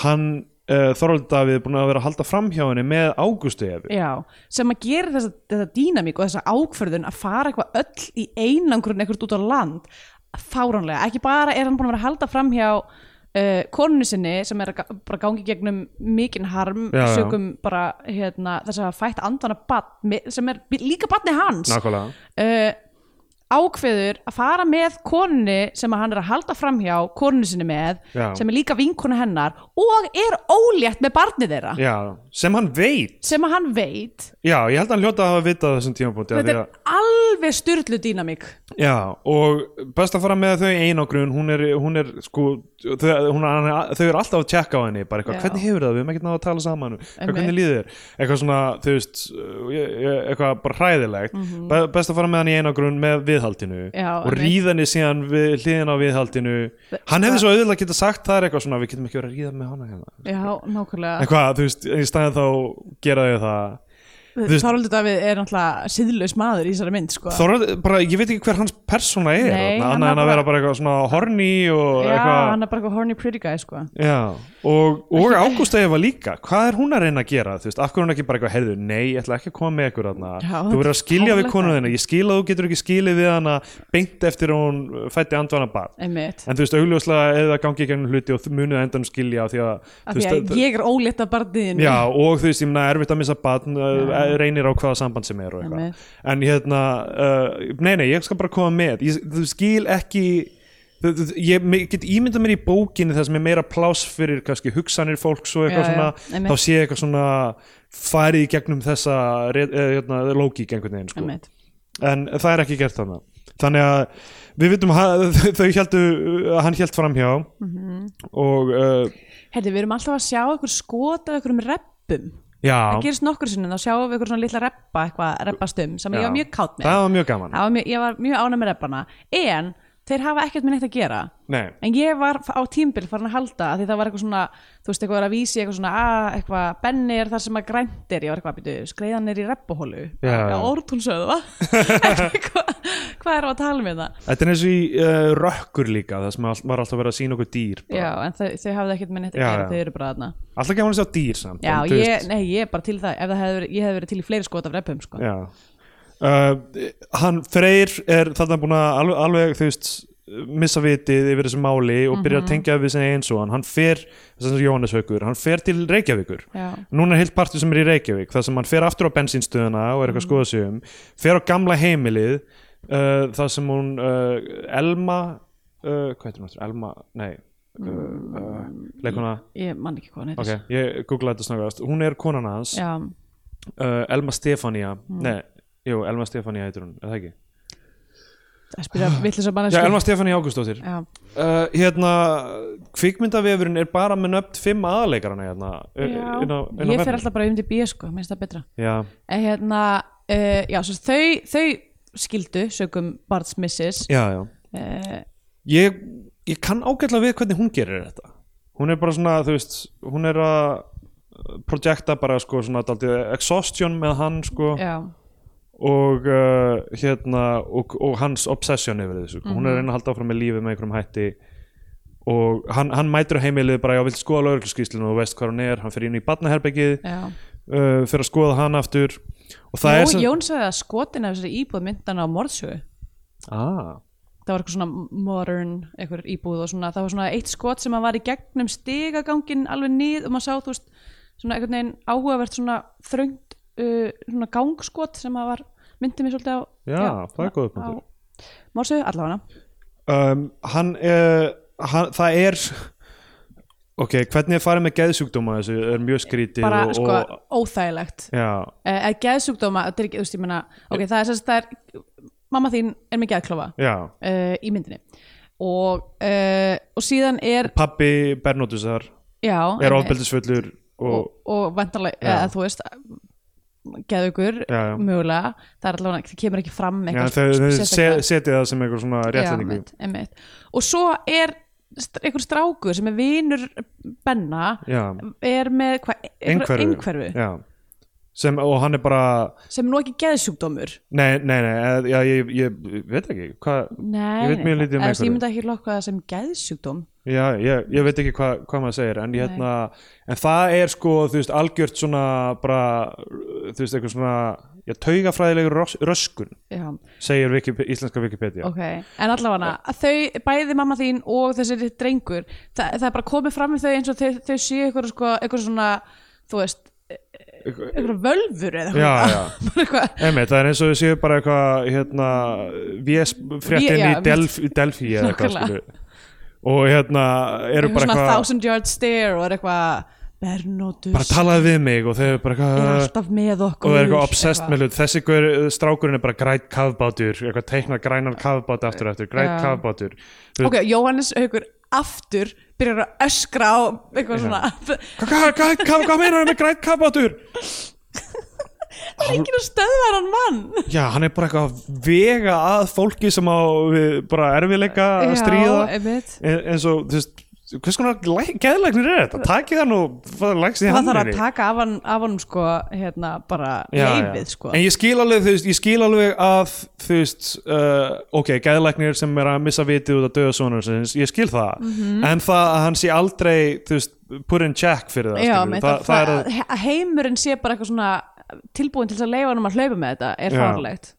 hann uh, Þorvaldur Davíð er búin að vera að halda framhjá henni með Águstu Efu
Já, sem að gera þessa, þessa dýnamík og þessa ákverðun að fara eitthvað öll í einangrun eitthvað út á land fáránlega, ekki bara er hann búin að vera að halda fram hjá uh, konunni sinni sem er að ga- bara gangi gegnum mikinn harm
Já, já.
sögum bara hérna, þess að hafa fætt andvana badn sem er bi- líka badni hans
Nákvæmlega
uh, ákveður að fara með konunni sem að hann er að halda fram hjá konunni sinni með
Já.
sem er líka vinkona hennar og er ólétt með barnið þeirra
Já, sem hann veit
sem að hann veit
Já, ég held að hann hljóta að hafa vitað á þessum tímapunkti af því
þetta
að-
er alveg styrlu dýnamík
Já, og best að fara með þau í einangrun, hún er, hún er sko, þau, hún, hann- þau eru alltaf að tjekka á henni, bara eitthvað,
Já.
hvernig hefur það, við hefum ekkert náða að tala saman, eitthvað,
Einmitt.
hvernig líður þér, eitthvað svona, þú veist, eh, eh, eitthvað bara hræðilegt, Be- best að fara með hann í einangrun með viðhaldinu
Mhm. Já,
og
einmitt.
ríða henni síðan við hliðin á viðhaldinu, hann
sko
hefði svo auðvitað geta sagt það er eitthvað svona, við getum ekki verið að ríða með hana hérna,
já, nákvæmlega
eitthvað, þú veist, í staðin þá gera þau það. veist-
Þorvaldur Davíð er náttúrulega síðlaus maður í þessari mynd sko.
Þorvald, bara, ég veit ekki hver hans persóna er,
Nei,
þarna,
hann
annað en
var
að
bara-
vera bara eitthvað svona horny og
já,
eitthvað.
hann er bara eitthvað horny pretty guy sko.
Já, og, og Ágústa Eva líka hvað er hún að reyna að gera, þú veist, af hverju hún ekki bara eitthvað, heyrðu, nei, ég ætla ekki að koma með ykkur þarna,
Já,
þú verður að skilja við
fáránlegt.
konuna þina, ég skil að þú getur ekki skilið við hana beint eftir að hún uh, fæddi andvana barn,
einmitt
en þú veist, augljóslega eða gangi ekki henni hluti og þú munið endan skilja af því að,
af
þú
því að
að-
ég er ólétt af barniðinu
Já, og þú veist, ég meina erfitt að missa batn reynir á hvaða samband sem er og
Einmitt.
eitthvað en hérna, uh, nei, nei, ég skal bara koma með ég, þú skil ekki þ- þ- ég me- get ímyndað mér í bókinni það sem er meira pláss fyrir kannski hugsanir fólks og eitthvað
Já, já,
svona
einmitt.
þá sé eitthvað svona farið í gegnum þessa re- eh, hérna, lógík einhvern veginn sko.
Einmitt.
en það er ekki gert þannig þannig að við vitum ha- þau heldu, hann held framhjá
Mhm.
og uh,
Herði, við erum alltaf að sjá ykkur skota ykkur um reppum.
já,
Það gerist nokkur sinnum, þá sjáum við ykkur svona litla reppa, eitthvað reppastum, sem ég
Já.
var mjög kátt með.
það var mjög gaman
Það var mjög, ég var mjög ánæg með reppana. En þeir hafa ekkert með neitt að gera.
Nei,
En ég var f- á tímbil farin að halda að því það var eitthvað svona, þú veist, eitthvað var að vísi eitthvað svona, að, eitthvað, benni er þar sem að grænt er, ég var eitthvað að byrju, skreiðan er í reppuhólu.
Já, já.
Órtúnsöðu, va? Eitthvað- Hvað er að tala með það?
þetta er eins og í uh, rökkur líka það sem all- var alltaf verið að sína okkur dýr bara.
Já, en þau, þau hafði ekkert með neitt að
Já,
gera,
já.
þau eru bara þarna.
alltaf gaman að sjá dýr samt
Já,
en þú
ég,
veist-
nei, ég er bara til það ef það hefði verið, ég hefði verið til í fleiri skot af reppum sko.
Já uh, Hann Freyr er þarna búin að alveg, alveg þú veist missa vitið yfir þessu máli
Mhm.
og byrja að tengja við sinni eins og hann, hann fer þess að Jóhannes haukur, hann fer til Reykjavíkur
Já.
núna er heilt partur sem er í Reykjavík þar sem hann fer aftur á bensínstöðuna og er eitthvað að
Mm.
skoða sig um fer á gamla heimilið uh, þar sem hún uh, Elma uh, hvað heitir hún aftur? Elma, nei uh, uh,
Mm.
leikuna,
Ég man ekki hvað hann
ok,
heitir
ég googlaði þetta snakast hún er konan hans
Já, Mm.
uh, Elma Stefania Nei, jú, Elma Stefania heitir hún, er það ekki?
það spyrja villis að
Já,
manneski
Elma Stefania Ágústóttir uh,
Já,
Hérna, kvikmyndavefurinn er bara með nöfn fimm aðleikarana hérna
já.
inn á, inn á
ég fer
vefnum.
alltaf bara um til B sko, minnst það betra
Já,
En hérna, uh, já, svo þau, þau skildu sögum barnsmissis
já, já
uh,
Ég, ég kann ágætlega við hvernig hún gerir þetta Hún er bara svona, þú veist, hún er að projekta bara sko svona daldið exhaustion með hann sko
Já,
og uh, hérna og, og hans obsession yfir þessu hún er
Mhm.
að reyna að halda áfram með lífið með einhverjum hætti og hann, hann mætur á heimilið bara já, vilt skoða lögreglskýslinu og þú veist hvað hún er hann fer inn í badnaherbergið
já
uh, fer að skoða hann aftur og það er
Jó,
sem
Jón sagði að skotin af þessari íbúð myndana á morðsögu
ah,
það var eitthvað svona modern einhver íbúð og svona, það var svona eitt skot sem að var í gegnum stigagangin alveg nið og maður sá þú veist svona einhvern veginn áhugavert svona þröngt uh, svona gangskot sem að var myndið mér svolítið á
Já, það er góður punktur.
Mórsu, allavega
um, hann, uh, hann það er ok, hvernig er farið með geðsjúkdóma þessu er mjög skrítið
bara
og,
sko
og,
óþægilegt
já,
eh, eða geðsjúkdóma, þetta er ekki, þú veist, ég meina ok, það er sérst, það er, mamma þín er með geðklofa
já
uh, í myndinni og, uh, og síðan er
pappi Bernótusar
já,
er
einmitt.
ofbeldisfullur
og,
og,
og vantarlega,
Já.
eða þú veist geðugur,
Já, já.
mögulega það er allavega, það kemur ekki fram
Já,
Mm, eitthvað
þau, þau
sérstaklega.
se- setja það sem einhver svona
Já,
réttlætingu
einmitt, einmitt. og svo er st- einhver strákur sem er vinur Benna
Já,
er með hva, einhver-
einhverfu,
einhverfu
Já. Sem, og hann er bara
sem er nú ekki geðsjúkdómur
nei, nei, nei, eh, já, ég, ég, ég veit ekki hvað,
Nei,
Ég veit
nei,
mjög lítið um
eða þú veist,
einhverfu.
ég myndi ekki lokka það sem geðsjúkdóm
já, ég, ég veit ekki hvað, hvað maður segir en, ég, hérna, en það er sko þú veist, algjört svona bara, þú veist, eitthvað svona já, taugafræðilegur ros- röskun
Já,
segir Wiki, íslenska Wikipedia
ok, en allavega að þau, bæði mamma þín og þessi drengur, það, það er bara komið fram við þau eins og þau, þau séu eitthvað, sko, eitthvað svona, þú veist einhverja völfur eða
Já,
eitthvað.
já.
Bara eitthvað
Einmitt, það er eins og við séum bara eitthvað hérna,
Vé-
VS-fréttin
já,
í
einmitt.
Delphi, Delphi eða eitthvað
Nákvæmlega.
skilur. og hérna eru
eitthvað
bara
svona
eitthvað
thousand yard stare og er eitthvað Bernótus
bara talaði við mig og þau eru bara
er
eitthvað
alltaf með okkur
og það er eitthvað obsessed með hlut þessi gaur, uh, strákurinn er bara grænt kafbátur eitthvað teiknar grænan kafbát aftur og aftur grænt
Já.
kafbátur
ok, Jóhannes Haugur aftur byrjar að öskra á eitthvað svona
hvað hva, hva, hva, hva meinar hann með grænt kafbátur
það er enginn að stöðva hann mann
já, hann er bara eitthvað að vega að fólki sem á við bara erfileika að stríða
Já, einmitt.
en, eins og þú veist hvers konar læ- geðlæknir er þetta takið hann og lagst í
það þarf
hann
að taka af hann af hann sko, hérna, bara leifið sko
En ég skil alveg, þú veist, ég skil alveg að þú veist, uh, ok, gæðlæknir sem er að missa vitið út af döða sonur sinns, ég skil það, en það að hann sé aldrei, þú veist, put in check fyrir það,
Já,
skilurðu.
með
það, það er að,
he- að heimurinn sé bara eitthvað svona tilbúin til þess að leifa hann um að hlaupa með þetta er
Já.
farlegt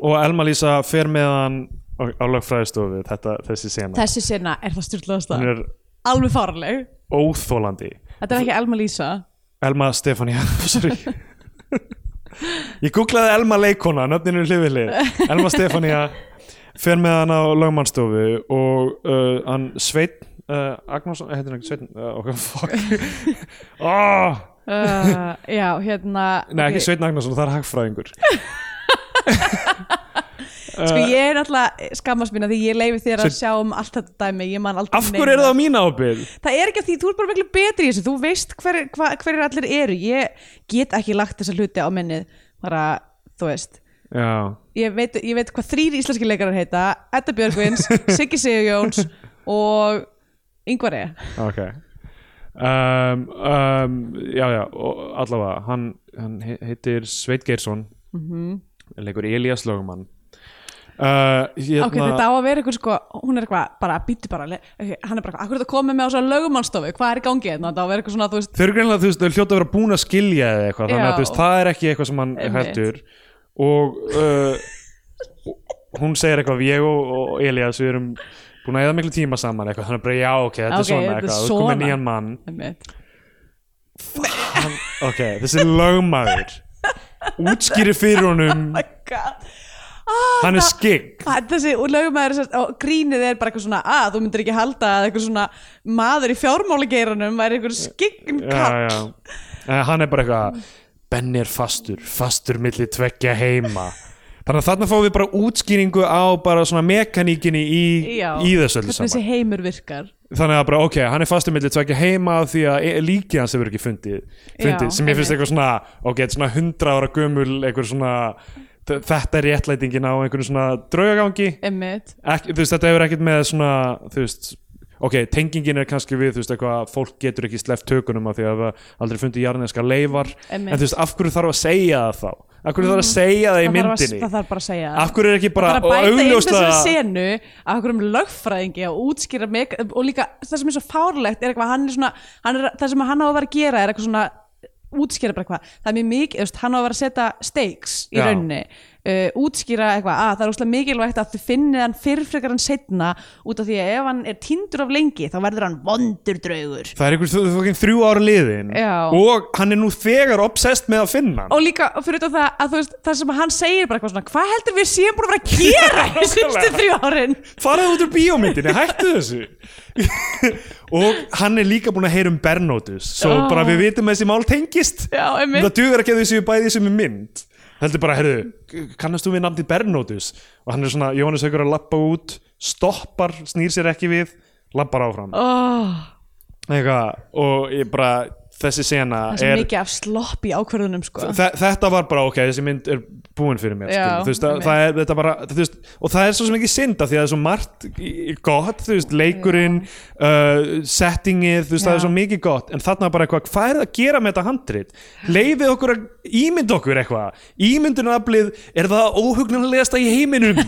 og Elma Lísa fer með hann á, á lögfræðistofu, þetta, þessi sena
þessi sena er það styrlaðasta
hún er
alveg farleg
óþólandi
Þetta er ekki Elma Lísa
Elma Stefania, sorry Ég googlaði Elma leikona, nöfninu hlifili Elma Stefania fer með hann á lögmannstofu og uh, hann Sveit uh, Agnarsson, heitir hann ekki Sveit uh, ok, fuck oh,
uh, já, hérna
Nei,
ok.
ekki Sveit Agnarsson, það er hagfræðingur Uh,
Sko ég er alltaf skammast mín að því ég leifi þér að
Sveinn-
sjá um allt þetta dæmi Ég man aldrei
Af hverju er það á mín ábyrð?
Það er ekki að því, þú er bara miklu betri í þessu Þú veist hver, hva, hverjir allir eru Ég get ekki lagt þessa hluti á minnið Bara, þú veist
Já,
Ég veit, ég veit hvað þrýr íslenski leikarar heita Edda Björgvins, Siggi Sigurjóns Og Ingvar E
ok um, um, Já, já, og allavega hann, hann he- heitir Sveit Geirsson
Mhm.
leikur Elías lögumann uh, hérna,
Ok, þetta á að vera einhver sko Hún er eitthvað, bara býtu bara le- okay, Hann er bara, akkur þetta komið með á svo lögumannstofu Hvað er í gangi hérna, þetta á að vera eitthvað svona, þú veist
Þau eru greinlega, þú veist, þau hljóta að vera búin að skilja eða eitthvað, þannig
Já.
að þú veist, það er ekki eitthvað sem hann
Einmitt.
heldur og uh, hún segir eitthvað, ég og, og Elias við erum búin að eða miklu tíma saman eitthvað, þannig að bara já, ok, þetta
Ok,
er svona
þetta er
eitthvað, þú ert komið
svona.
nýjan mann
Einmitt.
hann, ok, þessi lögmaður útskýri fyrir honum
My God ah,
hann er
það-
skikk
Það- Þessi lögumæður og grínið er bara eitthvað svona að þú myndir ekki halda að eitthvað svona maður í fjármáligeiranum væri eitthvað skikkin kall
já, já. Eh, hann er bara eitthvað Benni er fastur, fastur milli tveggja heima þannig að þarna fáum við bara útskýringu á bara svona mekaníkinni í, í þessu öllu
hvernig
saman
þessi heimur virkar
þannig að bara ok, hann er fastur milli tveggja heima af því að e- líkið hans hefur ekki fundið, fundið
Já,
sem ég finnst
einmitt.
eitthvað svona ok, þetta er svona hundra ára gömul eitthvað svona þ- þetta er réttlætingin á einhvern svona draugagangi
Einmitt.
ekki, þú veist, þetta hefur ekkert með svona, þú veist ok, tengingin er kannski við, þú veist, eitthvað að fólk getur ekki sleft tökunum af því að það aldrei fundið jarðneska leifar,
Einmitt. Mm.
en þú veist, af hverju þarf að segja það þá? Af hverju þarf að segja það í
það, þarf að,
myndinni?
það þarf bara að segja
af hverju er ekki bara,
það þarf að bæta inn þessari
augljóslega-
senu að okkur um lögfræðingi og útskýra meg, og líka það sem er svo fárlegt er eitthvað hann er svona, hann er, það sem hann á að vera að gera er eitthvað svona útskýra bara eitthvað, það er mjög mikið þú veist, hann á að vera að setja stakes í
Já.
rauninni uh, útskýra eitthvað að það er úslega mikilvægt að þið finnið hann fyrrfrekar en setna út af því að ef hann er tindur of lengi þá verður hann vondur draugur
Það er einhvers þú- þú- þú- þrjú ára liðin
Já.
og hann er nú þegar obsessed með að finna hann
og líka og fyrir utan það að þú veist það sem hann segir bara eitthvað svona hvað heldur við séum búin að vera að gera í síðustu þrjú árin
faraði út úr bíómyndinni, hættu þessu og hann er líka búin að heyra um Bernótus svo
Ah.
bara við vitum að þessi mál tengist
Já, einmitt.
það dugur ekki að þessu bæði sem er mynd heldur bara, heyrðu, kannast þú við nafni Bernótus og hann er svona, Jóhannes haukur að lappa út stoppar, snýr sér ekki við lappar áfram
oh.
Eitthvað, og ég bara, þessi sena
það er svo
er
mikið af slopp í ákvörðunum sko.
Þe- þetta var bara ok, þessi mynd er búin fyrir mér
Já,
skilur, þú veist, að,
einmitt.
það er, þetta bara, þú veist, og það er svo sem ekki synd af því að það er svo margt í- í gott þú veist, leikurinn, uh, settingið þú veist, það
Já.
er svo mikið gott en þarna er bara eitthvað, hvað er það að gera með þetta handrit leifið okkur að ímynda okkur eitthvað ímyndunaflið er það óhugnanlegasta í heiminum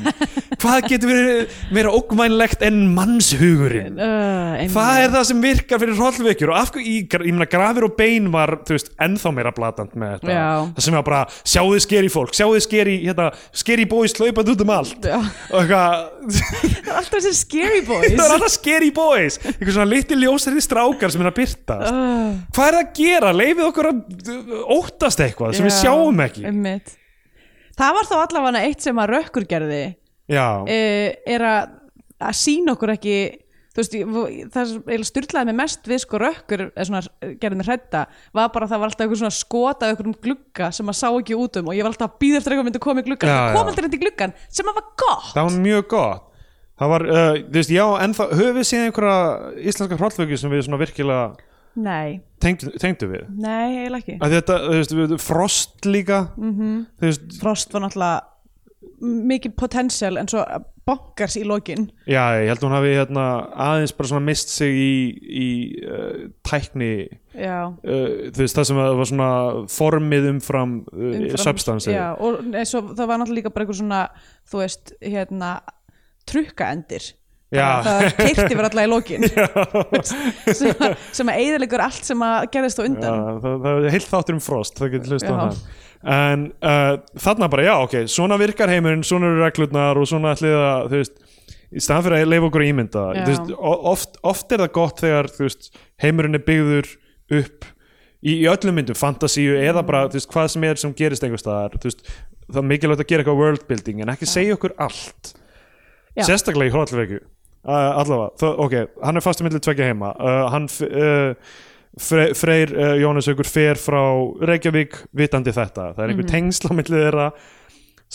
hvað getur verið meira ógnvænlegt en mannshugurinn
uh,
Það er það sem virkar fyrir hrollvekjur og af hverju, ég, ég meina grafir og bein var þú veist, ennþá meira blatant með þetta
Já.
það sem var bara, sjáðu skeri fólk sjáðu skeri, hérna, skeri boys hlaupandi út um allt
Já.
og eitthvað
það er alltaf þessi scary boys
það er alltaf skeri boys eitthvað svona litli ljósari strákar sem er að byrtast
uh,
hvað er það að gera, leifið okkur að uh, óttast eitthvað sem við
já, Um-
sjáum ekki
einmitt. það var þá allavega eitt sem að rökkur gerði
já,
uh, er að, að sína okkur ekki þú veist, ég- vo- það sem styrlaði mig mest við sko rökkur eða svona eh, gerði mig hrætta var bara að það var alltaf einhver svona skota af einhverjum glugga sem maður sá ekki út um og ég var alltaf að býða eftir að eitthvað myndi koma í gluggan
Já,
það kom
já.
aldrei þetta í gluggan sem að var gott
það var mjög gott það var, uh, þú veist, já, ennþá höfum við séð einhverja íslenska hrollvekju sem við svona virkilega
nei,
tengdu, tengdu við
nei, eiginlega ekki
að þetta, þú veist, við- frost líka
Mhm.
-hmm. þú veist,
Frost var náttúrulega mikið potential en svo bonkars í lokin
já, ég held að hún hafi hérna, aðeins bara svona mist sig í, í uh, tækni
já,
uh, þú veist, það sem að það var svona formið umfram, uh,
umfram-
substansi
já, og nei, svo, það var náttúrulega líka bara eitthvað svona þú veist, hérna trukkaendir
Já.
það keirti verið alltaf í lokin
Já,
sem, að- sem að eigðilegur allt sem að gerðist á
já,
undan
það, það er heilt þáttur um frost það getur hlust á
Já.
það en uh, þarna bara, já, ok, svona virkar heimurinn svona eru reglurnar og svona ætlið að þú veist, í staðan fyrir að leifa okkur að ímynda það,
Já.
þú veist, o- oft, oft er það gott þegar þú veist, heimurinn er byggður upp í, í öllum myndum fantasíu
Mm.
eða bara, þú veist, hvað sem er sem gerist einhvers staðar, þú veist, það er mikilvægt að gera eitthvað worldbuilding en ekki segja okkur allt
Já.
sérstaklega í hróllveikju uh, allavega, það, ok, hann er fast í milli tvekja heima uh, hann f- uh, Fre Freyr uh, Jónasaukur fer frá Reykjavík vitandi þetta það er einhver
Mhm.
tengsl á milli þeirra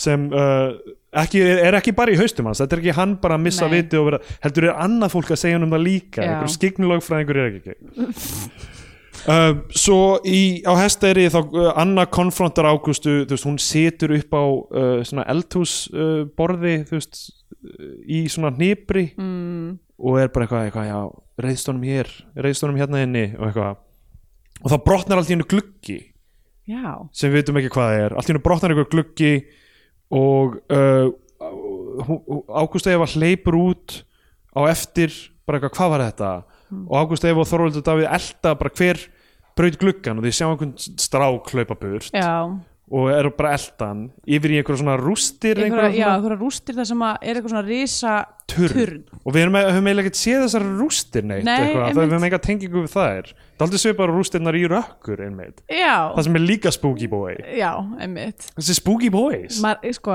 sem uh, ekki, er, er ekki bara í haustum hans, þetta er ekki hann bara að missa
Nei.
viti og vera, heldur er annað fólk að segja hann um það líka,
Já.
einhver skiknulög frá einhver er ekki Uh, svo í, á hesteri þá uh, Anna konfrontar Ágústu þú veist, hún situr upp á uh, svona eldhúsborði uh, borði, þú veist uh, í svona hnipri mm. og er bara eitthvað, eitthvað já, reyðstónum hér, reyðstónum hérna inni og eitthvað, og þá brotnar allt í hennu gluggi
já,
sem við veitum ekki hvað það er allt í hennu brotnar einhver gluggi og uh, Ágústa Eva hleypur út á eftir bara eitthvað hvað var þetta
Hmm.
og Ágústa Eva og Þorvaldur Davíð elta bara hver braut gluggan og þið sjá einhvern strák hlaupa burt
já
og eru bara eldan yfir í einhverja svona rústir
einhverja, já,
svona
einhverja rústir þar sem að er eitthvað svona risa
turn. og við erum, höfum eiginlega ekkert séð þessar rústir neitt
Nei,
eitthvað, það
einmitt.
við höfum enga tengingu við það er það er aldrei svipar rústirnar í rökkur einmitt
já,
það sem er líka spooky boy
já, einmitt
þessi spooky boys
Mar, sko,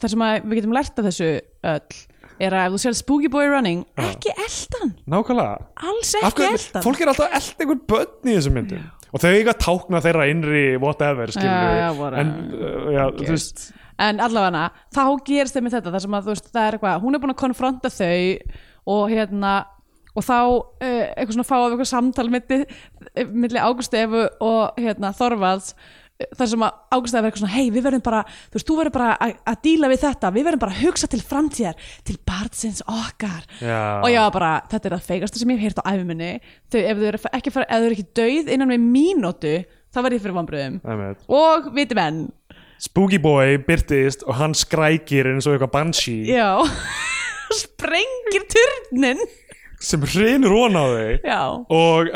það sem að við getum lært af þessu öll er að ef þú sér Spooky Boy Running ekki eldan,
nákvæmlega
alls
Af
ekki
hverju-
eldan
fólk er alltaf að elda einhvern börn í þessum myndum og þau eiga að tákna þeirra innri whatever skilur
Já,
við
já, bara-
en uh, já, þú veist
en allavega þá gerist þeim með þetta þar sem að þú veist það er eitthvað, hún er búin að konfronta þau og hérna og þá eh, eitthvað svona fá af eitthvað samtal milli, milli Águstefu og hérna Þorvalds eh, þar sem að Águstefu er eitthvað svona hei við verðum bara, þú veist, þú verður bara að- að díla við þetta, við verðum bara að hugsa til framtíðar til barnsins okkar
Já.
og ég var bara, þetta er það feigasta sem ég hef heyrt á æfuminni, þau, ef þau eru ekki, fara, ef þau eru ekki döið innan við mínútu þá verð ég fyrir vombriðum
einmitt.
og viti menn,
Spooky Boy byrtist og hann skrækir eins og eitthvað banshee
Já Sprengir turnin
sem hrinur on á þau
Já
og, uh,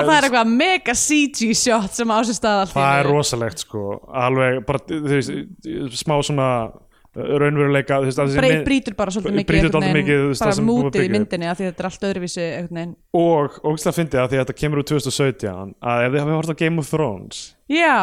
Og það er eitthvað mega CG shot sem á sér stað allt í
það er
einu.
rosalegt sko alveg bara þú veist, smá svona uh, raunveruleika þú veist, að þessi
Brei,
mynd-
Brýtur bara svolítið mikið
brýtur
einhvern
dálítið
veginn,
mikið þú veist, það
Bara
sem búið að
mútið í
byggja upp.
myndinni af Því þetta er allt öðruvísi einhvern veginn
og ógislega fyndið að því að þetta kemur úr 2017 að ef þið hafið hort á Game of Thrones
Já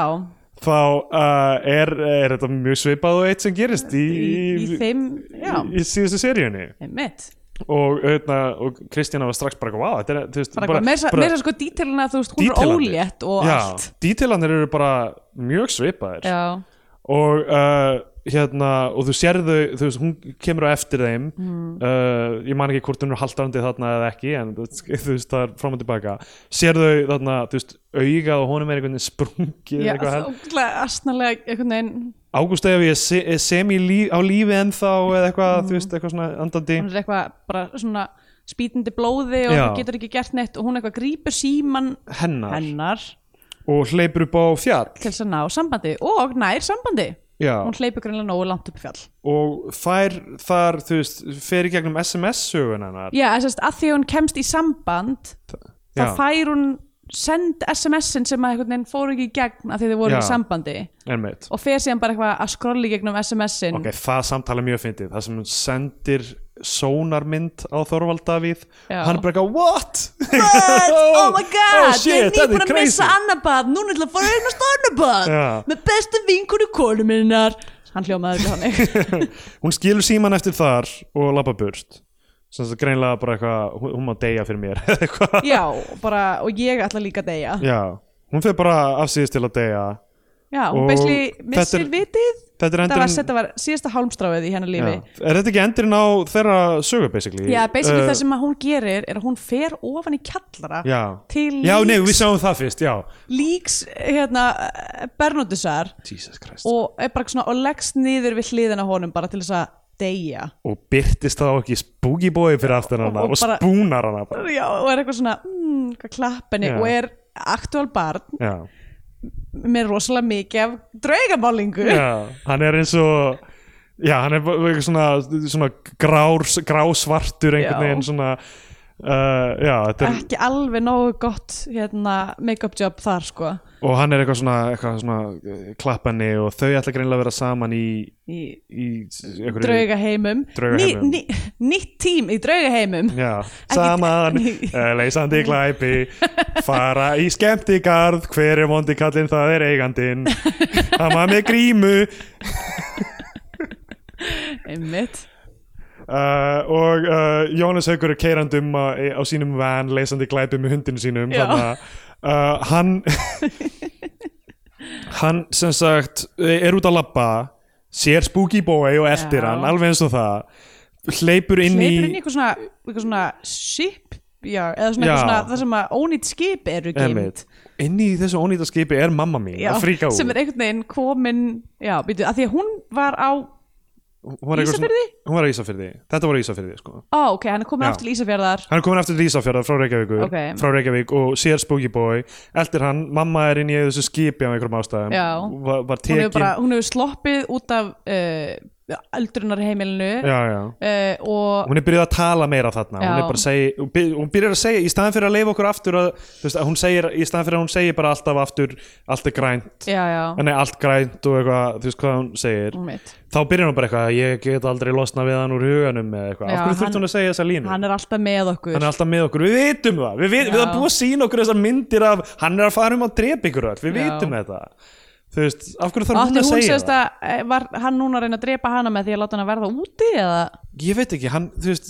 þá uh, er, er þetta mjög svipað og eitt sem gerist í,
Í, í þeim Já
í síðustu seríunni
Einmitt
og, hérna, og Kristjana var strax bara eitthvað, "Vá, þetta er, þú veist,
Bara eitthvað Meira meira sko dítelina Þú veist hún er
detailarnir."
ólétt og
Já,
allt
detailarnir eru bara mjög svipaðir
Já
og uh, hérna og þú sérðu, þú veist, hún kemur á eftir þeim
Mm.
uh, ég man ekki hvort hún er haldarandi þarna eða ekki en þú veist, þú veist, það er fram og tilbaka sérðu þarna, þú veist, augað og honum er einhvern veginn sprungið
Já,
eitthvað hel-
ógæðlega astnalega einhvern veginn
Ágúst ef ég se- er sem í líf, á lífi ennþá eða eitthvað, þú veist, eitthvað svona andandi
hún er eitthvað bara svona spýtandi blóði og
Já.
hún getur ekki gert neitt og hún eitthvað grípur síman
hennar
hennar
og hleypur upp á fjall
til þess að ná sambandi og nær sambandi
Já,
hún hleypur greinlega nógu langt upp í fjall
og fær þar, þú veist, fer í gegnum SMS-sögun hennar
já, þess að því að hún kemst í samband þá
Já.
fær hún send sms-in sem að einhvern veginn fóru ekki í gegn að því þau voru
Já.
í sambandi
Einmitt.
og fer síðan bara eitthvað að skrolli gegnum sms-in
Ok, það samtala mjög fyndið, það sem hún sendir sónarmynd á Þorvald Davíð
Já.
hann er bara eitthvað, what?
But, oh my god,
Oh shit,
ég er
þetta er
nýbúin að
crazy.
missa annabad Núna ætla að fara að eignast annabad
Já.
Með bestu vinkonu konu minnar Hann hljómaður ekki þannig
hún skilur síman eftir þar og labba burt sem þetta greinlega bara eitthvað, hún- hún má deyja fyrir mér eða eitthvað
Já, bara, og ég ætla líka að deyja
Já, hún fer bara afsýðist til að deyja
Já,
Og
hún beisli
þetta
missir
er-
vitið
Þetta er
Þetta var,
endurinn
þetta var síðasta hálmstráfið í hennar lífi
Já. Er þetta ekki endurinn á þeirra sögu basically?
Já, basically
Eh,
það sem að hún gerir er að hún fer ofan í kjallara
Já,
til
já nei, við
líks,
sjáum það fyrst, já
líks hérna, Bernóttusar
Jesus Christ Og,
og, er bara svona- og leggst niður við hliðina á honum bara til þess að deyja
byrtist þá ekki spooky boy fyrir aftan hana
og
og,
bara-
spúnar hana bara.
Já, og er eitthvað svona mm, hvað klappenni
Já.
og er aktúal barn
Já,
með rosalega mikið af draugamálingu
já, hann er eins og Já, hann er bara eitthvað svona, svona grár, grásvartur einhvern
Já.
veginn svona Uh, já, þetta er,
ekki alveg nógu gott hérna, make-up job þar sko
og hann er eitthvað svona, eitthvað svona eh, klappanni og þau ætla greinlega að vera saman í,
í
í einhverju-
draugaheimum,
Draugaheimum.
Ný, ný, nýtt tím í draugaheimum
Já, saman,
Ekki-
eh, leysandi glæpi, fara í skemmtigarð, hver er vondi kallinn, það er eigandinn, hann var með grímu.
einmitt
Uh, og uh, Jónas Haugur er keirandum á, eh, á sínum van leysandi glæpi með hundinu sínum
Já.
þannig að uh, hann hann sem sagt eh, er út að labba sér spooky boy og eldir
Já.
hann alveg eins og það hleypur inn
hleypur
í
inn í eitthvað svona, eitthvað svona ship já, eða svona,
Já.
eitthvað svona það sem að ónýtt skip eru geimt
Einmitt. inn í þessu ónýta skipi er mamma mín
já,
að fríka út
sem er einhvern veginn komin já, býtu, að því að hún var á á,
hún var, eitthvað svona-
Ísafirði?
hún var í Ísafyrði, þetta var í Ísafyrði sko.
ok, hann er komin
Já.
aftur til Ísafjörðar
hann er komin aftur til Ísafjörðar frá Reykjavíkur
Ok.
frá Reykjavík og sér Spooky Boy eldir hann, mamma er inn í þessu skipi á einhverjum ástæðum
Já.
var, var
hún
tekin
hefur bara, hún hefur sloppið út af uh, öldrunarheimilinu uh,
já, já.
og
hún er byrjuð að tala meira þarna
Já.
hún, er bara að segja, hún byr- hún byrjar að segja í staðan fyrir að leifa okkur aftur að, þú veist, að hún segir, í staðan fyrir að hún segir bara alltaf aftur allt er grænt
já, já,
nei, allt grænt og eitthvað, þú veist hvað hún segir
hún veit
þá byrjar hún bara eitthvað, ég get aldrei losna við hann úr huganum eða eitthvað,
Já,
af hverju
hann-
þurft hún að segja þessa línu
hann er alltaf með okkur
hann er alltaf með okkur, við vitum það við, við,
Já.
við erum búið að sína okkur þessar myndir af hann er að fara um að drepa ykkur öll, við
Já.
vitum þetta þú veist, af hverju þarf
átti
hún að
hún
segja
sérst
það
að eh, var hann núna að reyna að drepa hana með því að láta hann að verða úti eða
ég veit ekki, hann, þú veist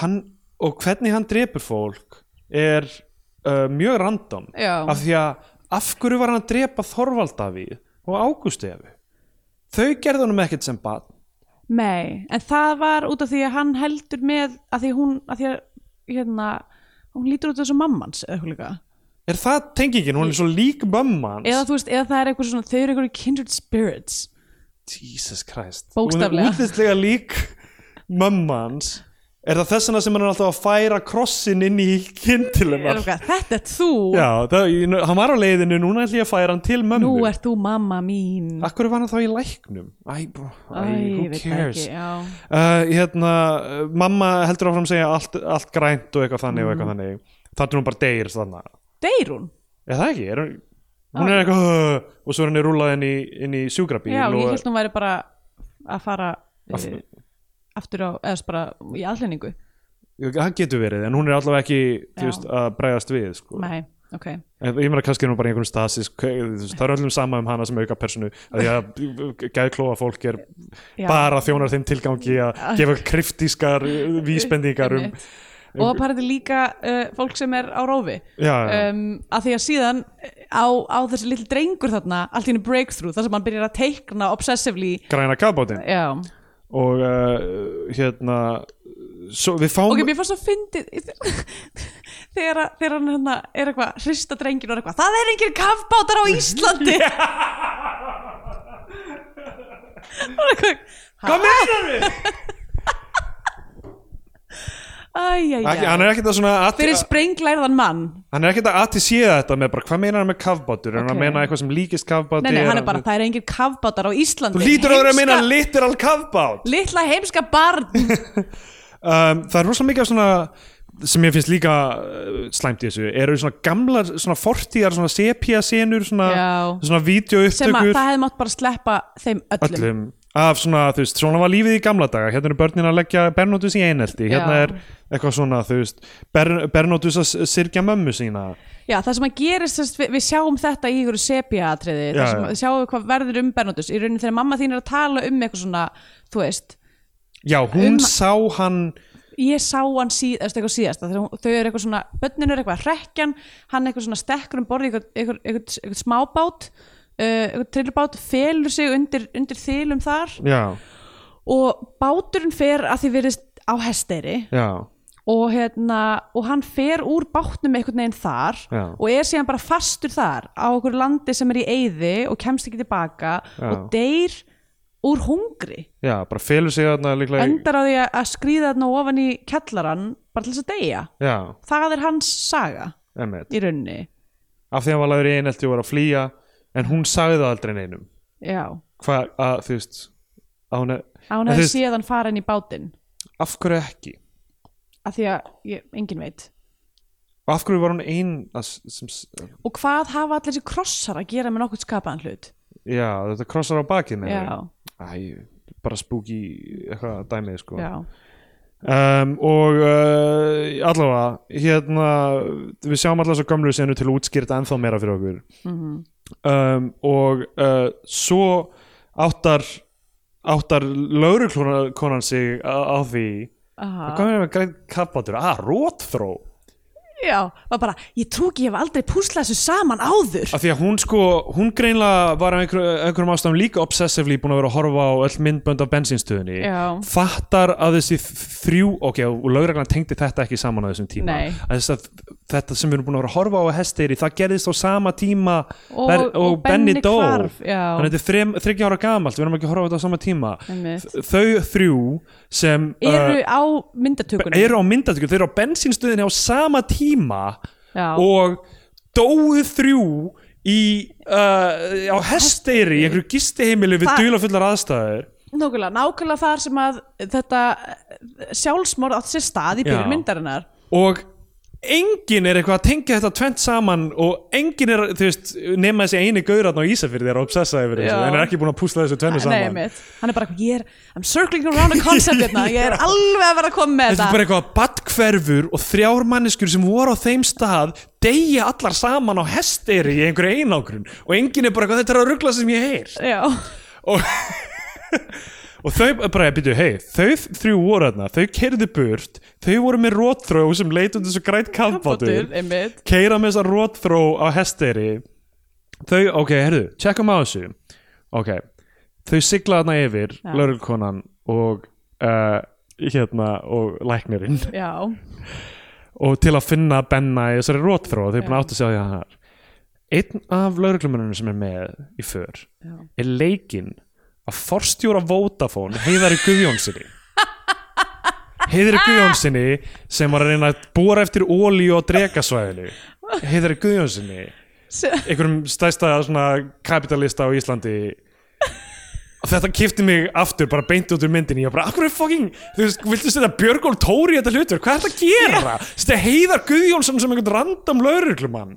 hann, og hvernig hann drepur fólk er uh, mjög random,
Já.
af því að af hverju var hann að drepa Þorvaldavíð og Ágústefi þau gerðu honum ekkert sem barn
Nei, en það var út af því að hann heldur með að því hún að því að hérna, hún lítur út þessu mammans eða eitthvað líka
er það tengingin, hún er svo lík mömmans
eða þú veist, eða það er eitthvað svona þau eru eitthvað kindred spirits
Jesus Christ Hún
Bókstaflega.
er útlitslega lík mömmans Er það þess vegna sem hann er alltaf að færa krossin inn í
Eða
kindilumar?
eitthvað, þetta er þú,
Já, það, ég- hann var á leiðinu, núna ætlum ég að færa hann til mömmu
nú ert þú mamma mín
Akkur var hann þá í læknum? Æ, bú, æ,
Æ,
who
ég veit það
cares?
ekki, já.
Uh, hérna, uh, mamma heldur áfram að segja allt, allt grænt og eitthvað þannig og
Mm.
eitthvað þannig Þannig hún bara deyr þannig
deyr hún,
Er það ekki? Er, hún- hún er eitthvað "Ugh", og svo er henni rúlað inn í, inn í sjúkrabíl
já,
og
ég held hún væri bara að fara aftur, aftur á, eða bara í aðlendingu
það getur verið, en hún er allavega ekki þú
Já.
veist, að bregðast við sko.
nei, ok,
En ég meina kannski er hún bara í einhverjum stasis það er öllum sama um hana sem auka personu að því að gæðklóa fólk er
Já.
bara þjónar þeim tilgangi að gefa kryptískar uh, vísbendingar um
Einmitt. Eh, og bara þetta er líka uh, fólk sem er á rófi
já, já,
um, að því að síðan eh, á, á þessi litli drengur þarna allt í henni breakthrough, þar sem hann byrjar að teikna obsessively
græna kafbátin
já.
og uh, hérna svo við fáum
ok, mér fannst að fyndi þegar, að- þegar hann hana, er eitthvað að hrista drengin og er eitthvað, það er engin kafbátar á Íslandi og er eitthvað
hvað meinar við? Ekki,
æjæjæ
hann er ekkert að svona atti-
fyrir sprenglærðan mann
hann er ekkert að atti séða þetta með bara hvað meinar hann með kafbátur er hann
Ok.
að meina eitthvað sem líkist kafbátur
nei, nei, hann er bara, það er engin kafbátar á Íslandi
þú lítur að vera að meina
Heimska-
literal kafbát
litla heimska barn
um, það er rosa mikið af svona sem ég finnst líka uh, slæmt í þessu eru svona gamlar, svona fortíðar svona sepia-senur, svona,
Já.
svona
sem að
videoupptökur
það hefði mátt bara sleppa þeim öllum,
öllum af svona, þú veist, svona var lífið í gamla daga hérna eru börnin að leggja Bernótus í einelti hérna
Já.
er eitthvað svona, þú veist Ber Bernótus að s- syrgja mömmu sína
Já, það sem að gerist, þess, við, við sjáum þetta í ykkur sepia-atriði,
Já,
það sem
já.
að sjáum við hvað verður um Bernardus, í rauninni þegar mamma þín er að tala um eitthvað svona, þú veist,
já, hún
Um-
sá hann
ég sá hann síð, eftir eitthvað síðast, þegar hún- þau eru eitthvað svona, börnin eru eitthvað að hrekkjan, hann eitthvað svona stekkur um borðið eitthvað, eitthvað, eitthvað, eitthvað smábát, uh, eitthvað trillubát, felur sig undir, undir þilum þar
já,
og báturinn fer að því verðist á hesteri
já,
og, hérna, og hann fer úr bátnum einhvern veginn þar
Já.
og er síðan bara fastur þar á okkur landi sem er í eyði og kemst ekki tilbaka
Já.
og deyr úr hungri
já, bara felur sig þarna líklega
endar á því að- að skrýða þarna ofan í kjallaran bara til þess að deyja
já,
það er hans saga
emmitt,
í raunni
af því hann var laður í einelti og var að flýja, en hún sagði það aldrei neinum
Já.
hvað að þú veist að hún er,
að hún
En þú
hefði
veist-
séð hann fara inn í bátinn
af hverju ekki
af því að ég, engin veit
og af hverju var hún ein að, s- sem, s-
og hvað hafa allir þessi krossar að gera með nokkuð skapaðan hlut
já þetta krossar á bakið með
já,
Æ, bara spúki eitthvað dæmið sko
já,
um, og uh, allavega hérna við sjáum allavega svo gömlu senu til að útskýrta ennþá meira fyrir okkur
mhm,
um, og uh, svo áttar áttar lauruklonan sig á, á því
Aha.
hvað er með græn kappatur? Ah, að, rótþró
Já, var bara, ég trú ekki, ég hef aldrei púslað þessu saman áður
af því að hún sko, hún greinlega var af einhver, einhverjum ástæðum líka obsessively búin að vera að horfa á öll myndbönd af bensinstöðunni
Já.
fattar að þessi þrjú ok, og lögreglan tengdi þetta ekki saman á þessum tíma
Nei.
að þess að þetta sem við erum búin að vera að horfa á að hesteyri, það gerðist á sama tíma
Og-
ver- og,
og
Benny,
Benni
dó
hvarf, já.
þannig að þetta er þrem- þriggja ára gamalt, við erum ekki að horfa á þetta á sama tíma
Einmitt.
Þ- þau þrjú sem
Eru
uh,
á myndatökunum
eru á myndatökum, þeir eru á bensinstöðinni á sama tíma
Já,
og dóu þrjú í, uh, á hesteyri í einhverju gistiheimili við
Það-
dulafullar aðstæður
nákvæmlega, nákvæmlega þar sem að þetta eh, sjálfsmorð átt sér stað í
Já.
byrjun myndarinnar
og enginn er eitthvað að tengja þetta tvent saman og enginn er, þú veist, nema þessi eini gauratn á Ísafirði er að obsessa yfir þessu
Já.
en er ekki búin að púsla þessu tvennu
Nei,
saman
mitt, hann er bara, eitthvað, ég er I'm circling around a concept hérna, ég er alveg að vera að koma
Þetta
með
er
þetta
bara eitthvað að badkverfur og þrjár manneskur sem voru á þeim stað deyja allar saman á hesteyri í einhverju einangrun og enginn er bara eitthvað þetta er að ruggla sem ég heyr
Já,
og, og þau bara, byrju, hei, þau þrjú voru þarna, þau kerðu burt þau voru með rótþró sem leit undir svo grænt kafbátur,
Kafbátur, einmitt.
keira með þessa rótþró á hesteri þau, ok, herðu, tjekkum á þessu ok, þau sigla þarna yfir
Já.
laurulkonan og uh, hérna og læknirinn
já,
og til að finna Benna í þessari rótþró þau er búin að átta sig á því að hann er einn af lauruglumennunum sem er með í för
Já.
er leikinn að forstjóra Vodafone heiðari Guðjónsinni
Ah!
heiðari Guðjónsinni sem var að reyna að bóra eftir ólíu á drekasvæðinu heiðari Guðjónsinni
S-
einhverjum stærsta svona kapitalista á Íslandi og þetta kipti mig aftur bara beint út úr myndinni ég var bara, akkur er fucking, þú veist, viltu setja Björgólf Tóri í þetta hlutur, hvað er þetta að gera setja Heiðar Guðjónsson sem einhvern random lauruglumann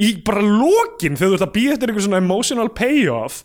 í bara lokin þegar þú ert að býja eftir einhver svona emotional payoff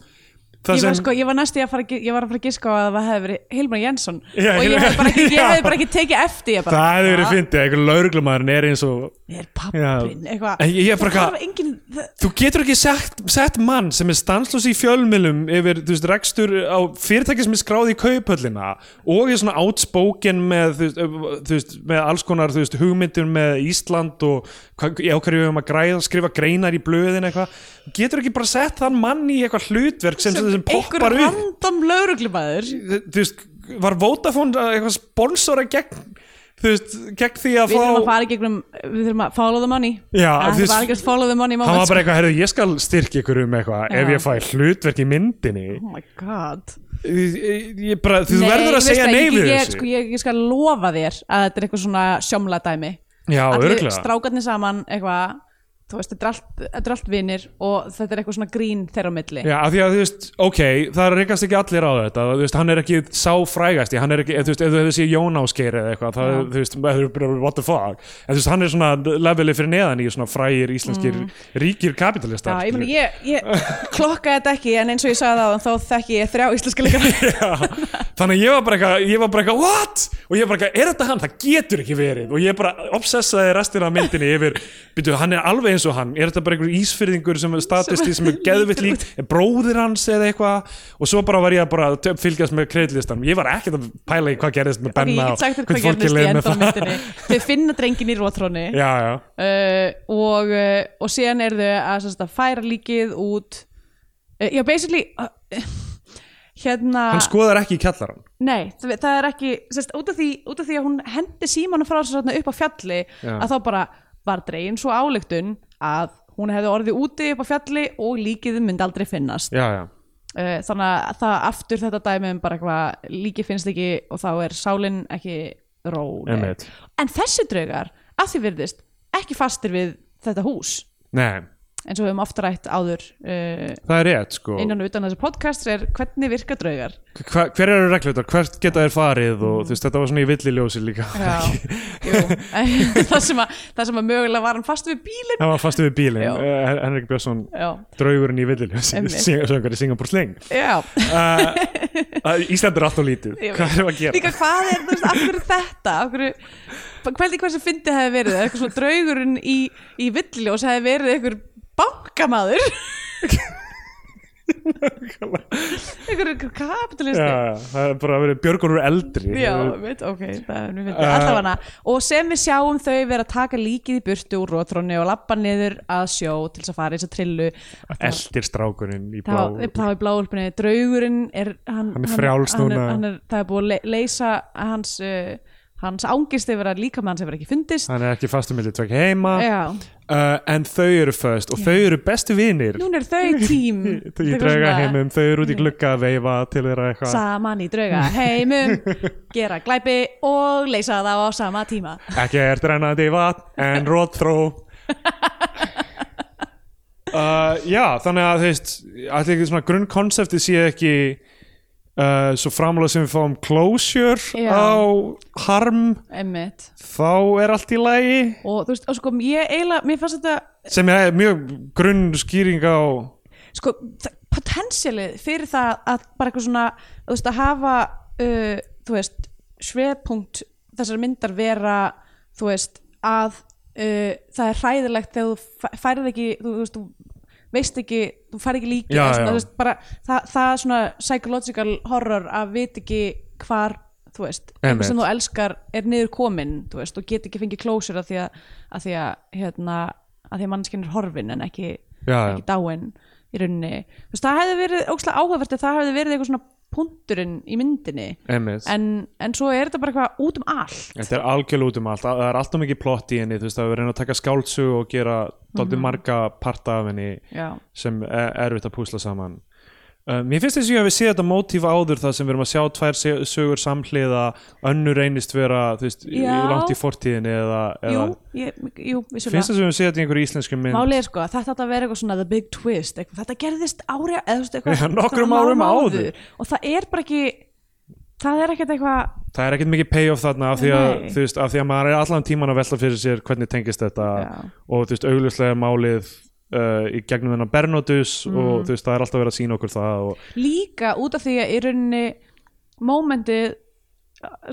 ég
það
var,
sem,
sko, ég var næstu, ég, var að fara að gi- ég var að fara að giska á að það hefði verið Hilmar Jensson
Já,
og ég
Hilmar-
hefði bara, ekki-
Já.
ég hefði bara ekki tekið eftir ég bara,
það hefði verið fyndið, einhver lauruglumann er eins og
er pappin,
Já.
eitthvað
En ég- ég er bara
Það
eitthvað-
þarf engin,
Þú getur ekki sett, sett mann sem er stanslós í fjölmilum yfir þú veist, rekstur á fyrirtæki sem er skráð í kauphöllina og er svona outspoken með, þú veist, ö- þú veist, með alls konar þú veist, hugmyndir með Ísland og hvað- í ákvæðu við höfum að græða, skrifa greinar í blöðin eitthvað. Þú Getur ekki bara sett þann mann í eitthvað hlutverk sem, sem, sem poppar
einhver
upp.
random lauruglumæður
Þú þú veist, var Vodafone eh, eitthvað sponsora gegn, þú veist, gegn því að
við
fá...
þurfum að fara í gegnum við þurfum að follow the money
Já,
það
þið-
þið... var ekkert follow the money
Hann
moment
var bara eitthvað, herrðu, ég skal styrkja ykkur um eitthvað ef
Já.
ég fæ hlutverk í myndinni.
oh my god
ég, ég- ég bara, þú verður að
ég veist
segja
það,
nei
ég-
við
ég,
þessu
sko, ég, ég skal lofa þér að þetta er eitthvað svona sjómla dæmi
já, örgulega
strákarnir saman eitthvað þú veist, þetta er allt, þetta er allt vinnir og þetta er eitthvað svona grín þeirra á milli
já, af því að þú veist, ok, það reykast ekki allir á þetta þú veist, hann er ekki sá frægasti hann er ekki, ef þú veist, ef þú hefur séð Jón Ásgeir eða eitthvað, það, þú veist, maður er bara, what the fuck en þú veist, hann er svona leveli fyrir neðan í svona frægir íslenskir ríkir
Mm. Já,
kapitalistar
ég, meni, ég, ég klokkaði þetta ekki en eins og ég sagði það þá þekki ég þrjá íslenska leikara
þannig að ég var bara eitthvað, ég var bara eitthvað, what? Og ég var bara eitthvað, er þetta hann? Það getur ekki verið. Og ég bara obsessaði restina af myndinni yfir, byrju, hann er alveg eins og hann. Er þetta bara einhver ísfyrðingur sem er statisti sem er geðvitt líkt, er bróðir hans eða eitthvað? Og svo bara var ég að bara tö- fylgjast með kreitlistanum. Ég var ekkert að pæla í hvað gerðist með
ég
Benna
get sagt þér
hvernig
hvað
fólki
gerðist í
leið með
enda á
það.
myndinni þau finna drengin í rótróni
Já, já.
uh, og, uh, og síðan er þau að, sem sagt, að færa líkið út uh, já, basically uh, hérna
Hann sko- skoðar ekki í kjallaran.
nei, það, það er ekki sérst, út, af því, út af því að hún hendi símanum frá sér þarna upp á fjalli
Já.
að þá bara var dregin svo álíktun að hún hefði orðið úti upp á fjalli og líkið myndi aldrei finnast
Já, já.
uh, þannig að það aftur þetta dæmi um bara eitthvað líkið finnst ekki og þá er sálin ekki róleg
Einmitt.
en þessi draugar, að því virðist ekki fastir við þetta hús
Nei,
eins og við höfum ofta rætt áður uh,
það er rétt, sko.
innan og utan þessi podcast er hvernig virka draugar
Hva, hver eru reglutar? Hvert geta þær farið?
Mm.
Og, þú veist, þetta var svona í villiljósi líka.
Jú, það, sem að, það sem að mögulega var hann fast við bílinn
Það var fastu við bílinn,
Já.
Eh, Henrik Björnsson
já,
draugurinn í villiljósi,
Einmitt.
söngar í Singapore Sling
já.
uh, Ísland er alltaf lítið
Ég veit.
hvað erum við að gera?
líka hvað er, þú veist, af hverju þetta af hverju, hvernig hversu fyndið hefði verið eða eitthvað svona draugurinn í, í villjós hefði verið eitthvað bankamaður einhver einhver kapitalisti
Já, það er bara að vera björgunur eldri
Já, veit, ok, það er mjög myndið
Uh.
Allafana, og sem við sjáum þau vera að taka líkið í burtu úr rótrónni og lappa niður að sjó til þess að fara í þess að trillu
Eldir strákurinn í
þá
blá
þá er bláulpunni, draugurinn er, hann,
Hann er frjáls
hann, hann
núna.
er, hann er, það er búið að le- leysa hans, uh, hans ángist yfir að líka með hans hefur ekki fundist
Hann er ekki fastur millir tvekk heima
Já,
uh, En þau eru föst og þau eru bestu vinir
núna er þau tím
Þau í drauga heimum, þau eru út í glugga að veifa til þeirra eitthvað
saman í drauga heimum gera glæpi og leysa þá á sama tíma
Ekki er drennandi í vatn en róttró uh, Já, þannig að þú veist allir ekki svona grunnkonceptið sé ekki uh, svo framlega sem við fáum closure
Já.
á harm
Einmitt.
þá er allt í lagi
og þú veist, og sko, ég eiginlega mér fannst þetta
sem er mjög grunn skýring á
sko, potensialið fyrir það að bara eitthvað svona, þú veist, að hafa uh, þú veist, sveðpunkt þessar myndar vera þú veist, að uh, það er hræðilegt þegar þú fæ- færð ekki þú, þú veist, þú veist ekki þú færð ekki líki,
Já,
eða svona,
já.
þú veist, bara það, það er svona psychological horror að vit ekki hvar þú veist,
Einmitt.
einhver sem þú elskar er niður komin, þú veist, og get ekki fengið closure að því að, að því að hérna, að því að mannskinn er horfin en ekki
Já, já.
ekki dáin í rauninni þú veist, það hefði verið ókslega áhugavert ef það hefði verið eitthvað svona punkturinn í myndinni
Einmitt.
en, en svo er þetta bara eitthvað út um allt
Þetta er algjörlega út um allt, það er alltaf mikið plott í henni þú veist, það er verið að taka skáldsug og gera daldið
Mhm.
marga parta af henni
já,
sem er erfitt að púsla saman Uh, mér finnst þess að ég hefði séð þetta mótíf áður það sem við erum að sjá tvær se- sögur samhliða önnur reynist vera þú veist, í-
Já.
langt í fortíðinni eða, eða
jú, ég, jú
finnst
vissulega
þess að við hefum séð þetta í einhverju íslensku mynd
málið er sko að þetta átti að vera eitthvað svona the big twist, eitthvað. þetta gerðist ári eða þú veist,
Já,
eitthvað
nokkrum
nokkrum
árum áður.
og það er bara ekki það er ekkert eitthvað
það er ekkert mikið payoff þarna af því, að,
Nei.
þú veist, af því að maður er allan tíman að velta fyrir sér hvernig tengist þetta
Já.
og þú veist augljóslega er málið uh, í gegnum þennan Bernotus
Mm.
og þú veist það er alltaf verið að sína okkur það og
líka út af því að í rauninni momentið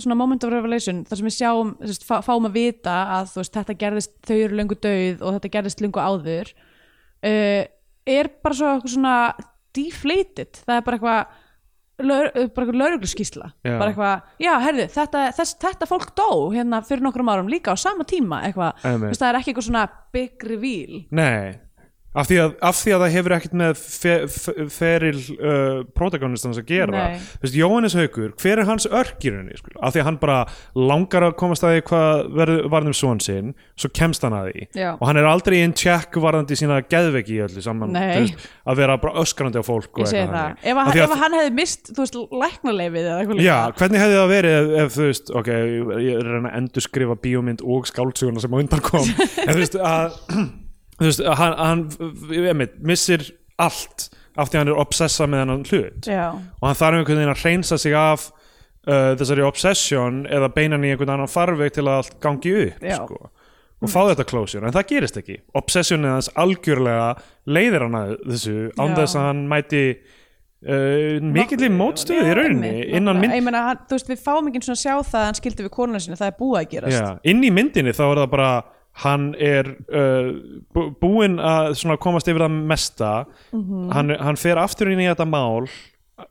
svona moment of revelation þar sem við sjáum, þú veist, fá, fáum að vita að þú veist, þetta gerðist, þau eru löngu dauð og þetta gerðist löngu áður uh, er bara svo eitthvað svona deflated, það er bara eitthvað lör, bara eitthvað lögregluskísla
Já.
bara eitthvað, já, herðu, þetta, þess, þetta fólk dó hérna fyrir nokkrum árum líka á sama tíma eitthvað, þú
Einmitt.
veist, það er ekki eitthvað svona big reveal
Nei, af því að, af því að það hefur ekkert með fe, fe, feril uh, protagonistans að gera
Nei.
Þú veist, Jóhannes Haukur, hver er hans örkirunni sko? af því að hann bara langar að komast að því hvað verður- varð um son sinn svo kemst hann að því
Já.
og hann er aldrei in check varðandi sína geðveiki í öllu saman
Nei.
þú veist, að vera bara öskrandi á fólk og
ég segi
Sko, eitthvað þannig.
það, ef,
Af
að,
því
ef að hann hefði mist, þú veist, læknarleifið eða eitthvað
Já,
líka.
hvernig hefði það verið ef, ef þú veist, ok, ég ég er að reyna að endurskrifa bíómynd og skáldsuguna sem á undan kom en þú veist að þú veist, að hann, hann emitt, missir allt af því að hann er obsessa með hennan hlut
Já.
og hann þarf einhvern veginn að hreinsa sig af uh, þessari obsession eða beina hann í einhvern annan farveg til að allt gangi upp
Já.
sko, og fá þetta closure, en það gerist ekki obsessionið hans algjörlega leiðir hann að þessu án
Já.
þess að hann mæti uh, mikillir mótstöðu í
Já,
rauninni
einmitt,
innan
nákvæmlega.
mynd
Ég meina, hann- þú veist, við fáum ekki svona að sjá það að hann skildi við konuna sinni, það er búið að gerast
Já, inn í myndinni þá er það bara hann er uh, bú- búinn að svona komast yfir það mesta
Mhm.
hann, hann fer aftur inn í þetta mál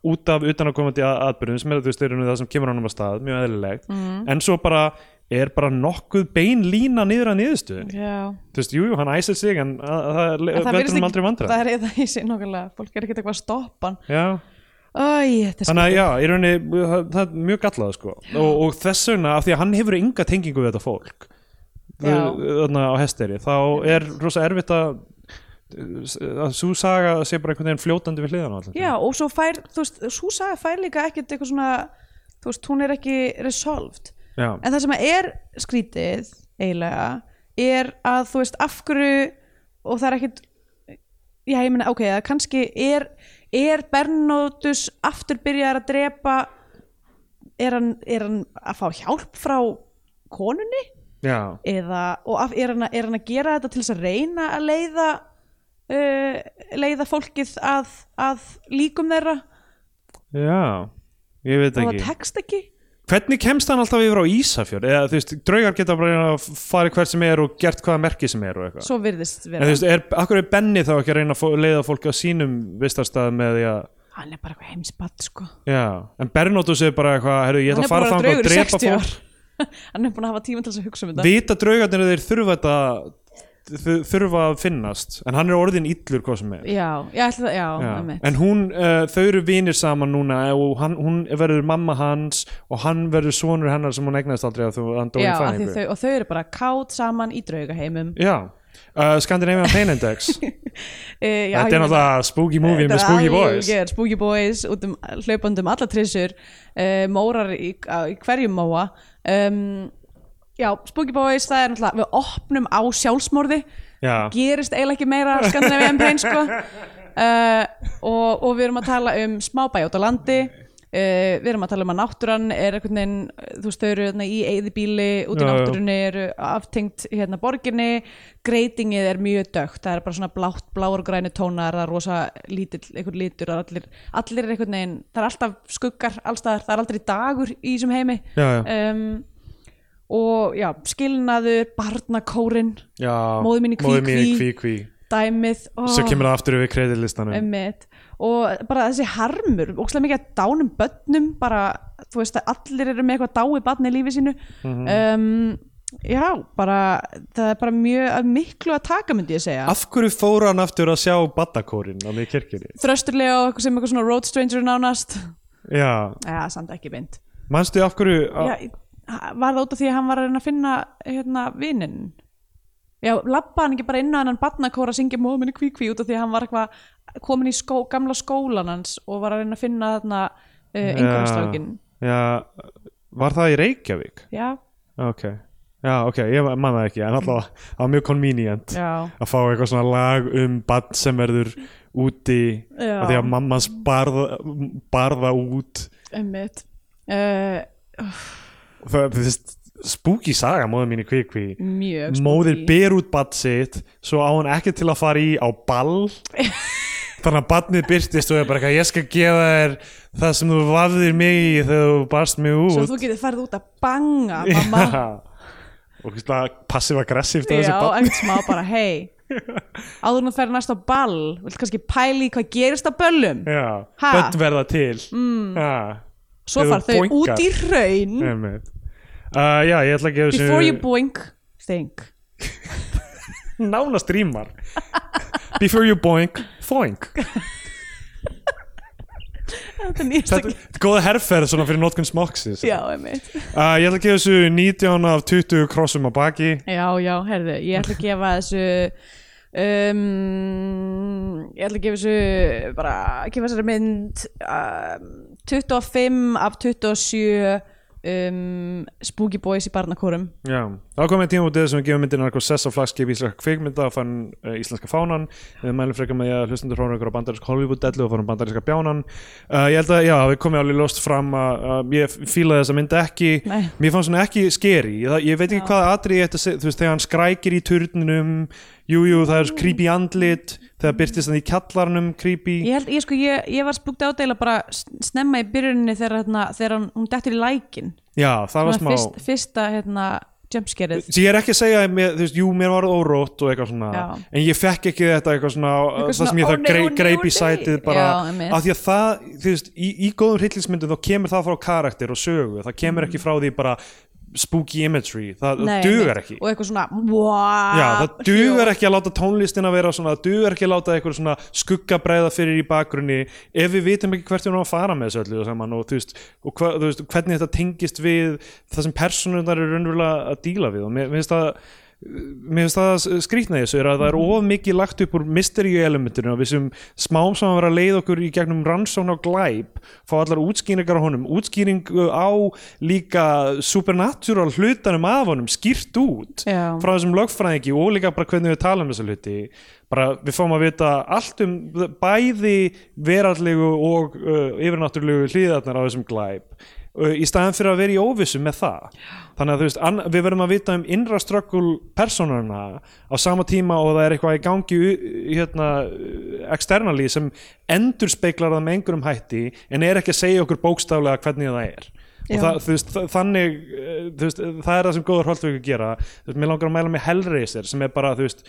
út af utanakomandi aðbyrðum sem er þú veist, í rauninni það sem kemur honum að stað mjög eðlilegt,
Mhm.
en svo bara er bara nokkuð bein lína niður að niðurstöðinni,
Já.
þú veist, jú, jú, hann æsir sig en að, að, það
En það
veldur
virðist
hann
ekki-
aldrei vandræð
Það er eða í sig nokkulega, fólk er ekkert eitthvað að stoppa hann
Já.
Æ, þetta er
Þannig að já, í rauninni það, það er mjög gallað sko og, og þess vegna af því að hann hefur enga tengingu við þetta fólk
Já.
þarna á hesteri, þá er rosa erfitt að að sú saga sé bara einhvern veginn fljótandi við hliðan á allan
Já, og svo fær, þú veist, svo saga fær líka ekkert eitthvað svona, þú veist, hún er ekki resolved,
Já.
en það sem að er skrítið, eiginlega er að, þú veist, af hverju og það er ekkert já, ég meina, ok, það kannski er er Bernótus aftur byrjaðar að drepa er hann, er hann að fá hjálp frá konunni
Já.
eða, og af, er, hann að, er hann að gera þetta til þess að reyna að leiða uh, leiða fólkið að, að líkum þeirra
já, ég veit
og það
ekki
tekst ekki
Hvernig kemst hann alltaf yfir á Ísafjörð? Eða þú veist, draugar geta bara að fara hvert sem er og gert hvaða merki sem er og eitthvað.
svo virðist
En
vera
þú veist, er, akkur er Benni þá ekki að reyna að fó- leiða fólk á sínum vistarstað með því að
hann er bara eitthvað heimsbatt sko
Já, en Bernótus er bara eitthvað, herru, ég ætla
hann
að Hérna
er
fara
búin að
þannig að
vera draugur í
drepa
60
fólk.
ár hann er búin að hafa tíma til þess að hugsa um þetta
Vita draugarnir að þeir þurfa þetta þu- þurfa að finnast, en hann er orðin illur hvað sem er.
já, ég ætla það, já,
Já.
einmitt.
En hún, uh, þau eru vinir saman núna eh, og hann, hún verður mamma hans og hann verður sonur hennar sem hún eignast aldrei að þú hann dói í
já, af því
fæðingu.
þau, og þau eru bara kátt saman í draugaheimum
Já, uh, Scandinavian Pain Index.
e, já,
Þetta er náttúrulega spooky movie með spooky boys.
algjör, Spooky Boys út um hlaupandum alla trissur uh, mórar í, á- í hverjum móa um, já, Spooky Boys það er náttúrulega, við opnum á sjálfsmorði
Já.
gerist eiginlega ekki meira Scandinavian Pain sko uh, og, og við erum að tala um smábæj út á landi Uh, við erum að tala um að náttúran er einhvern veginn, þú veist, þau eru þarna í eigðibíli út í
Já, já.
náttúrunni, eru aftengt hérna borginni, greitingið er mjög dögt, það er bara svona blátt, bláur og græni tónar, það er rosa lítill, einhvern litur, og allir, allir er einhvern veginn, það er alltaf skuggar allstaðar, það er aldrei dagur í þessum heimi
Já, já.
Um, og já, skilnaður, barnakórin
Já,
Móðir mín í kví,
móðir mín í
kví.
kví, kví.
dæmið oh,
Svo kemur það aftur yfir kreditlistanum.
einmitt. og bara þessi harmur ókslega mikið að dánum börnum bara, þú veist að allir eru með eitthvað dái barn í lífi sínu
Mhm.
um, já, bara það er bara mjög af miklu að taka myndi ég segja
Af hverju fór hann aftur að sjá badakórin á mig í kirkjunni?
þrösturlega og eitthvað sem eitthvað svona road stranger nánast
Já,
já, samt ekki mynd
manstu af hverju
já, var það út af því að hann var að reyna að finna hérna vinninn já, labba hann ekki bara inn á hennan barnakóra að syngja móðminni kvíkví út af því að hann var eitthvað komin í skó, gamla skólan hans og var að reyna að finna þarna uh, einhverjastrákin
Já, var það í Reykjavík?
já,
Ok, já, ok, ég man það ekki en alltaf það var mjög convenient
já,
að fá eitthvað svona lag um bann sem verður úti
Já.
af því að mammas barða, barða út
einmitt uh,
það það er spooky saga móður mín í kvikvi
mjög
móðir
spooky.
ber út bann sitt svo á hann ekki til að fara í á ball þannig að bannið byrtist og er bara eitthvað ég skal gefa þér það sem þú vafðir mig í þegar þú barst mig út
svo þú getur farið út að banga mamma
og passiv-aggressivt
Já,
en...
ekkert smá bara, hei áður en þú ferð næst á ball vilt kannski pæli hvað gerist á böllum
já,
Ha?
börn verða til mm. ha,
svo
Ef þú
far þau
boinkar.
út í raun
einmitt. uh, já, ég ætla að gefa
Before you
þessu
boink, think
nána strímar before you boink, foink
Þetta er nýjast
þetta
að
þetta er góða herrferð svona fyrir notkun smoksis
Já, einmitt
uh, ég ætla að gefa þessu 19 af 20 krossum á baki
Já, já, herðu, ég ætla að gefa þessu um, Ég ætla að gefa þessu bara, gefa þessari mynd um, 25 af 27 um, Spooky Boys í barnakórum
já. þá komið tíma út eða sem við gefum myndin narko sess á flagskip íslenska kvikmynda og fann uh, íslenska fánan við mælum frekar með því að hlustundur hrónur ykkur á bandarinsk Hollywood-dellu og fannum bandarinska bjánan uh, ég held að, já, við komið alveg lost fram að að ég fílaði þessa mynd ekki
Nei.
mér fannst hún ekki skeri ég, það- ég veit ekki hvaða atrið ég ætti að segja þú veist, þegar hann skrækir í turninum jújú, jú, það er creepy andlit þegar byrtist hann í kjallarnum creepy
Ég held, ég sko, ég, ég var spúkt ádæla bara sn- snemma í byrjuninni þegar, hérna, þegar hún, hún dettur í lækin
já, það var smá
fyrst, Fyrsta, hérna, jumpskerið
Því ég er ekki að segja, að mér, þú veist, jú, mér var órótt og eitthvað svona,
Já.
en ég fekk ekki þetta eitthvað svona,
Eitthvað
það
svona,
sem ég
ó
það
nei,
grei,
ó nei,
greip
ó
í sætið
nei.
bara,
Já, einmitt.
af því að það, þú veist, í, í góðum hryllingsmyndum þá kemur það frá karakter og sögu, það kemur ekki frá því bara spooky imagery, það
Mm. Nei,
dugar
einmitt.
ekki.
Og eitthvað svona wow,
Já, það dugar ekki að láta tónlistina vera svona, það dugar ekki að láta eitthvað svona skuggabræða fyrir í bakgrunni ef við vitum ekki hvert við erum að fara með þessu öllu saman og, þú veist, og hva, þú veist, hvernig þetta tengist við það sem persónunar eru raunverulega að díla við og mér mér finnst það mér finnst það skrýtna í þessu er að það er of mikið lagt upp úr mysteríu elementinu og við sem smám saman vera að leið okkur í gegnum rannsókn á glæp fá allar útskýringar á honum útskýringu á líka supernatural hlutanum af honum skýrt út
Já.
frá þessum lögfræðingi og líka bara hvernig við tala um þessa hluti bara við fáum að vita allt um bæði veraldlegu og uh, yfirnáttúrulegu hlýðarnar á þessum glæp uh, í staðan fyrir að vera í óvissu með það þannig að þú veist, ann- við verðum að vita um innra ströggul persónuna á sama tíma og það er eitthvað í gangi u- hérna, externally sem endur speiklar það með einhverjum hætti en er ekki að segja okkur bókstaflega hvernig það er
Já.
og það, þú veist, þa- þannig eh, þú veist, það er það sem góður holdveikur gera þú veist, mér langar að mæla með Hellraiser sem er bara, þú veist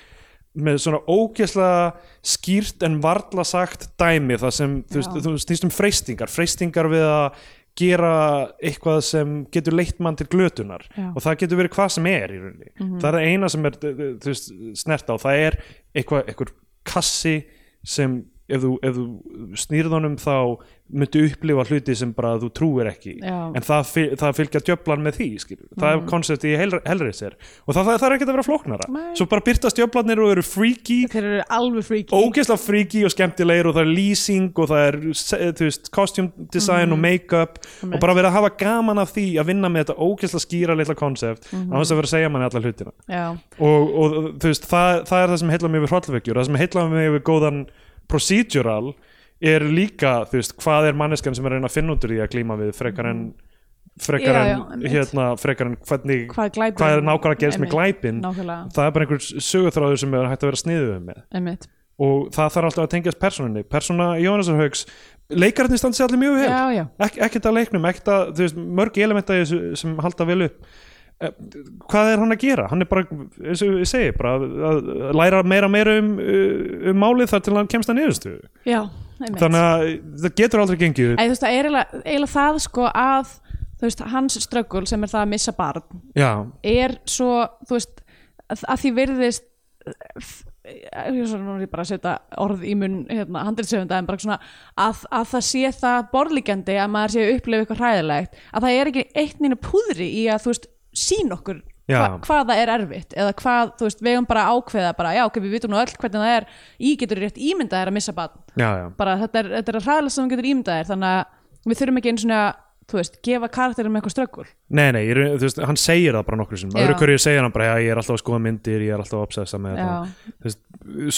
með svona ógeðslega skýrt en varla sagt dæmi það sem þú veist,
Já.
þú snýst um freystingar freystingar við að gera eitthvað sem getur leitt mann til glötunar
Já. Mhm.
og það getur verið hvað sem er í rauninni það er það eina sem er eh, þú veist, snert á, það er eitthvað, eitthvað kassi sem ef þú, ef þú snýrðunum þá myndu upplifa hluti sem bara þú trúir ekki
Já.
en það, fyl, það fylgja djöflan með því skilur. það er koncept í Hellraiser og það, það, það er ekkert að vera flóknara
Nei.
svo bara byrtast djöflanir og eru freaky
þeir eru alveg freaky
ógeðslega fríki og skemmtilegir og það er lýsing og það er se- þú veist, costume design og make-up og bara verið að hafa gaman af því að vinna með þetta ógeðslega skýra litla konsept mm -hmm. að vera að segja manni alla hlutina
Já,
og, og þú veist, það, það er það sem heilla mig við hrollveikjur, það sem heilla mig við góðan procedural er líka þú veist, hvað er manneskan sem er að reyna að finna út úr því að glíma við frekar en frekar
Já,
en,
já, einmitt.
hérna, frekar en hvernig,
hvað er glæpin?
hvað er nákvæmlega að gerast með
Einmitt,
glæpin
Nákvæmlega,
það er bara einhver sögutráður sem er hægt að vera sniðuð með
einmitt
og það þarf alltaf að tengjast persónunni persóna Jónasar Hauks leikararnir standi sér allir mjög vel
Já, já,
Ek, ekkert að leiknum, ekkert að þú veist, mörg elementa í þessu sem halda vel upp Eh, hvað er hann að gera? hann er bara, eins og ég segi bara að- að læra meira og meira um, uh, um málið þar til hann kemst að niðurstu
já, einmitt
þannig að það getur aldrei gengið upp.
Æ, þú veist, það er eiginlega, eiginlega það sko að þú veist, hans ströggul sem er það að missa barn
já,
er svo, þú veist að, að því virðist eh, ég svo nú er ég bara að setja orð í mun hérna, handriðsöfunda en bara svona að, að það sé það borlíkjandi að maður sé að upplifa eitthvað hræðilegt að það er ekki eitt nýna púðri í að þú veist sín okkur
Já.
hva, hvað það er erfitt eða hvað, þú veist, við höfum bara að ákveða bara, já, ok, við vitum nú öll hvernig það er ég getur rétt ímyndað er að missa barn
já, já,
bara þetta er, þetta er að hraðlega sem þú getur ímyndað þér þannig að við þurfum ekki einu svona þú veist, gefa karakterum eitthvað ströggul
nei, nei, ég, er- þú veist, hann segir það bara nokkru sinum,
Já.
öðru hverju segir hann bara já, ég er alltaf að skoða myndir, ég er alltaf að obsessa með þetta
Já.
þú veist,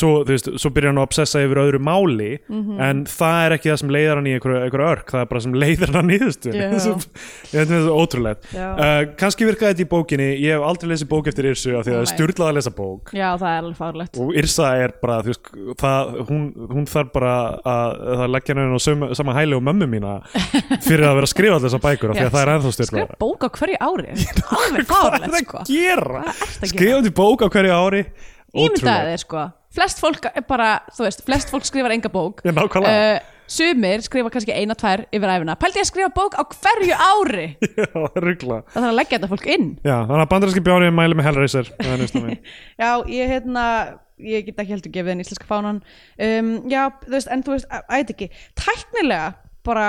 svo, þú veist, svo byrjar hann að obsessa yfir öðru máli
Mhm.
en það er ekki það sem leiðar hann í einhverju, einhverju örk það er bara sem leiðar hann nýðustu
Já.
þetta er svo ótrúlegt
Já.
uh, kannski virkaði þetta í bókinni, ég hef aldrei lesið bók eftir Yrsu af því að það er
Nei.
styrlað að lesa bók
já, það er alveg fárlegt
og Yrsa er bara þú veist, það, hún, hún þarf bara að, að leggja henni á sama, sama hæli og mömmu mína fyrir að vera að skrifa allir þessar bækur af því að það er ennþá styrlað
skrifa bók á hverju ári alveg fárlegt sko
að gera?
Hvað ertu að gera?
skrifandi bók á hverju ári
ímyndaði
Ótrúlegt.
þér sko flest fólk er bara, þú veist, flest fólk skrifar enga bók
Já, nákvæmlega.
uh, sumir skrifa kannski eina, tvær yfir æfina pældi ég að skrifa bók á hverju ári
Já, ruggla
það þarf að leggja þetta fólk inn
Já, þannig að bandarinski bjárið mæli með Hellraiser það er nýstum við
Já, ég hérna ég get ekki heldur gefið henni íslenska fánan um, já, þú veist, en þú veist, að- að þetta ekki tæknilega bara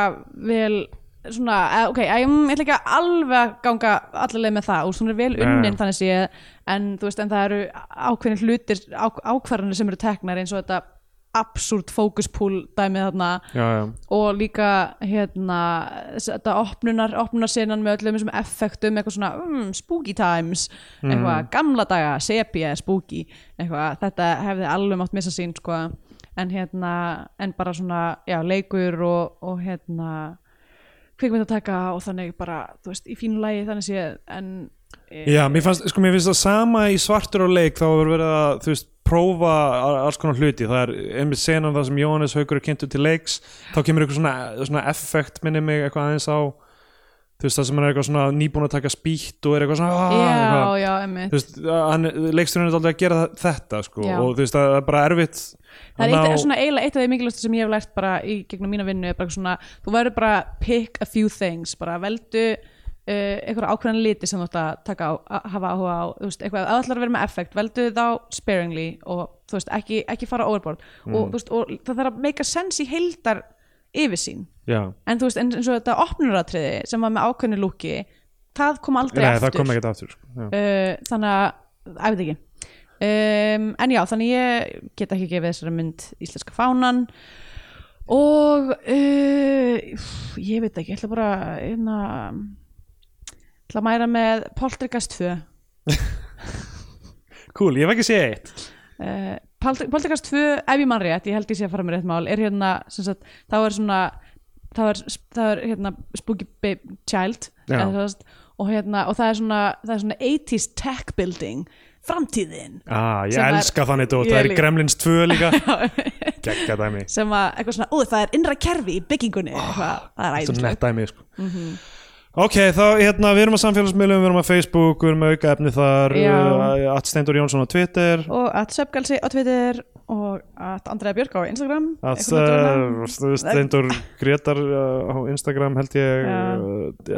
vel svona, eh, ok, ég, ég ætla ekki að alveg að ganga allaveg með það og svona er vel unnin
Nei.
þannig sé en þú veist, en það eru ákveðin hlutir á, ákvarðanir sem eru teknar eins og þetta absúrt fókuspúl dæmið þarna
Já, já,
og líka hérna s- þetta opnunar, opnunarsinan með öllum þessum effektum, eitthvað svona mm, spooky times, eitthvað gamla daga sepia, spooky, eitthvað þetta hefði alveg mátt missa sín sko en hérna, en bara svona já, leikur og, og hérna kvikmynd að taka og þannig bara, þú veist, í fínu lagi þannig sé en
já mér, fannst, sko, mér finnst það sama í svartur og leik þá hefur verið að, þú veist, prófa a- alls konar hluti, það er einmitt senan það sem Jóhannes Haukur er kynntu til leiks þá kemur eitthvað svona, svona effekt minni mig eitthvað aðeins á þú veist, það sem hann er eitthvað svona nýbúin að taka spýtt og er eitthvað svona "Ah", eitthvað.
já, já, emmitt
þú veist, hann, leiksturinn er aldrei að gera þa- þetta sko,
Já.
og þú veist, það er bara erfitt
Það
að
er eitt,
ná-
svona eiginlega eitt af því mikilvægstu sem ég hef lært bara í gegnum mína vinnu er bara svona, þú verður bara pick a few things, bara veldu uh, einhverja ákveðan liti sem þú ætti að taka á, að hafa áhuga á, þú veist, eitthvað að ætlar að vera með effekt, veldu þá sparingly og þú veist, ekki, ekki fara overboard og,
Mm.
þú veist, og það þarf að make a sense í heildar yfirsýn,
já.
en þú veist, en- eins og þetta opnuratriði sem var með ákveðnu lúki það kom aldrei
Nei,
aftur
það kom ekkert aftur sko. já.
uh, þannig að, að ég veit ekki um, en já, þannig ég get ekki gefið þessari mynd íslenska fánan og uh, ég veit ekki, ég ætla bara hérna ætla að mæra með Poltergeist 2 uh,
cool, ég hef ekki séð eitt
Polter- Eh, Poltergeist 2, ef ég mann rétt ég held ég sé að fara með rétt mál, er hérna sem sagt, þá er svona þá er, þá er hérna Spooky Babe Child
Já.
eða sem sagt, og, hérna, og það er svona, það er svona 80s tech building framtíðin
Ah, ég
Sem var-
elska þannig dót,
Ég
það er
líka.
Gremlins 2 líka Gekka dæmi Ah,
sem að eitthvað svona, ó það er innra kerfi í byggingunni eitthvað,
Svo
það er æðislegt
nett dæmi sko. Ok, þá hérna, við erum að samfélagsmiðlum, við erum að Facebook, við erum að auka efni þar,
Já.
uh, að Steindur Jónsson á Twitter,
og að Söpgalsi á Twitter og að Andrea Björk á Instagram
að
einhvern veginn.
uh, Steindur Gretar uh, á Instagram held ég,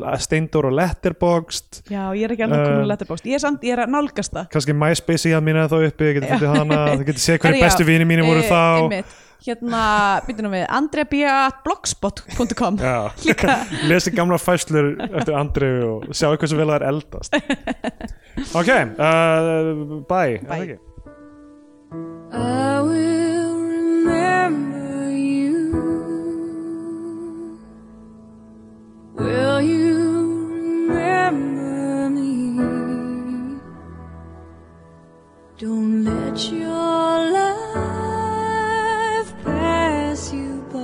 uh, Steindur á Letterboxd,
já, ég er ekki alveg komin
Uh,
að letterbox ég er samt, ég er að nálgast það
kannski MySpace í að mína þá uppi, ég geti
Já.
fundið hana, þið getið séð
Herra,
hverju
já,
bestu vini mínir voru
eh,
þá.
einmitt. hérna, byrjum við andreabia.blogspot.com
Já, lesi gamla fæslur eftir Andrið og sjá eitthvað sem vel að það er eldast Ok, uh, bye, Er það
Bye.
ekki?
I will remember you. Will you remember me? Don't let your life pass you by.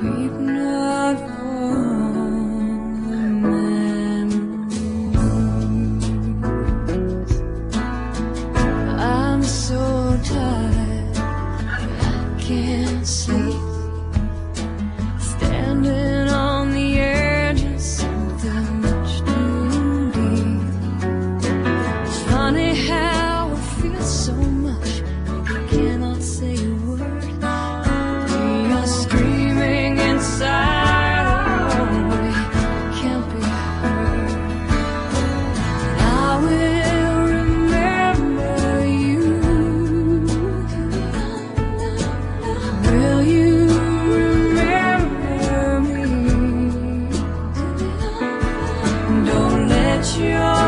Weep not for the memory. I'm so tired, I can't sleep. Standing on the edge of something much too deep. Funny how I feel so much, I cannot say a word. We are screaming inside, oh, we can't be heard. I will remember you. Will you remember me? Don't let your